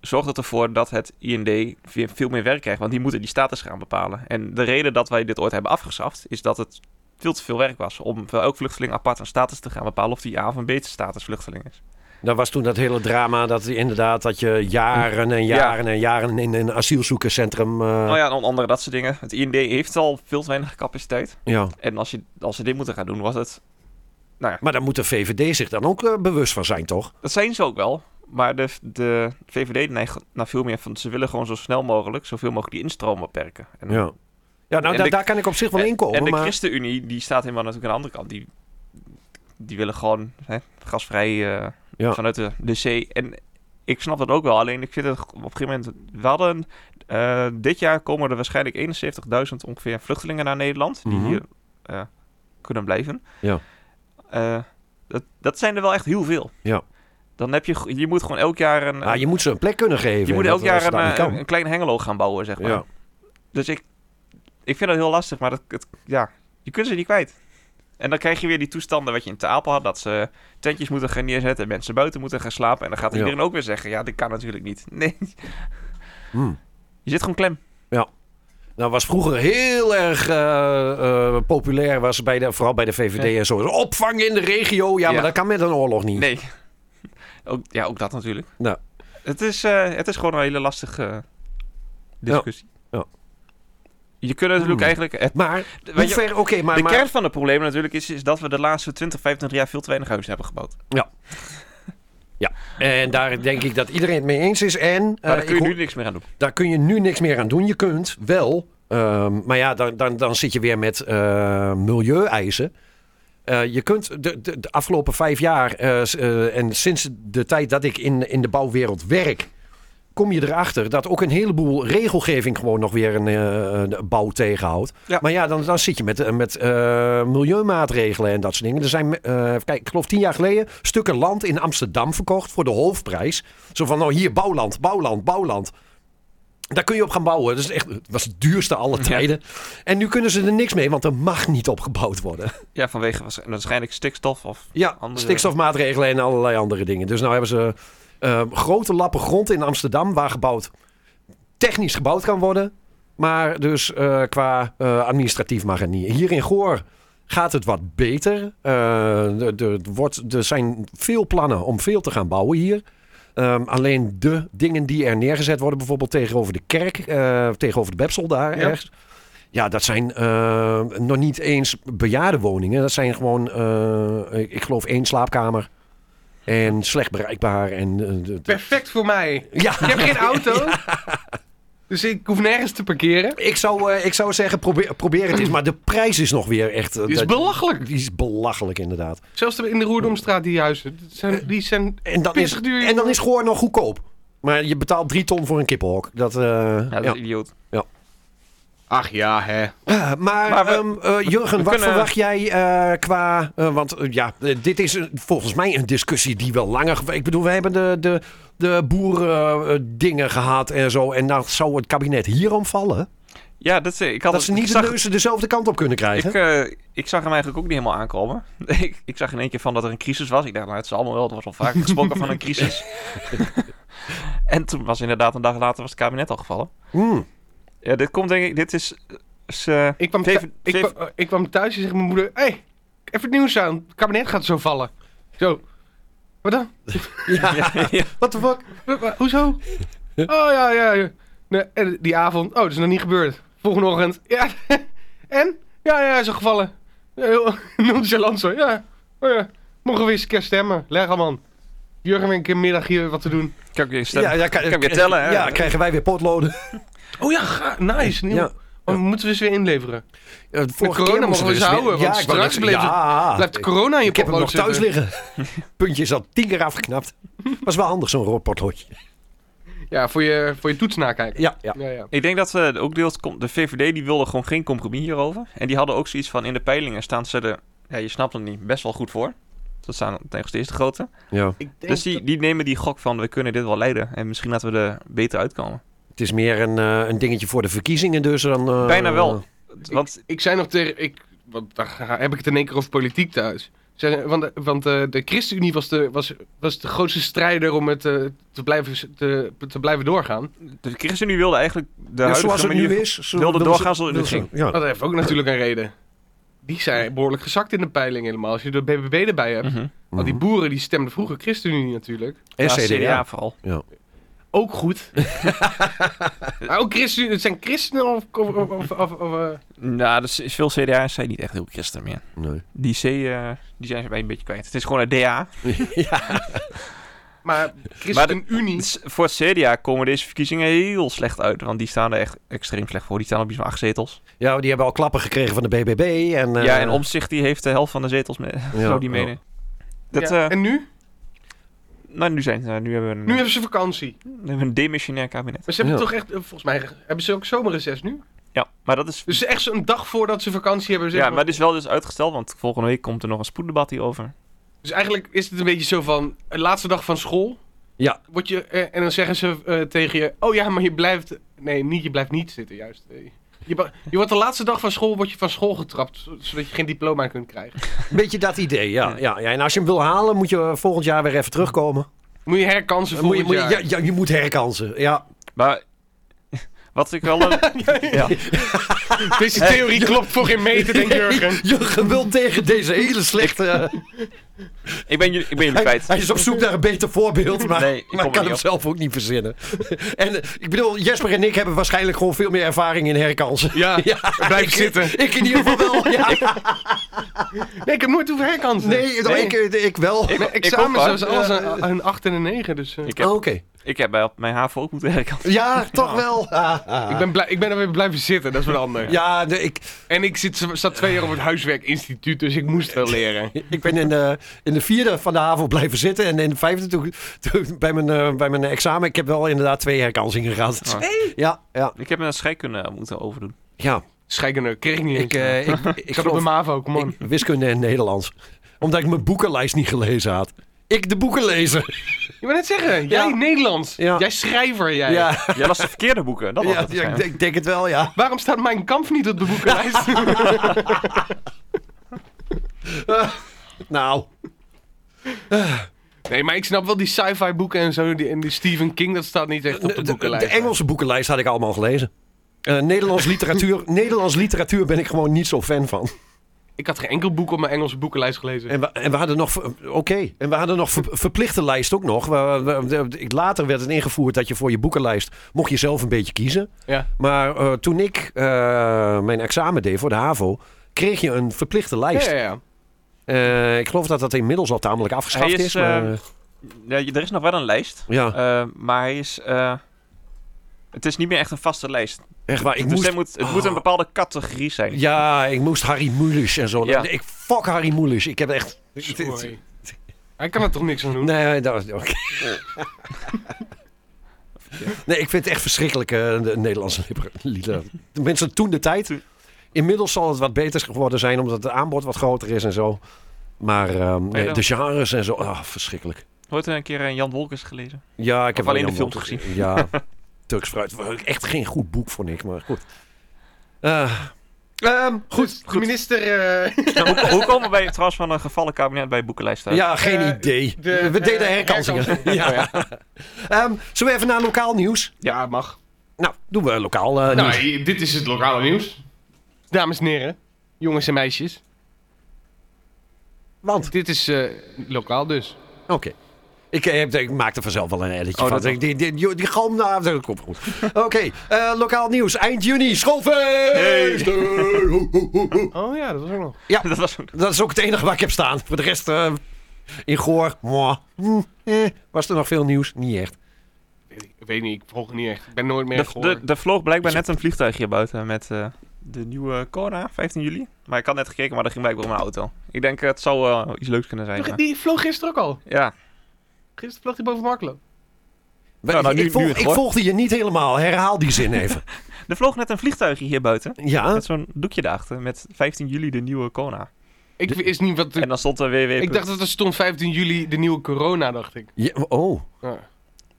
Speaker 3: zorgt het ervoor dat het IND weer veel meer werk krijgt, want die moeten die status gaan bepalen. En de reden dat wij dit ooit hebben afgeschaft, is dat het veel te veel werk was om voor elk vluchteling apart een status te gaan bepalen of die A of een B status vluchteling is.
Speaker 4: Dat was toen dat hele drama dat inderdaad dat je jaren en jaren en jaren in een asielzoekerscentrum... eh,
Speaker 3: Nou ja, en onder andere dat soort dingen. Het IND heeft al veel te weinig capaciteit.
Speaker 4: ja.
Speaker 3: En als, je, als ze dit moeten gaan doen, was het
Speaker 4: Maar daar moet de VVD zich dan ook eh, bewust van zijn, toch?
Speaker 3: Dat zijn ze ook wel. Maar de, de VVD neigt naar veel meer van... ze willen gewoon zo snel mogelijk... zoveel mogelijk die instroom beperken. En,
Speaker 4: Ja. Ja, nou,
Speaker 3: En
Speaker 4: da-
Speaker 3: de-
Speaker 4: daar kan ik op zich wel
Speaker 3: en-
Speaker 4: in komen.
Speaker 3: en de
Speaker 4: maar...
Speaker 3: ChristenUnie, die staat helemaal natuurlijk aan de andere kant. Die, die willen gewoon hè, gasvrij eh,
Speaker 4: Ja.
Speaker 3: vanuit de, de zee. En ik snap dat ook wel. Alleen ik vind het op een gegeven moment... We hadden... eh, dit jaar komen er waarschijnlijk 71.000 ongeveer vluchtelingen naar Nederland. Die
Speaker 4: Mhm.
Speaker 3: hier eh, kunnen blijven.
Speaker 4: Ja.
Speaker 3: Eh, dat, dat zijn er wel echt heel veel.
Speaker 4: Ja.
Speaker 3: Dan heb je... go- Je moet gewoon elk jaar een...
Speaker 4: Ah, je moet ze een plek kunnen geven.
Speaker 3: Je moet
Speaker 4: en
Speaker 3: elk
Speaker 4: dat- als
Speaker 3: jaar
Speaker 4: dat
Speaker 3: een,
Speaker 4: niet
Speaker 3: eh,
Speaker 4: kan.
Speaker 3: een klein hengelo gaan bouwen, zeg maar.
Speaker 4: Ja.
Speaker 3: Dus ik, ik vind dat heel lastig, maar dat, het- ja, je kunt ze niet kwijt. En dan krijg je weer die toestanden wat je in Te Apel had, dat ze tentjes moeten gaan neerzetten en mensen buiten moeten gaan slapen. En dan gaat
Speaker 4: Ja.
Speaker 3: iedereen ook weer zeggen, ja, dit kan natuurlijk niet. Nee,
Speaker 4: Hmm.
Speaker 3: je zit gewoon klem.
Speaker 4: Nou, was vroeger heel erg eh, eh, populair, was bij de, vooral bij de VVD en zo. Opvang in de regio, ja,
Speaker 3: Ja.
Speaker 4: maar dat kan met een oorlog niet.
Speaker 3: Nee. Ook, ja, ook dat natuurlijk.
Speaker 4: Nou.
Speaker 3: Het, is, eh, het is gewoon een hele lastige eh, discussie.
Speaker 4: Ja.
Speaker 3: Je kunt natuurlijk
Speaker 4: Hmm.
Speaker 3: eigenlijk... Het,
Speaker 4: Maar,
Speaker 3: weet
Speaker 4: hoe
Speaker 3: je-
Speaker 4: ver, oké, maar...
Speaker 3: de
Speaker 4: maar-
Speaker 3: kern van het probleem natuurlijk is, is dat we de laatste 20, 25 jaar veel te weinig huizen hebben
Speaker 4: Eh,
Speaker 3: gebouwd.
Speaker 4: En daar denk ik dat iedereen het mee eens is. En eh,
Speaker 3: Maar daar kun
Speaker 4: ik
Speaker 3: je
Speaker 4: hoor-
Speaker 3: nu niks meer aan doen.
Speaker 4: daar kun je nu niks meer aan doen. Je kunt wel, ehm, maar ja, dan, dan, dan zit je weer met eh milieueisen. Eh, je kunt de, de, de afgelopen vijf jaar eh, s- eh, en sinds de tijd dat ik in, in de bouwwereld werk, kom je erachter dat ook een heleboel regelgeving gewoon nog weer een, eh, een bouw tegenhoudt.
Speaker 3: Ja.
Speaker 4: Maar ja, dan, dan zit je met, eh, met eh, milieumaatregelen en dat soort dingen. Er zijn, eh, even kijk, ik geloof tien jaar geleden stukken land in Amsterdam verkocht voor de hoofdprijs. Zo van, nou hier, bouwland, bouwland, bouwland. Daar kun je op gaan bouwen. Dat is echt, het was het duurste alle tijden. En nu kunnen ze er niks mee, want er mag niet op gebouwd worden.
Speaker 3: Ja, vanwege waarsch- waarschijnlijk stikstof of...
Speaker 4: Ja,
Speaker 3: Andere-
Speaker 4: stikstofmaatregelen en allerlei andere dingen. Dus nou hebben ze eh, grote lappen grond in Amsterdam waar gebouwd, technisch gebouwd kan worden. Maar dus eh, qua eh, administratief mag het niet. Hier in Goor gaat het wat beter. Eh, er- er wordt, er zijn veel plannen om veel te gaan bouwen hier. Ehm, alleen de dingen die er neergezet worden, bijvoorbeeld tegenover de kerk, eh, tegenover de Bepsel daar
Speaker 3: Ja.
Speaker 4: ergens. Ja, dat zijn eh, nog niet eens bejaardenwoningen. Dat zijn gewoon, eh, ik, ik geloof, één slaapkamer. En slecht bereikbaar. En, eh, de- de-
Speaker 5: Perfect voor mij.
Speaker 4: ja,
Speaker 5: Ik heb geen auto. Dus ik hoef nergens te parkeren.
Speaker 4: Ik zou, eh, ik zou zeggen, probeer, probeer het eens. Maar de prijs is nog weer echt... eh,
Speaker 5: Die is
Speaker 4: dat-
Speaker 5: belachelijk.
Speaker 4: Die is belachelijk, inderdaad.
Speaker 5: Zelfs de- in de Roerdomstraat die huizen. dat Zijn, die zijn
Speaker 4: En dan is,
Speaker 5: Pissig duur.
Speaker 4: en dan is gewoon nog goedkoop. Maar je betaalt drie ton voor een kippenhok. Dat, eh,
Speaker 3: Ja, dat
Speaker 4: ja.
Speaker 3: is idioot.
Speaker 5: Ach ja, hè.
Speaker 4: Eh, maar
Speaker 3: Maar we-
Speaker 4: ehm, eh, Jurgen,
Speaker 3: we
Speaker 4: wat
Speaker 3: kunnen-
Speaker 4: verwacht jij eh, qua... eh, want eh, ja, eh, dit is een- volgens mij een discussie die wel langer... ge- Ik bedoel, we hebben de, de, de boerendingen gehad en zo. En nou zou het kabinet hierom vallen.
Speaker 3: Ja, dat, is- ik had
Speaker 4: dat ze
Speaker 3: het-
Speaker 4: niet
Speaker 3: ik
Speaker 4: de
Speaker 3: zag-
Speaker 4: neuzen dezelfde kant op kunnen krijgen.
Speaker 3: Ik, eh, ik zag hem eigenlijk ook niet helemaal aankomen. ik, ik zag in één keer van dat er een crisis was. Ik dacht, nou, het is allemaal wel. Er was al vaak gesproken van een crisis. en toen was inderdaad een dag later was het kabinet al gevallen.
Speaker 4: Hmm.
Speaker 3: Ja, dit komt denk ik... Dit is... is, eh,
Speaker 5: Ik kwam,
Speaker 3: Zeven-
Speaker 5: thu- ik,
Speaker 3: zeven-
Speaker 5: kwam, ik kwam thuis en zei mijn moeder... Hé, hey, even het nieuws aan. Het kabinet gaat zo vallen. Zo. Wat dan?
Speaker 3: ja, ja.
Speaker 5: What the fuck? Wa- wa- Hoezo? Oh ja, ja, ja. Nee, en die avond. Oh, dat is nog niet gebeurd. Volgende ochtend. Ja. En? Ja, ja, is er gevallen. Ja, Heel nonchalant zo. Ja. Oh ja. Morgen weer eens een keer stemmen. Leg hem aan. Jurgen weer een keer middag hier wat te doen.
Speaker 3: Kan ik weer stemmen?
Speaker 4: Ja, ja, kan-
Speaker 3: ik kan weer tellen, hè?
Speaker 4: Ja, krijgen wij weer potloden.
Speaker 5: Oh ja, ga- nice. Nieuw.
Speaker 4: Ja.
Speaker 5: Oh, moeten we ze weer inleveren.
Speaker 4: Ja, de vorige
Speaker 5: corona
Speaker 4: keer moesten
Speaker 5: mogen we
Speaker 4: dus
Speaker 5: ze
Speaker 4: weer-
Speaker 5: houden, want
Speaker 4: ik wou
Speaker 5: straks
Speaker 4: net-
Speaker 5: bleef het-
Speaker 4: ja,
Speaker 5: Blijft
Speaker 4: Ah, ik-
Speaker 5: corona in je
Speaker 4: Ik heb hem nog
Speaker 5: potlood
Speaker 4: thuis
Speaker 5: zitten.
Speaker 4: liggen. Puntje is al tien keer afgeknapt. Was wel handig, zo'n rotpotloodje.
Speaker 5: Ja, voor je, voor je toets nakijken.
Speaker 4: Ja, ja.
Speaker 5: Ja, ja.
Speaker 3: Ik denk dat eh, ook deels komt. De VVD die wilde gewoon geen compromis hierover. En die hadden ook zoiets van in de peilingen staan ze er, ja, je snapt het niet, best wel goed voor. Dat staan tegen de eerste grote.
Speaker 4: ja.
Speaker 5: Ik denk
Speaker 3: Dus die, die nemen die gok van we kunnen dit wel leiden. En misschien laten we er beter uitkomen.
Speaker 4: Het is meer een, eh, een dingetje voor de verkiezingen dus dan... eh,
Speaker 3: Bijna wel.
Speaker 5: Ik-
Speaker 3: Want
Speaker 5: Ik, zei nog tegen... Ik, want daar ga- heb ik het in één keer over politiek thuis. Zei- want want eh, de ChristenUnie was de, was, was de grootste strijder om het eh, te, blijven, s- te, te blijven doorgaan.
Speaker 3: de ChristenUnie wilde eigenlijk de
Speaker 4: ja,
Speaker 3: huidige
Speaker 4: zoals het
Speaker 3: manier...
Speaker 4: nu is. zo-
Speaker 3: wilde
Speaker 4: willen
Speaker 3: doorgaan
Speaker 4: ze-
Speaker 3: zoals het nu
Speaker 4: willen ze- Ja.
Speaker 5: Dat heeft ook natuurlijk een reden. Die zijn behoorlijk gezakt in de peiling helemaal. Als je de BBB erbij hebt.
Speaker 3: Mhm.
Speaker 5: Want die boeren die stemden vroeger ChristenUnie natuurlijk.
Speaker 4: En
Speaker 3: Ja,
Speaker 4: CDA.
Speaker 3: vooral.
Speaker 5: Ook goed. maar ook ChristenUnie. Het zijn christenen of... of, of, of, of, of, eh,
Speaker 3: Nou, dus is veel CDA's zijn niet echt heel christen meer.
Speaker 4: Nee.
Speaker 3: Die C, eh, die zijn ze bij een beetje kwijt. Het is gewoon een DA.
Speaker 5: maar ChristenUnie...
Speaker 3: Dus voor het CDA komen deze verkiezingen heel slecht uit. Want die staan er echt extreem slecht voor. Die staan op iets van acht zetels.
Speaker 4: Ja, die hebben al klappen gekregen van de BBB. En, eh,
Speaker 3: ja, en Omtzigt die heeft de helft van de zetels mee. zou die
Speaker 4: ja.
Speaker 3: menen. Dat,
Speaker 5: Ja,
Speaker 3: eh,
Speaker 5: en nu?
Speaker 3: nou, nu, zijn, eh, nu hebben we een,
Speaker 5: Nu hebben ze vakantie.
Speaker 3: we hebben een demissionair kabinet.
Speaker 5: Maar ze hebben
Speaker 4: Ja.
Speaker 5: toch echt, eh, volgens mij hebben ze ook zomerreces nu.
Speaker 3: Ja, maar dat is...
Speaker 5: Dus echt zo'n dag voordat ze vakantie hebben.
Speaker 3: Ja,
Speaker 5: zeggen
Speaker 3: maar het is wel dus uitgesteld, want volgende week komt er nog een spoeddebat hierover.
Speaker 5: Dus eigenlijk is het een beetje zo van, eh, laatste dag van school.
Speaker 4: Ja.
Speaker 5: Word je, eh, en dan zeggen ze eh, tegen je, oh ja, maar je blijft, nee, niet, je blijft niet zitten juist. Eh, Je, ba- je wordt de laatste dag van school, word je van school getrapt, zo- zodat je geen diploma kunt krijgen.
Speaker 4: Beetje dat idee, ja, ja. ja. En als je hem wil halen, moet je volgend jaar weer even terugkomen.
Speaker 5: Moet je herkansen
Speaker 4: Dan Moet je,
Speaker 5: volgend
Speaker 4: moet je,
Speaker 5: jaar.
Speaker 4: ja, ja, je moet herkansen. Ja.
Speaker 3: Maar wat ik wel... een- ja.
Speaker 5: Deze theorie klopt voor geen meter, denk Jurgen.
Speaker 4: Jurgen wil tegen deze hele slechte...
Speaker 3: Ik ben jullie, ik ben jullie
Speaker 4: Hij,
Speaker 3: kwijt.
Speaker 4: hij is op zoek naar een beter voorbeeld, maar,
Speaker 3: Nee, ik kom
Speaker 4: maar
Speaker 3: er
Speaker 4: kan
Speaker 3: niet
Speaker 4: hem
Speaker 3: op.
Speaker 4: zelf ook niet verzinnen. en eh, ik bedoel, Jesper en ik hebben waarschijnlijk gewoon veel meer ervaring in herkansen.
Speaker 5: Ja, blijf zitten.
Speaker 4: Ik in ieder geval wel. Ja.
Speaker 5: Nee, ik heb nooit hoeven herkansen.
Speaker 4: Nee, nou, Ik, ik wel.
Speaker 3: Ik-
Speaker 5: Mijn
Speaker 3: ik
Speaker 5: examens
Speaker 3: ook,
Speaker 5: was alles een, een 8 en een 9, dus... eh,
Speaker 3: Ik
Speaker 4: Oh,
Speaker 3: heb,
Speaker 4: Oké.
Speaker 3: ik heb bij op mijn HAVO ook moeten werken.
Speaker 4: Ja, toch wel. Ah, ah.
Speaker 5: Ik ben, blij, ik ben er weer blijven zitten, dat is wat anders.
Speaker 4: Ja, nee, ik,
Speaker 5: En ik zit, zat twee jaar op het huiswerkinstituut, dus ik moest wel leren.
Speaker 4: ik ben in de, in de vierde van de avond blijven zitten. En in de vijfde toen, toen bij, mijn, eh, bij mijn examen. Ik heb wel inderdaad twee herkansingen gehad.
Speaker 3: Twee?
Speaker 4: Ja, ja.
Speaker 3: Ik heb een scheikunde moeten overdoen.
Speaker 4: ja.
Speaker 5: Scheikunde kreeg ik niet
Speaker 4: Ik,
Speaker 5: eens.
Speaker 4: eh, ik, ik,
Speaker 5: ik zat op
Speaker 4: geloof-
Speaker 5: de MAVO, kom on.
Speaker 4: ik- wiskunde en Nederlands. Omdat ik mijn boekenlijst niet gelezen had. Ik de boeken lezen.
Speaker 5: Je wil net zeggen, jij
Speaker 4: Ja.
Speaker 5: Nederlands.
Speaker 4: Ja.
Speaker 5: Jij schrijver, jij.
Speaker 4: Ja,
Speaker 3: Jij las de verkeerde boeken, dat was
Speaker 4: ja,
Speaker 3: het
Speaker 4: ja, ik,
Speaker 3: waarschijnlijk.
Speaker 4: denk- ik denk het wel, ja.
Speaker 5: Waarom staat mijn kamp niet op de boekenlijst?
Speaker 4: Nou,
Speaker 5: nee, maar ik snap wel die sci-fi boeken en zo. Die, en die Stephen King, dat staat niet echt op
Speaker 4: de,
Speaker 5: de
Speaker 4: de-
Speaker 5: boekenlijst.
Speaker 4: de Engelse boekenlijst had ik allemaal gelezen. Eh, Nederlands, literatuur, Nederlands literatuur ben ik gewoon niet zo fan van.
Speaker 5: Ik had geen enkel boek op mijn Engelse boekenlijst gelezen.
Speaker 4: En we, en we hadden nog, ver- oké, en we hadden nog ver- verplichte lijst ook nog. We- we- de- ik- later werd het ingevoerd dat je voor je boekenlijst mocht je zelf een beetje kiezen.
Speaker 5: Ja.
Speaker 4: Maar eh, toen ik eh, mijn examen deed voor de HAVO, kreeg je een verplichte
Speaker 5: Ja,
Speaker 4: lijst.
Speaker 5: ja, ja.
Speaker 4: Eh, ik geloof dat dat inmiddels al tamelijk afgeschaft
Speaker 3: Hij
Speaker 4: is.
Speaker 3: is,
Speaker 4: maar, eh,
Speaker 3: eh, Ja, je- er is nog wel een lijst.
Speaker 4: ja.
Speaker 3: eh, maar hij is... eh, Het is niet meer echt een vaste lijst.
Speaker 4: Echt waar, ik
Speaker 3: dus
Speaker 4: moest...
Speaker 3: het, moet, het moet een bepaalde categorie zijn.
Speaker 4: Ja, ik moest Harry Mulisch en zo.
Speaker 3: Ja.
Speaker 4: Ik fuck Harry Mulisch. Ik heb echt...
Speaker 5: Sorry. Hij kan er toch niks aan doen?
Speaker 4: Nee, dat was... oké. Nee, ik vind het echt verschrikkelijk, eh, de Nederlandse liber- liederen. De mensen toen de tijd. Inmiddels zal het wat beter geworden zijn, omdat het aanbod wat groter is en zo. Maar ehm, nee,
Speaker 3: dan?
Speaker 4: de genres en zo, ah, verschrikkelijk.
Speaker 3: Nooit een keer een Jan Wolkers gelezen.
Speaker 4: Ja, ik heb
Speaker 3: Of alleen
Speaker 4: wel
Speaker 3: de
Speaker 4: Jan
Speaker 3: films
Speaker 4: Wolters- Ja, Turks fruit. Echt geen goed boek voor niks, maar goed. Eh,
Speaker 5: Ehm, goed, de
Speaker 3: goed.
Speaker 5: minister... eh,
Speaker 3: Nou, hoe, hoe komen we bij, trouwens van een gevallen kabinet bij boekenlijst uit?
Speaker 4: ja, geen
Speaker 5: eh,
Speaker 4: idee.
Speaker 5: de-
Speaker 4: we deden
Speaker 5: eh,
Speaker 4: herkansingen.
Speaker 5: herkansingen.
Speaker 4: ja. Ehm, zullen we even naar lokaal nieuws?
Speaker 5: ja, mag.
Speaker 4: Nou, doen we lokaal eh,
Speaker 5: Nou,
Speaker 4: nieuws.
Speaker 5: hier- dit is het lokale nieuws. Dames en heren, jongens en meisjes.
Speaker 4: Want,
Speaker 5: Dit is eh, lokaal dus.
Speaker 4: oké. Ik, eh, heb- ik maak er vanzelf wel een editje
Speaker 5: Oh,
Speaker 4: van.
Speaker 5: dat
Speaker 4: Die, die, die, die, die galm daar, dat komt goed. Oké, eh, lokaal nieuws. Eind juni, schoolfeest! Ho, ho, ho, ho.
Speaker 5: Oh ja, dat was ook nog.
Speaker 3: Dat was een...
Speaker 4: Dat is ook het enige waar ik heb staan. Voor de rest, eh, in Goor, mwah, hm, eh, was er nog veel nieuws? Niet echt.
Speaker 5: Weet ik, weet niet, ik volg het niet echt. Ik ben nooit meer
Speaker 3: Er
Speaker 5: gehoord.
Speaker 3: de, de vloog blijkbaar net een vliegtuig hier buiten met eh, de nieuwe Cora, 15 juli. Maar ik had net gekeken, maar dat ging blijkbaar om een auto. Ik denk, eh, het zou eh, iets leuks kunnen zijn. maar-
Speaker 5: Die vloog gisteren ook al.
Speaker 3: Ja,
Speaker 5: Gisteren vloog hij boven Marklo.
Speaker 3: Nou, nou, nu-
Speaker 4: ik, volg-
Speaker 3: nu het
Speaker 4: ik
Speaker 3: Goor.
Speaker 4: volgde je niet helemaal. Herhaal die zin even.
Speaker 3: er vloog net een vliegtuigje hier buiten.
Speaker 4: ja,
Speaker 3: Met zo'n doekje daarachter, met 15 juli de nieuwe Cora.
Speaker 5: Ik wist niet wat... de-
Speaker 3: En dan stond er www.
Speaker 5: ik dacht dat er stond 15 juli de nieuwe corona, dacht ik.
Speaker 4: je- oh.
Speaker 5: Ja.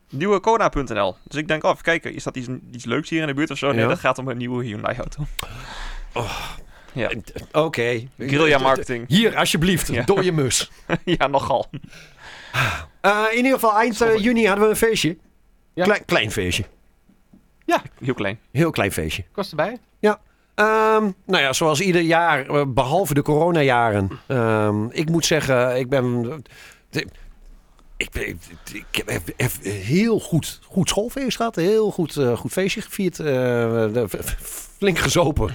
Speaker 3: Nieuwecona.nl. Dus ik denk, oh, even kijken, is dat iets, iets leuks hier in de buurt of zo? Nee,
Speaker 4: Ja.
Speaker 3: dat gaat om een nieuwe Hyundai-auto. Ja.
Speaker 4: Oké. Eh,
Speaker 3: Guerrilla marketing.
Speaker 4: Hier, alsjeblieft.
Speaker 3: Ja.
Speaker 4: Door je mus.
Speaker 3: ja, nogal.
Speaker 4: Eh, in ieder geval, eind eh, juni hadden we een feestje.
Speaker 5: Ja.
Speaker 4: Klein, klein feestje.
Speaker 3: Heel klein.
Speaker 4: Heel klein feestje.
Speaker 5: Ik was erbij.
Speaker 4: Ehm, nou ja, zoals ieder jaar, eh, behalve de coronajaren. Ehm, ik moet zeggen, ik ben... de- ik, ben- ik heb heb- heb heel goed, goed schoolfeest gehad. Heel goed, eh, goed feestje gevierd. eh, de- f- f- flink gezopen.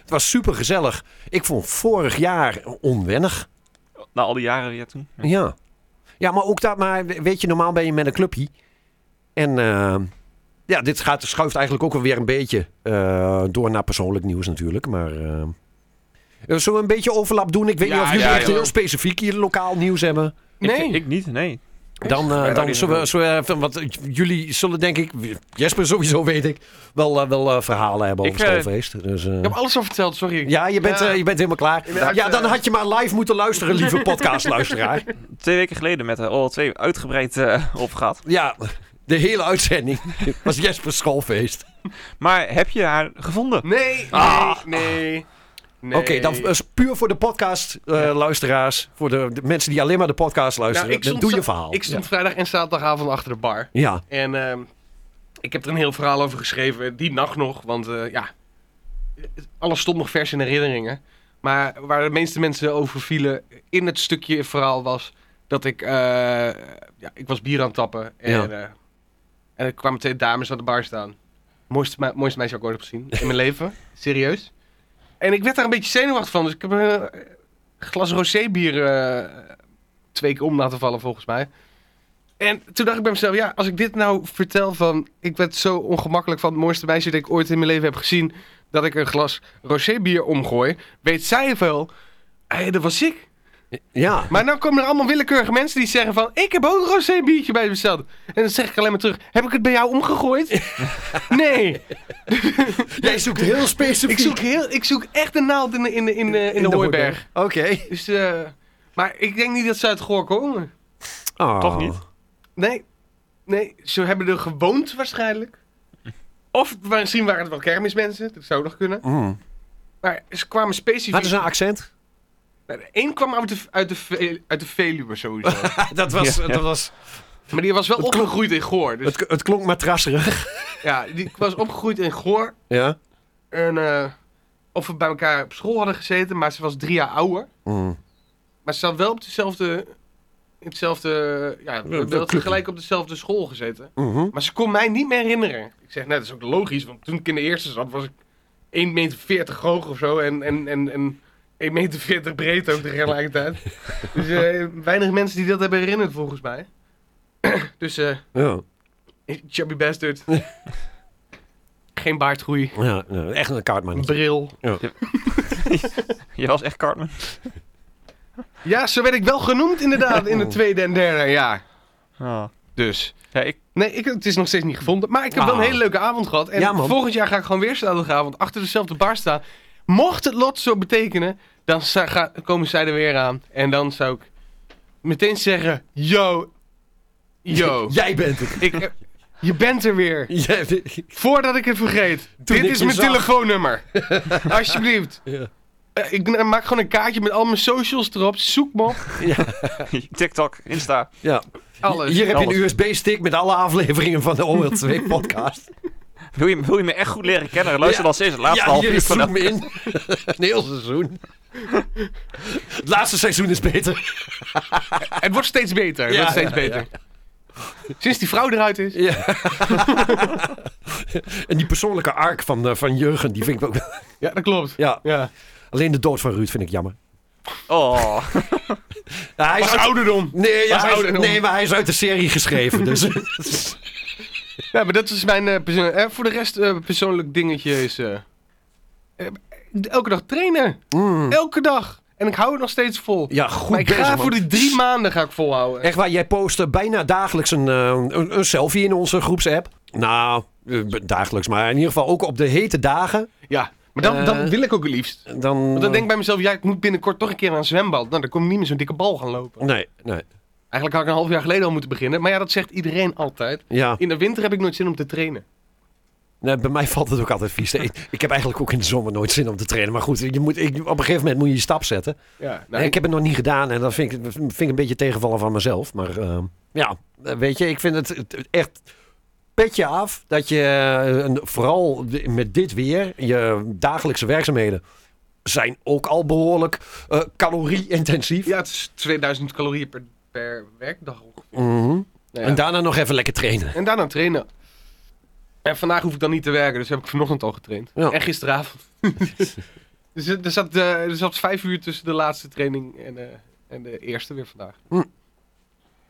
Speaker 4: Het was super gezellig. Ik vond vorig jaar onwennig.
Speaker 3: Na al die jaren weer toen. Ja.
Speaker 4: Ja. Ja, maar ook dat, maar weet je, normaal ben je met een clubje. En eh, ja, dit gaat, schuift eigenlijk ook wel weer een beetje eh, door naar persoonlijk nieuws natuurlijk. Maar eh, eh, zullen we een beetje overlap doen? Ik weet
Speaker 5: Ja,
Speaker 4: niet of jullie
Speaker 5: ja,
Speaker 4: echt
Speaker 5: joh.
Speaker 4: heel specifiek hier lokaal nieuws hebben.
Speaker 5: Nee.
Speaker 3: Ik, ik niet, nee.
Speaker 4: Dan, eh,
Speaker 3: Ja,
Speaker 4: dan
Speaker 3: die
Speaker 4: zullen we,
Speaker 3: doen.
Speaker 4: zullen we even, want jullie zullen denk ik, Jesper sowieso weet ik, wel, eh, wel eh, verhalen hebben over
Speaker 3: Ik, eh,
Speaker 4: schoolfeest. Dus, eh,
Speaker 5: Ik heb alles al verteld, sorry.
Speaker 4: ja, je bent,
Speaker 5: Ja.
Speaker 4: eh, je bent helemaal klaar.
Speaker 5: Inderdaad,
Speaker 4: Ja, dan
Speaker 5: eh,
Speaker 4: had je maar live moeten luisteren, lieve podcastluisteraar.
Speaker 3: Twee weken geleden met de OL2 uitgebreid eh opgehaald.
Speaker 4: Ja, de hele uitzending was Jesper's schoolfeest.
Speaker 3: Maar heb je haar gevonden?
Speaker 5: Nee, nee,
Speaker 3: Ah.
Speaker 5: nee. nee.
Speaker 4: Oké, dan eh, is puur voor de podcast-luisteraars. Voor de, de mensen die alleen maar de podcast luisteren.
Speaker 5: Nou, ik
Speaker 4: dan
Speaker 5: stond
Speaker 4: doe je
Speaker 5: za-
Speaker 4: verhaal.
Speaker 5: Ik stond vrijdag en zaterdagavond achter de bar.
Speaker 4: Ja,
Speaker 5: En ehm, ik heb er een heel verhaal over geschreven. Die nacht nog, want eh, ja, alles stond nog vers in herinneringen. Maar waar de meeste mensen over vielen in het stukje verhaal was dat ik, eh, ja, ik was bier aan het tappen. En,
Speaker 4: Ja.
Speaker 5: eh, en er kwamen twee dames aan de bar staan. Mooiste, me- mooiste meisje wat ik ooit heb gezien in mijn leven. Serieus. En ik werd daar een beetje zenuwachtig van. Dus ik heb een eh, glas rosé bier eh, twee keer om laten vallen volgens mij. En toen dacht ik bij mezelf, ja, als ik dit nou vertel van... Ik werd zo ongemakkelijk van het mooiste meisje dat ik ooit in mijn leven heb gezien... dat ik een glas rosé-bier omgooi. Weet zij wel, hé, dat was ik.
Speaker 4: ja.
Speaker 5: Maar nou komen er allemaal willekeurige mensen die zeggen van... Ik heb ook een rosé-biertje bij me besteld. En dan zeg ik alleen maar terug, heb ik het bij jou omgegooid? nee,
Speaker 4: Jij zoekt heel specifiek.
Speaker 5: ik zoek, heel, ik zoek echt een naald in de, in de, in de, in de, hooiberg.
Speaker 4: Oké.
Speaker 5: Dus, eh, maar ik denk niet dat ze uit Goor komen.
Speaker 4: Oh.
Speaker 3: Toch niet?
Speaker 5: Nee, nee, ze hebben er gewoond waarschijnlijk. Of misschien waren het wel kermismensen, dat zou nog kunnen.
Speaker 4: Mm.
Speaker 5: Maar ze kwamen specifiek...
Speaker 4: Hadden ze een accent?
Speaker 5: Eén kwam uit de, uit de, Ve- uit de Veluwe sowieso.
Speaker 4: dat, was,
Speaker 3: Ja.
Speaker 4: dat, was,
Speaker 5: maar die was wel
Speaker 4: Het klonk-
Speaker 5: opgegroeid in Goor. Dus,
Speaker 4: het, het klonk maar trasserig.
Speaker 5: ja, die was opgegroeid in Goor.
Speaker 4: Ja.
Speaker 5: En eh, of we bij elkaar op school hadden gezeten, maar ze was drie jaar ouder.
Speaker 4: Mm.
Speaker 5: Maar ze had wel op dezelfde... in Hetzelfde, ja, we
Speaker 4: dat
Speaker 5: hadden
Speaker 4: klopt.
Speaker 5: gelijk op dezelfde school gezeten.
Speaker 4: Mhm.
Speaker 5: Maar ze kon mij niet meer herinneren. Ik zeg, nou, dat is ook logisch, want toen ik in de eerste zat, was ik 1,40 meter hoog of zo. En, en, en, en 1,40 meter breed ook tegelijkertijd. dus eh, weinig mensen die dat hebben herinnerd, volgens mij. dus, eh
Speaker 4: Ja.
Speaker 5: chubby bastard. Geen baardgroei.
Speaker 4: Ja, ja, echt een
Speaker 5: Een
Speaker 4: kaartman.
Speaker 5: bril.
Speaker 3: Je was echt Cartman.
Speaker 5: Ja, zo werd ik wel genoemd inderdaad in het tweede en derde jaar.
Speaker 3: Ah.
Speaker 4: Oh.
Speaker 5: Dus.
Speaker 3: Ja, ik,
Speaker 5: Nee, ik, het is nog steeds niet gevonden. Maar ik heb wel een
Speaker 4: Ah.
Speaker 5: hele leuke avond gehad. En
Speaker 4: Ja, man.
Speaker 5: volgend jaar ga ik gewoon weer zaterdagavond achter dezelfde bar staan. Mocht het lot zo betekenen, dan za- ga- komen zij er weer aan. En dan zou ik meteen zeggen, yo, yo.
Speaker 4: Jij bent het.
Speaker 5: Ik, eh, je bent er weer.
Speaker 4: Jij bent-
Speaker 5: Voordat ik het vergeet. dit
Speaker 4: ik
Speaker 5: is
Speaker 4: je
Speaker 5: mijn
Speaker 4: zag.
Speaker 5: telefoonnummer. Alsjeblieft.
Speaker 4: Ja.
Speaker 5: Eh, ik eh, maak gewoon een kaartje met al mijn socials erop. Zoek me op.
Speaker 3: TikTok, Insta.
Speaker 4: ja.
Speaker 5: Alles.
Speaker 4: Hier heb je
Speaker 3: Alles.
Speaker 4: een USB-stick met alle afleveringen van de OL2 podcast.
Speaker 3: Wil je, wil je me echt goed leren kennen? Luister
Speaker 4: Ja.
Speaker 3: dan steeds het laatste
Speaker 4: ja,
Speaker 3: half
Speaker 4: hier
Speaker 3: uur
Speaker 4: is
Speaker 3: van de-
Speaker 4: zoom in. Een heel seizoen. Het laatste seizoen is beter.
Speaker 5: Het wordt steeds beter. Het
Speaker 4: Ja,
Speaker 5: wordt steeds
Speaker 4: ja,
Speaker 5: beter. Sinds die vrouw eruit is.
Speaker 4: Ja. en die persoonlijke arc van, eh, van Jurgen, die vind ik ook...
Speaker 5: Ja, dat klopt.
Speaker 4: Ja,
Speaker 5: Ja.
Speaker 4: alleen de dood van Ruud vind ik jammer.
Speaker 3: Oh,
Speaker 4: Ja, hij is
Speaker 5: Pas
Speaker 4: uit-
Speaker 5: ouderdom.
Speaker 4: Nee, ja,
Speaker 5: was
Speaker 4: hij is-
Speaker 5: ouder nog.
Speaker 4: nee, maar hij is uit de serie geschreven. Dus.
Speaker 5: Ja, maar dat is mijn eh, persoon- eh, voor de rest eh, persoonlijk dingetje is... eh, eh, elke dag trainen.
Speaker 4: Mm.
Speaker 5: Elke dag. En ik hou het nog steeds vol.
Speaker 4: Ja, goed
Speaker 5: maar ik
Speaker 4: bezig,
Speaker 5: ga
Speaker 4: man.
Speaker 5: voor die drie maanden ga ik volhouden.
Speaker 4: Echt waar, jij post eh, bijna dagelijks een, eh, een, een selfie in onze groepsapp. Nou, eh, dagelijks, maar in ieder geval ook op de hete dagen.
Speaker 5: Ja, maar dan,
Speaker 4: Eh,
Speaker 5: dan wil ik ook het liefst.
Speaker 4: Dan, eh,
Speaker 5: Want dan denk ik bij mezelf, ja, ik moet binnenkort toch een keer aan een zwembad. Nou, dan kom ik niet meer zo'n dikke bal gaan lopen.
Speaker 4: Nee, nee.
Speaker 5: Eigenlijk had ik een half jaar geleden al moeten beginnen. Maar ja, dat zegt iedereen altijd.
Speaker 4: Ja,
Speaker 5: In de winter heb ik nooit zin om te trainen.
Speaker 4: nee, bij mij valt het ook altijd vies. Ik, ik heb eigenlijk ook in de zomer nooit zin om te trainen. Maar goed, je moet, ik, op een gegeven moment moet je je stap zetten.
Speaker 5: Ja, nou,
Speaker 4: En ik heb het nog niet gedaan en dat vind ik, vind ik een beetje tegenvallen van mezelf. Maar ehm, ja, eh, weet je, ik vind het, het- het echt petje af dat je eh, een- vooral de- met dit weer, je dagelijkse werkzaamheden zijn ook al behoorlijk eh, calorie-intensief.
Speaker 5: ja het is 2000 calorieën per, per werkdag. ongeveer.
Speaker 4: Mhm.
Speaker 5: Nou ja.
Speaker 4: En daarna nog even lekker trainen.
Speaker 5: en daarna trainen. En vandaag hoef ik dan niet te werken, dus heb ik vanochtend al getraind.
Speaker 4: Ja.
Speaker 5: En gisteravond. dus er er zat, eh, er zat vijf uur tussen de laatste training en, eh, en de eerste weer vandaag.
Speaker 4: Hm.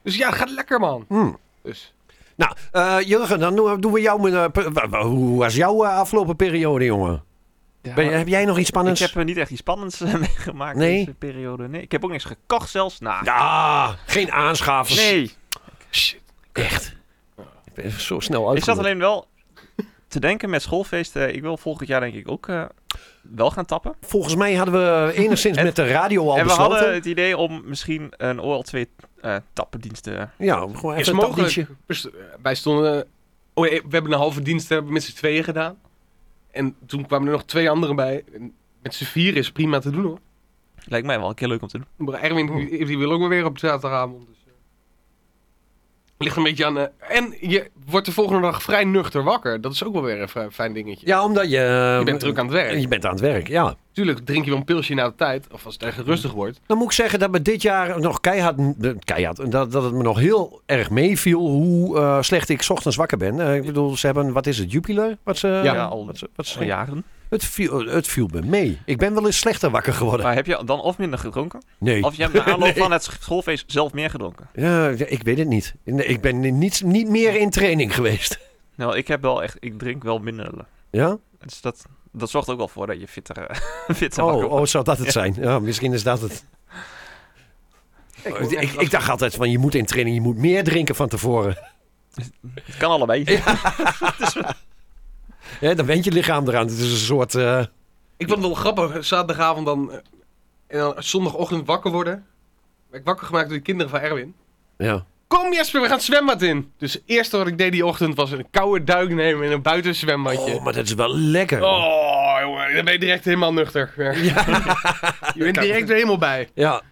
Speaker 5: Dus ja, het gaat lekker man.
Speaker 4: Hm.
Speaker 5: Dus.
Speaker 4: Nou, eh, Jurgen, dan doen we- doen we jou... eh, pe- wa- wa- Hoe was jouw eh, afgelopen periode, jongen? Ben, je- heb jij nog iets
Speaker 3: ik
Speaker 4: spannends?
Speaker 3: heb eh, niet echt iets spannends eh, meegemaakt
Speaker 4: Nee.
Speaker 3: in deze periode. Nee, ik heb ook niks gekocht zelfs. Nou,
Speaker 4: Ah, geen aanschafers.
Speaker 3: nee.
Speaker 5: Shit.
Speaker 4: Echt. Ik ben zo snel uit.
Speaker 3: Ik zat alleen wel te denken met schoolfeesten. Ik wil volgend jaar denk ik ook eh, wel gaan tappen.
Speaker 4: Volgens mij hadden we enigszins met de radio al
Speaker 3: en we
Speaker 4: besloten.
Speaker 3: hadden het idee om misschien een OL2 eh tappendienst te...
Speaker 4: Ja, gewoon
Speaker 5: Is
Speaker 4: even een
Speaker 5: mogelijk.
Speaker 4: tablietje.
Speaker 5: Dus, eh, wij stonden. Oh, ja, we hebben een halve dienst hebben we met z'n tweeën gedaan. En toen kwamen er nog twee anderen bij. En met z'n vier is prima te doen hoor.
Speaker 3: Lijkt mij wel een keer leuk om te doen.
Speaker 5: Maar Erwin die, die wil ook wel weer op zaterdagavond. Dus, eh. Ligt een beetje aan. eh, en je wordt de volgende dag vrij nuchter wakker. Dat is ook wel weer een vrij fijn dingetje.
Speaker 4: Ja, omdat je... eh,
Speaker 5: je bent druk aan het werk.
Speaker 4: Je bent aan het werk, ja.
Speaker 5: Tuurlijk drink je wel een pilsje na de tijd. Of als het echt rustig wordt.
Speaker 4: Dan moet ik zeggen dat me dit jaar nog keihard... eh, keihard dat, dat het me nog heel erg meeviel hoe eh, slecht ik 's ochtends wakker ben. Eh, ik bedoel, ze hebben... Wat is het? Jupiler? Wat ze,
Speaker 5: Ja.
Speaker 3: al,
Speaker 4: wat ze, wat ze
Speaker 3: al jaren.
Speaker 4: het, viel, het viel me mee. Ik ben wel eens slechter wakker geworden.
Speaker 3: Maar heb je dan of minder gedronken?
Speaker 4: Nee.
Speaker 3: Of je hebt na aanloop van het schoolfeest zelf meer gedronken?
Speaker 4: Ja, ik weet het niet. Nee, Ik ben niet, niet meer in training geweest.
Speaker 3: Nou, ik heb wel echt... Ik drink wel minder.
Speaker 4: Ja?
Speaker 3: Dus dat, dat zorgt ook wel voor dat je fitter, eh, fitter wakker
Speaker 4: Oh,
Speaker 3: wordt.
Speaker 4: oh, zou dat het zijn? Ja, misschien is dat het. Oh,
Speaker 5: Ik,
Speaker 4: Ik, ik, ik dacht altijd van je moet in training, je moet meer drinken van tevoren.
Speaker 3: Het kan allebei.
Speaker 4: Ja, dan went je lichaam eraan. Het is een soort. eh,
Speaker 5: Ik vond het wel grappig, zaterdagavond dan, eh, en dan zondagochtend wakker worden. Werd ik wakker gemaakt door de kinderen van Erwin.
Speaker 4: ja.
Speaker 5: Kom Jesper, we gaan het zwembad in. Dus het eerste wat ik deed die ochtend was een koude duik nemen in een buitenzwembadje.
Speaker 4: Oh,
Speaker 5: Oh,
Speaker 4: maar dat is wel lekker.
Speaker 5: jongen, dan ben je direct helemaal nuchter. Ja. je bent direct weer helemaal bij.
Speaker 4: Ja,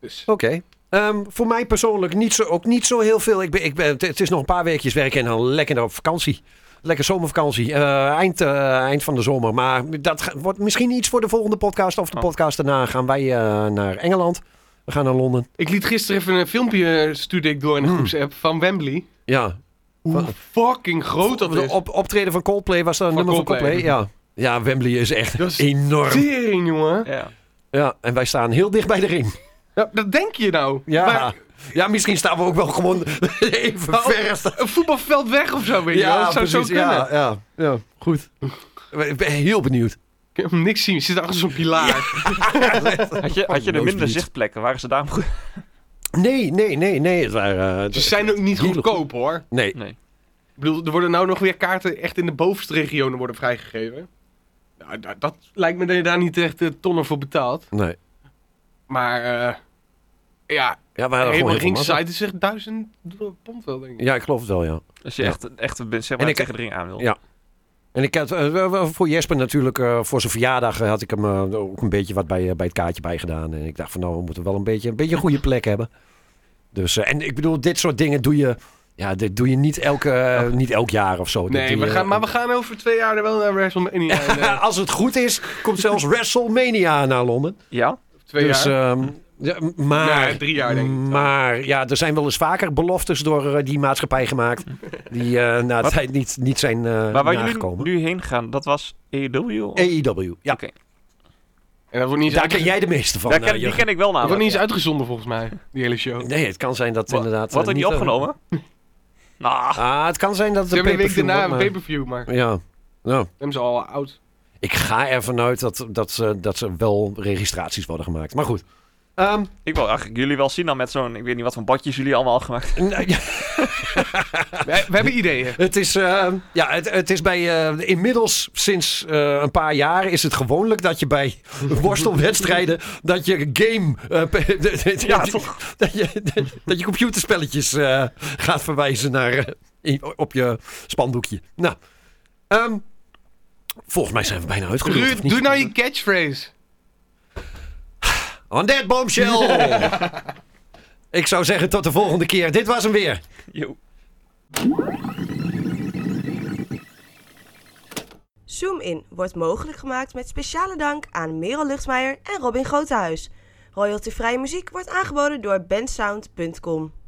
Speaker 5: Dus.
Speaker 4: oké. Ehm, voor mij persoonlijk niet zo, ook niet zo heel veel. Ik ben, ik ben, het- het is nog een paar weekjes werken en dan lekker op vakantie. Lekker zomervakantie. Eh, eind, eh, eind van de zomer. Maar dat ga- wordt misschien iets voor de volgende podcast. Of de
Speaker 3: Oh.
Speaker 4: podcast daarna gaan wij eh, naar Engeland. We gaan naar Londen.
Speaker 5: Ik liet gisteren even een filmpje eh, stuurde ik door in de
Speaker 4: Hmm.
Speaker 5: groepsapp van Wembley.
Speaker 4: Ja,
Speaker 5: Hoe fucking groot dat
Speaker 4: De
Speaker 5: is.
Speaker 4: op, optreden van Coldplay was dat een
Speaker 5: Van
Speaker 4: nummer van
Speaker 5: Coldplay.
Speaker 4: Coldplay. Ja. ja, Wembley is echt
Speaker 5: Dat is
Speaker 4: enorm.
Speaker 5: Tering, jongen.
Speaker 3: Ja.
Speaker 4: Ja, en wij staan heel dicht bij de ring.
Speaker 5: Ja, dat denk je nou.
Speaker 4: Ja.
Speaker 5: Maar
Speaker 4: ja, misschien staan we ook wel gewoon even
Speaker 5: Nou,
Speaker 4: ver. als-
Speaker 5: een voetbalveld weg of zo, weet je wel.
Speaker 4: Ja,
Speaker 5: Dat zou
Speaker 4: precies.
Speaker 5: zo kunnen.
Speaker 4: Ja, ja, ja, goed. Ik ben heel benieuwd.
Speaker 5: Ik heb hem niks zien. Ze zit achter zo'n pilaar.
Speaker 3: Had je, had je er
Speaker 4: Loos
Speaker 3: minder
Speaker 4: niet.
Speaker 3: zichtplekken? Waren ze daarom goed?
Speaker 4: Nee, nee, nee, nee. Het waren, eh,
Speaker 5: Ze zijn ook niet
Speaker 4: Heel
Speaker 5: goedkoop, hoor.
Speaker 4: nee.
Speaker 3: Nee.
Speaker 5: Ik bedoel, er worden nou nog weer kaarten echt in de bovenste regionen worden vrijgegeven. Nou, dat, dat lijkt me dat je daar niet echt eh, tonnen voor betaalt.
Speaker 4: nee.
Speaker 5: Maar eh, ja,
Speaker 4: Ja, we hadden gewoon
Speaker 5: helemaal
Speaker 4: heel veel
Speaker 5: geen
Speaker 4: massa.
Speaker 5: site is echt duizend pond wel, denk ik.
Speaker 4: Ja, ik geloof het wel, ja.
Speaker 3: Als je
Speaker 4: Ja.
Speaker 3: echt, echt zeg
Speaker 4: En
Speaker 3: maar,
Speaker 4: ik-
Speaker 3: tegen de ring aan wil.
Speaker 4: Ja. En ik had eh, wel- wel voor Jesper natuurlijk, eh, voor zijn verjaardag eh, had ik hem eh, ook een beetje wat bij, eh, bij het kaartje bij gedaan. En ik dacht van nou, we moeten wel een beetje een, beetje een goede plek hebben. Dus, eh, en ik bedoel, dit soort dingen doe je, ja, dit doe je niet, elke, eh, niet elk jaar of zo. Dit
Speaker 5: nee,
Speaker 4: doe
Speaker 5: we
Speaker 4: je-
Speaker 5: gaan, maar we gaan over twee jaar er wel naar WrestleMania. en, eh,
Speaker 4: Als het goed is, komt zelfs WrestleMania naar Londen.
Speaker 3: Ja?
Speaker 5: twee
Speaker 4: dus,
Speaker 5: jaar.
Speaker 4: ehm, ja, maar,
Speaker 5: Nee, drie jaar denk ik.
Speaker 4: Maar ja, er zijn wel eens vaker beloftes door eh, die maatschappij gemaakt. Die eh na de
Speaker 3: Wat?
Speaker 4: tijd niet, niet zijn eh
Speaker 3: Maar waar jullie
Speaker 4: nagekomen.
Speaker 3: nu heen gaan, dat was AEW? of-
Speaker 4: AEW, E- ja.
Speaker 3: Oké.
Speaker 5: En dat wordt niet,
Speaker 4: eh, Daar
Speaker 5: eens, uitge-
Speaker 4: ken jij de meeste van.
Speaker 3: Daar ken-
Speaker 4: eh,
Speaker 3: die
Speaker 4: Jurgen.
Speaker 3: ken ik wel
Speaker 5: dat wordt
Speaker 3: namelijk.
Speaker 5: niet eens uitgezonden volgens mij, die hele show.
Speaker 4: Nee, het kan zijn dat
Speaker 3: Wa-
Speaker 4: inderdaad...
Speaker 3: Wat had
Speaker 4: eh,
Speaker 3: niet
Speaker 4: niet-
Speaker 3: opgenomen? Nou,
Speaker 4: Ah, het kan zijn dat het
Speaker 5: Ze
Speaker 4: een
Speaker 5: hebben de
Speaker 4: pay-per-view
Speaker 5: week daarna een
Speaker 4: wordt,
Speaker 5: pay-per-view, maar
Speaker 4: maar- Ja. Nou,
Speaker 5: hebben ze al oud.
Speaker 4: ik ga ervan uit dat, dat, ze, dat ze wel registraties worden gemaakt. Maar goed. Ehm,
Speaker 3: ik wil eigenlijk jullie wel zien dan met zo'n... Ik weet niet wat voor badjes jullie allemaal al gemaakt
Speaker 4: nou, ja,
Speaker 5: We, we hebben ideeën.
Speaker 4: het, is, ehm, ja, het, het is bij... eh, inmiddels, sinds eh, een paar jaar, is het gewoonlijk dat je bij worstelwedstrijden... dat je game... eh, pe- de- de-
Speaker 3: Ja,
Speaker 4: de-
Speaker 3: toch?
Speaker 4: dat, je, dat- dat je computerspelletjes eh, gaat verwijzen naar, eh, in- op je spandoekje. Nou, ehm, volgens mij zijn we bijna uitgeroeid.
Speaker 5: Ruud, doe nou je catchphrase.
Speaker 4: On that bombshell! Ik zou zeggen tot de volgende keer. Dit was hem weer.
Speaker 3: Yo.
Speaker 2: Zoom In wordt mogelijk gemaakt met speciale dank aan Merel Luchtmeijer en Robin Grotehuis. Royaltyvrije muziek wordt aangeboden door bensound.com.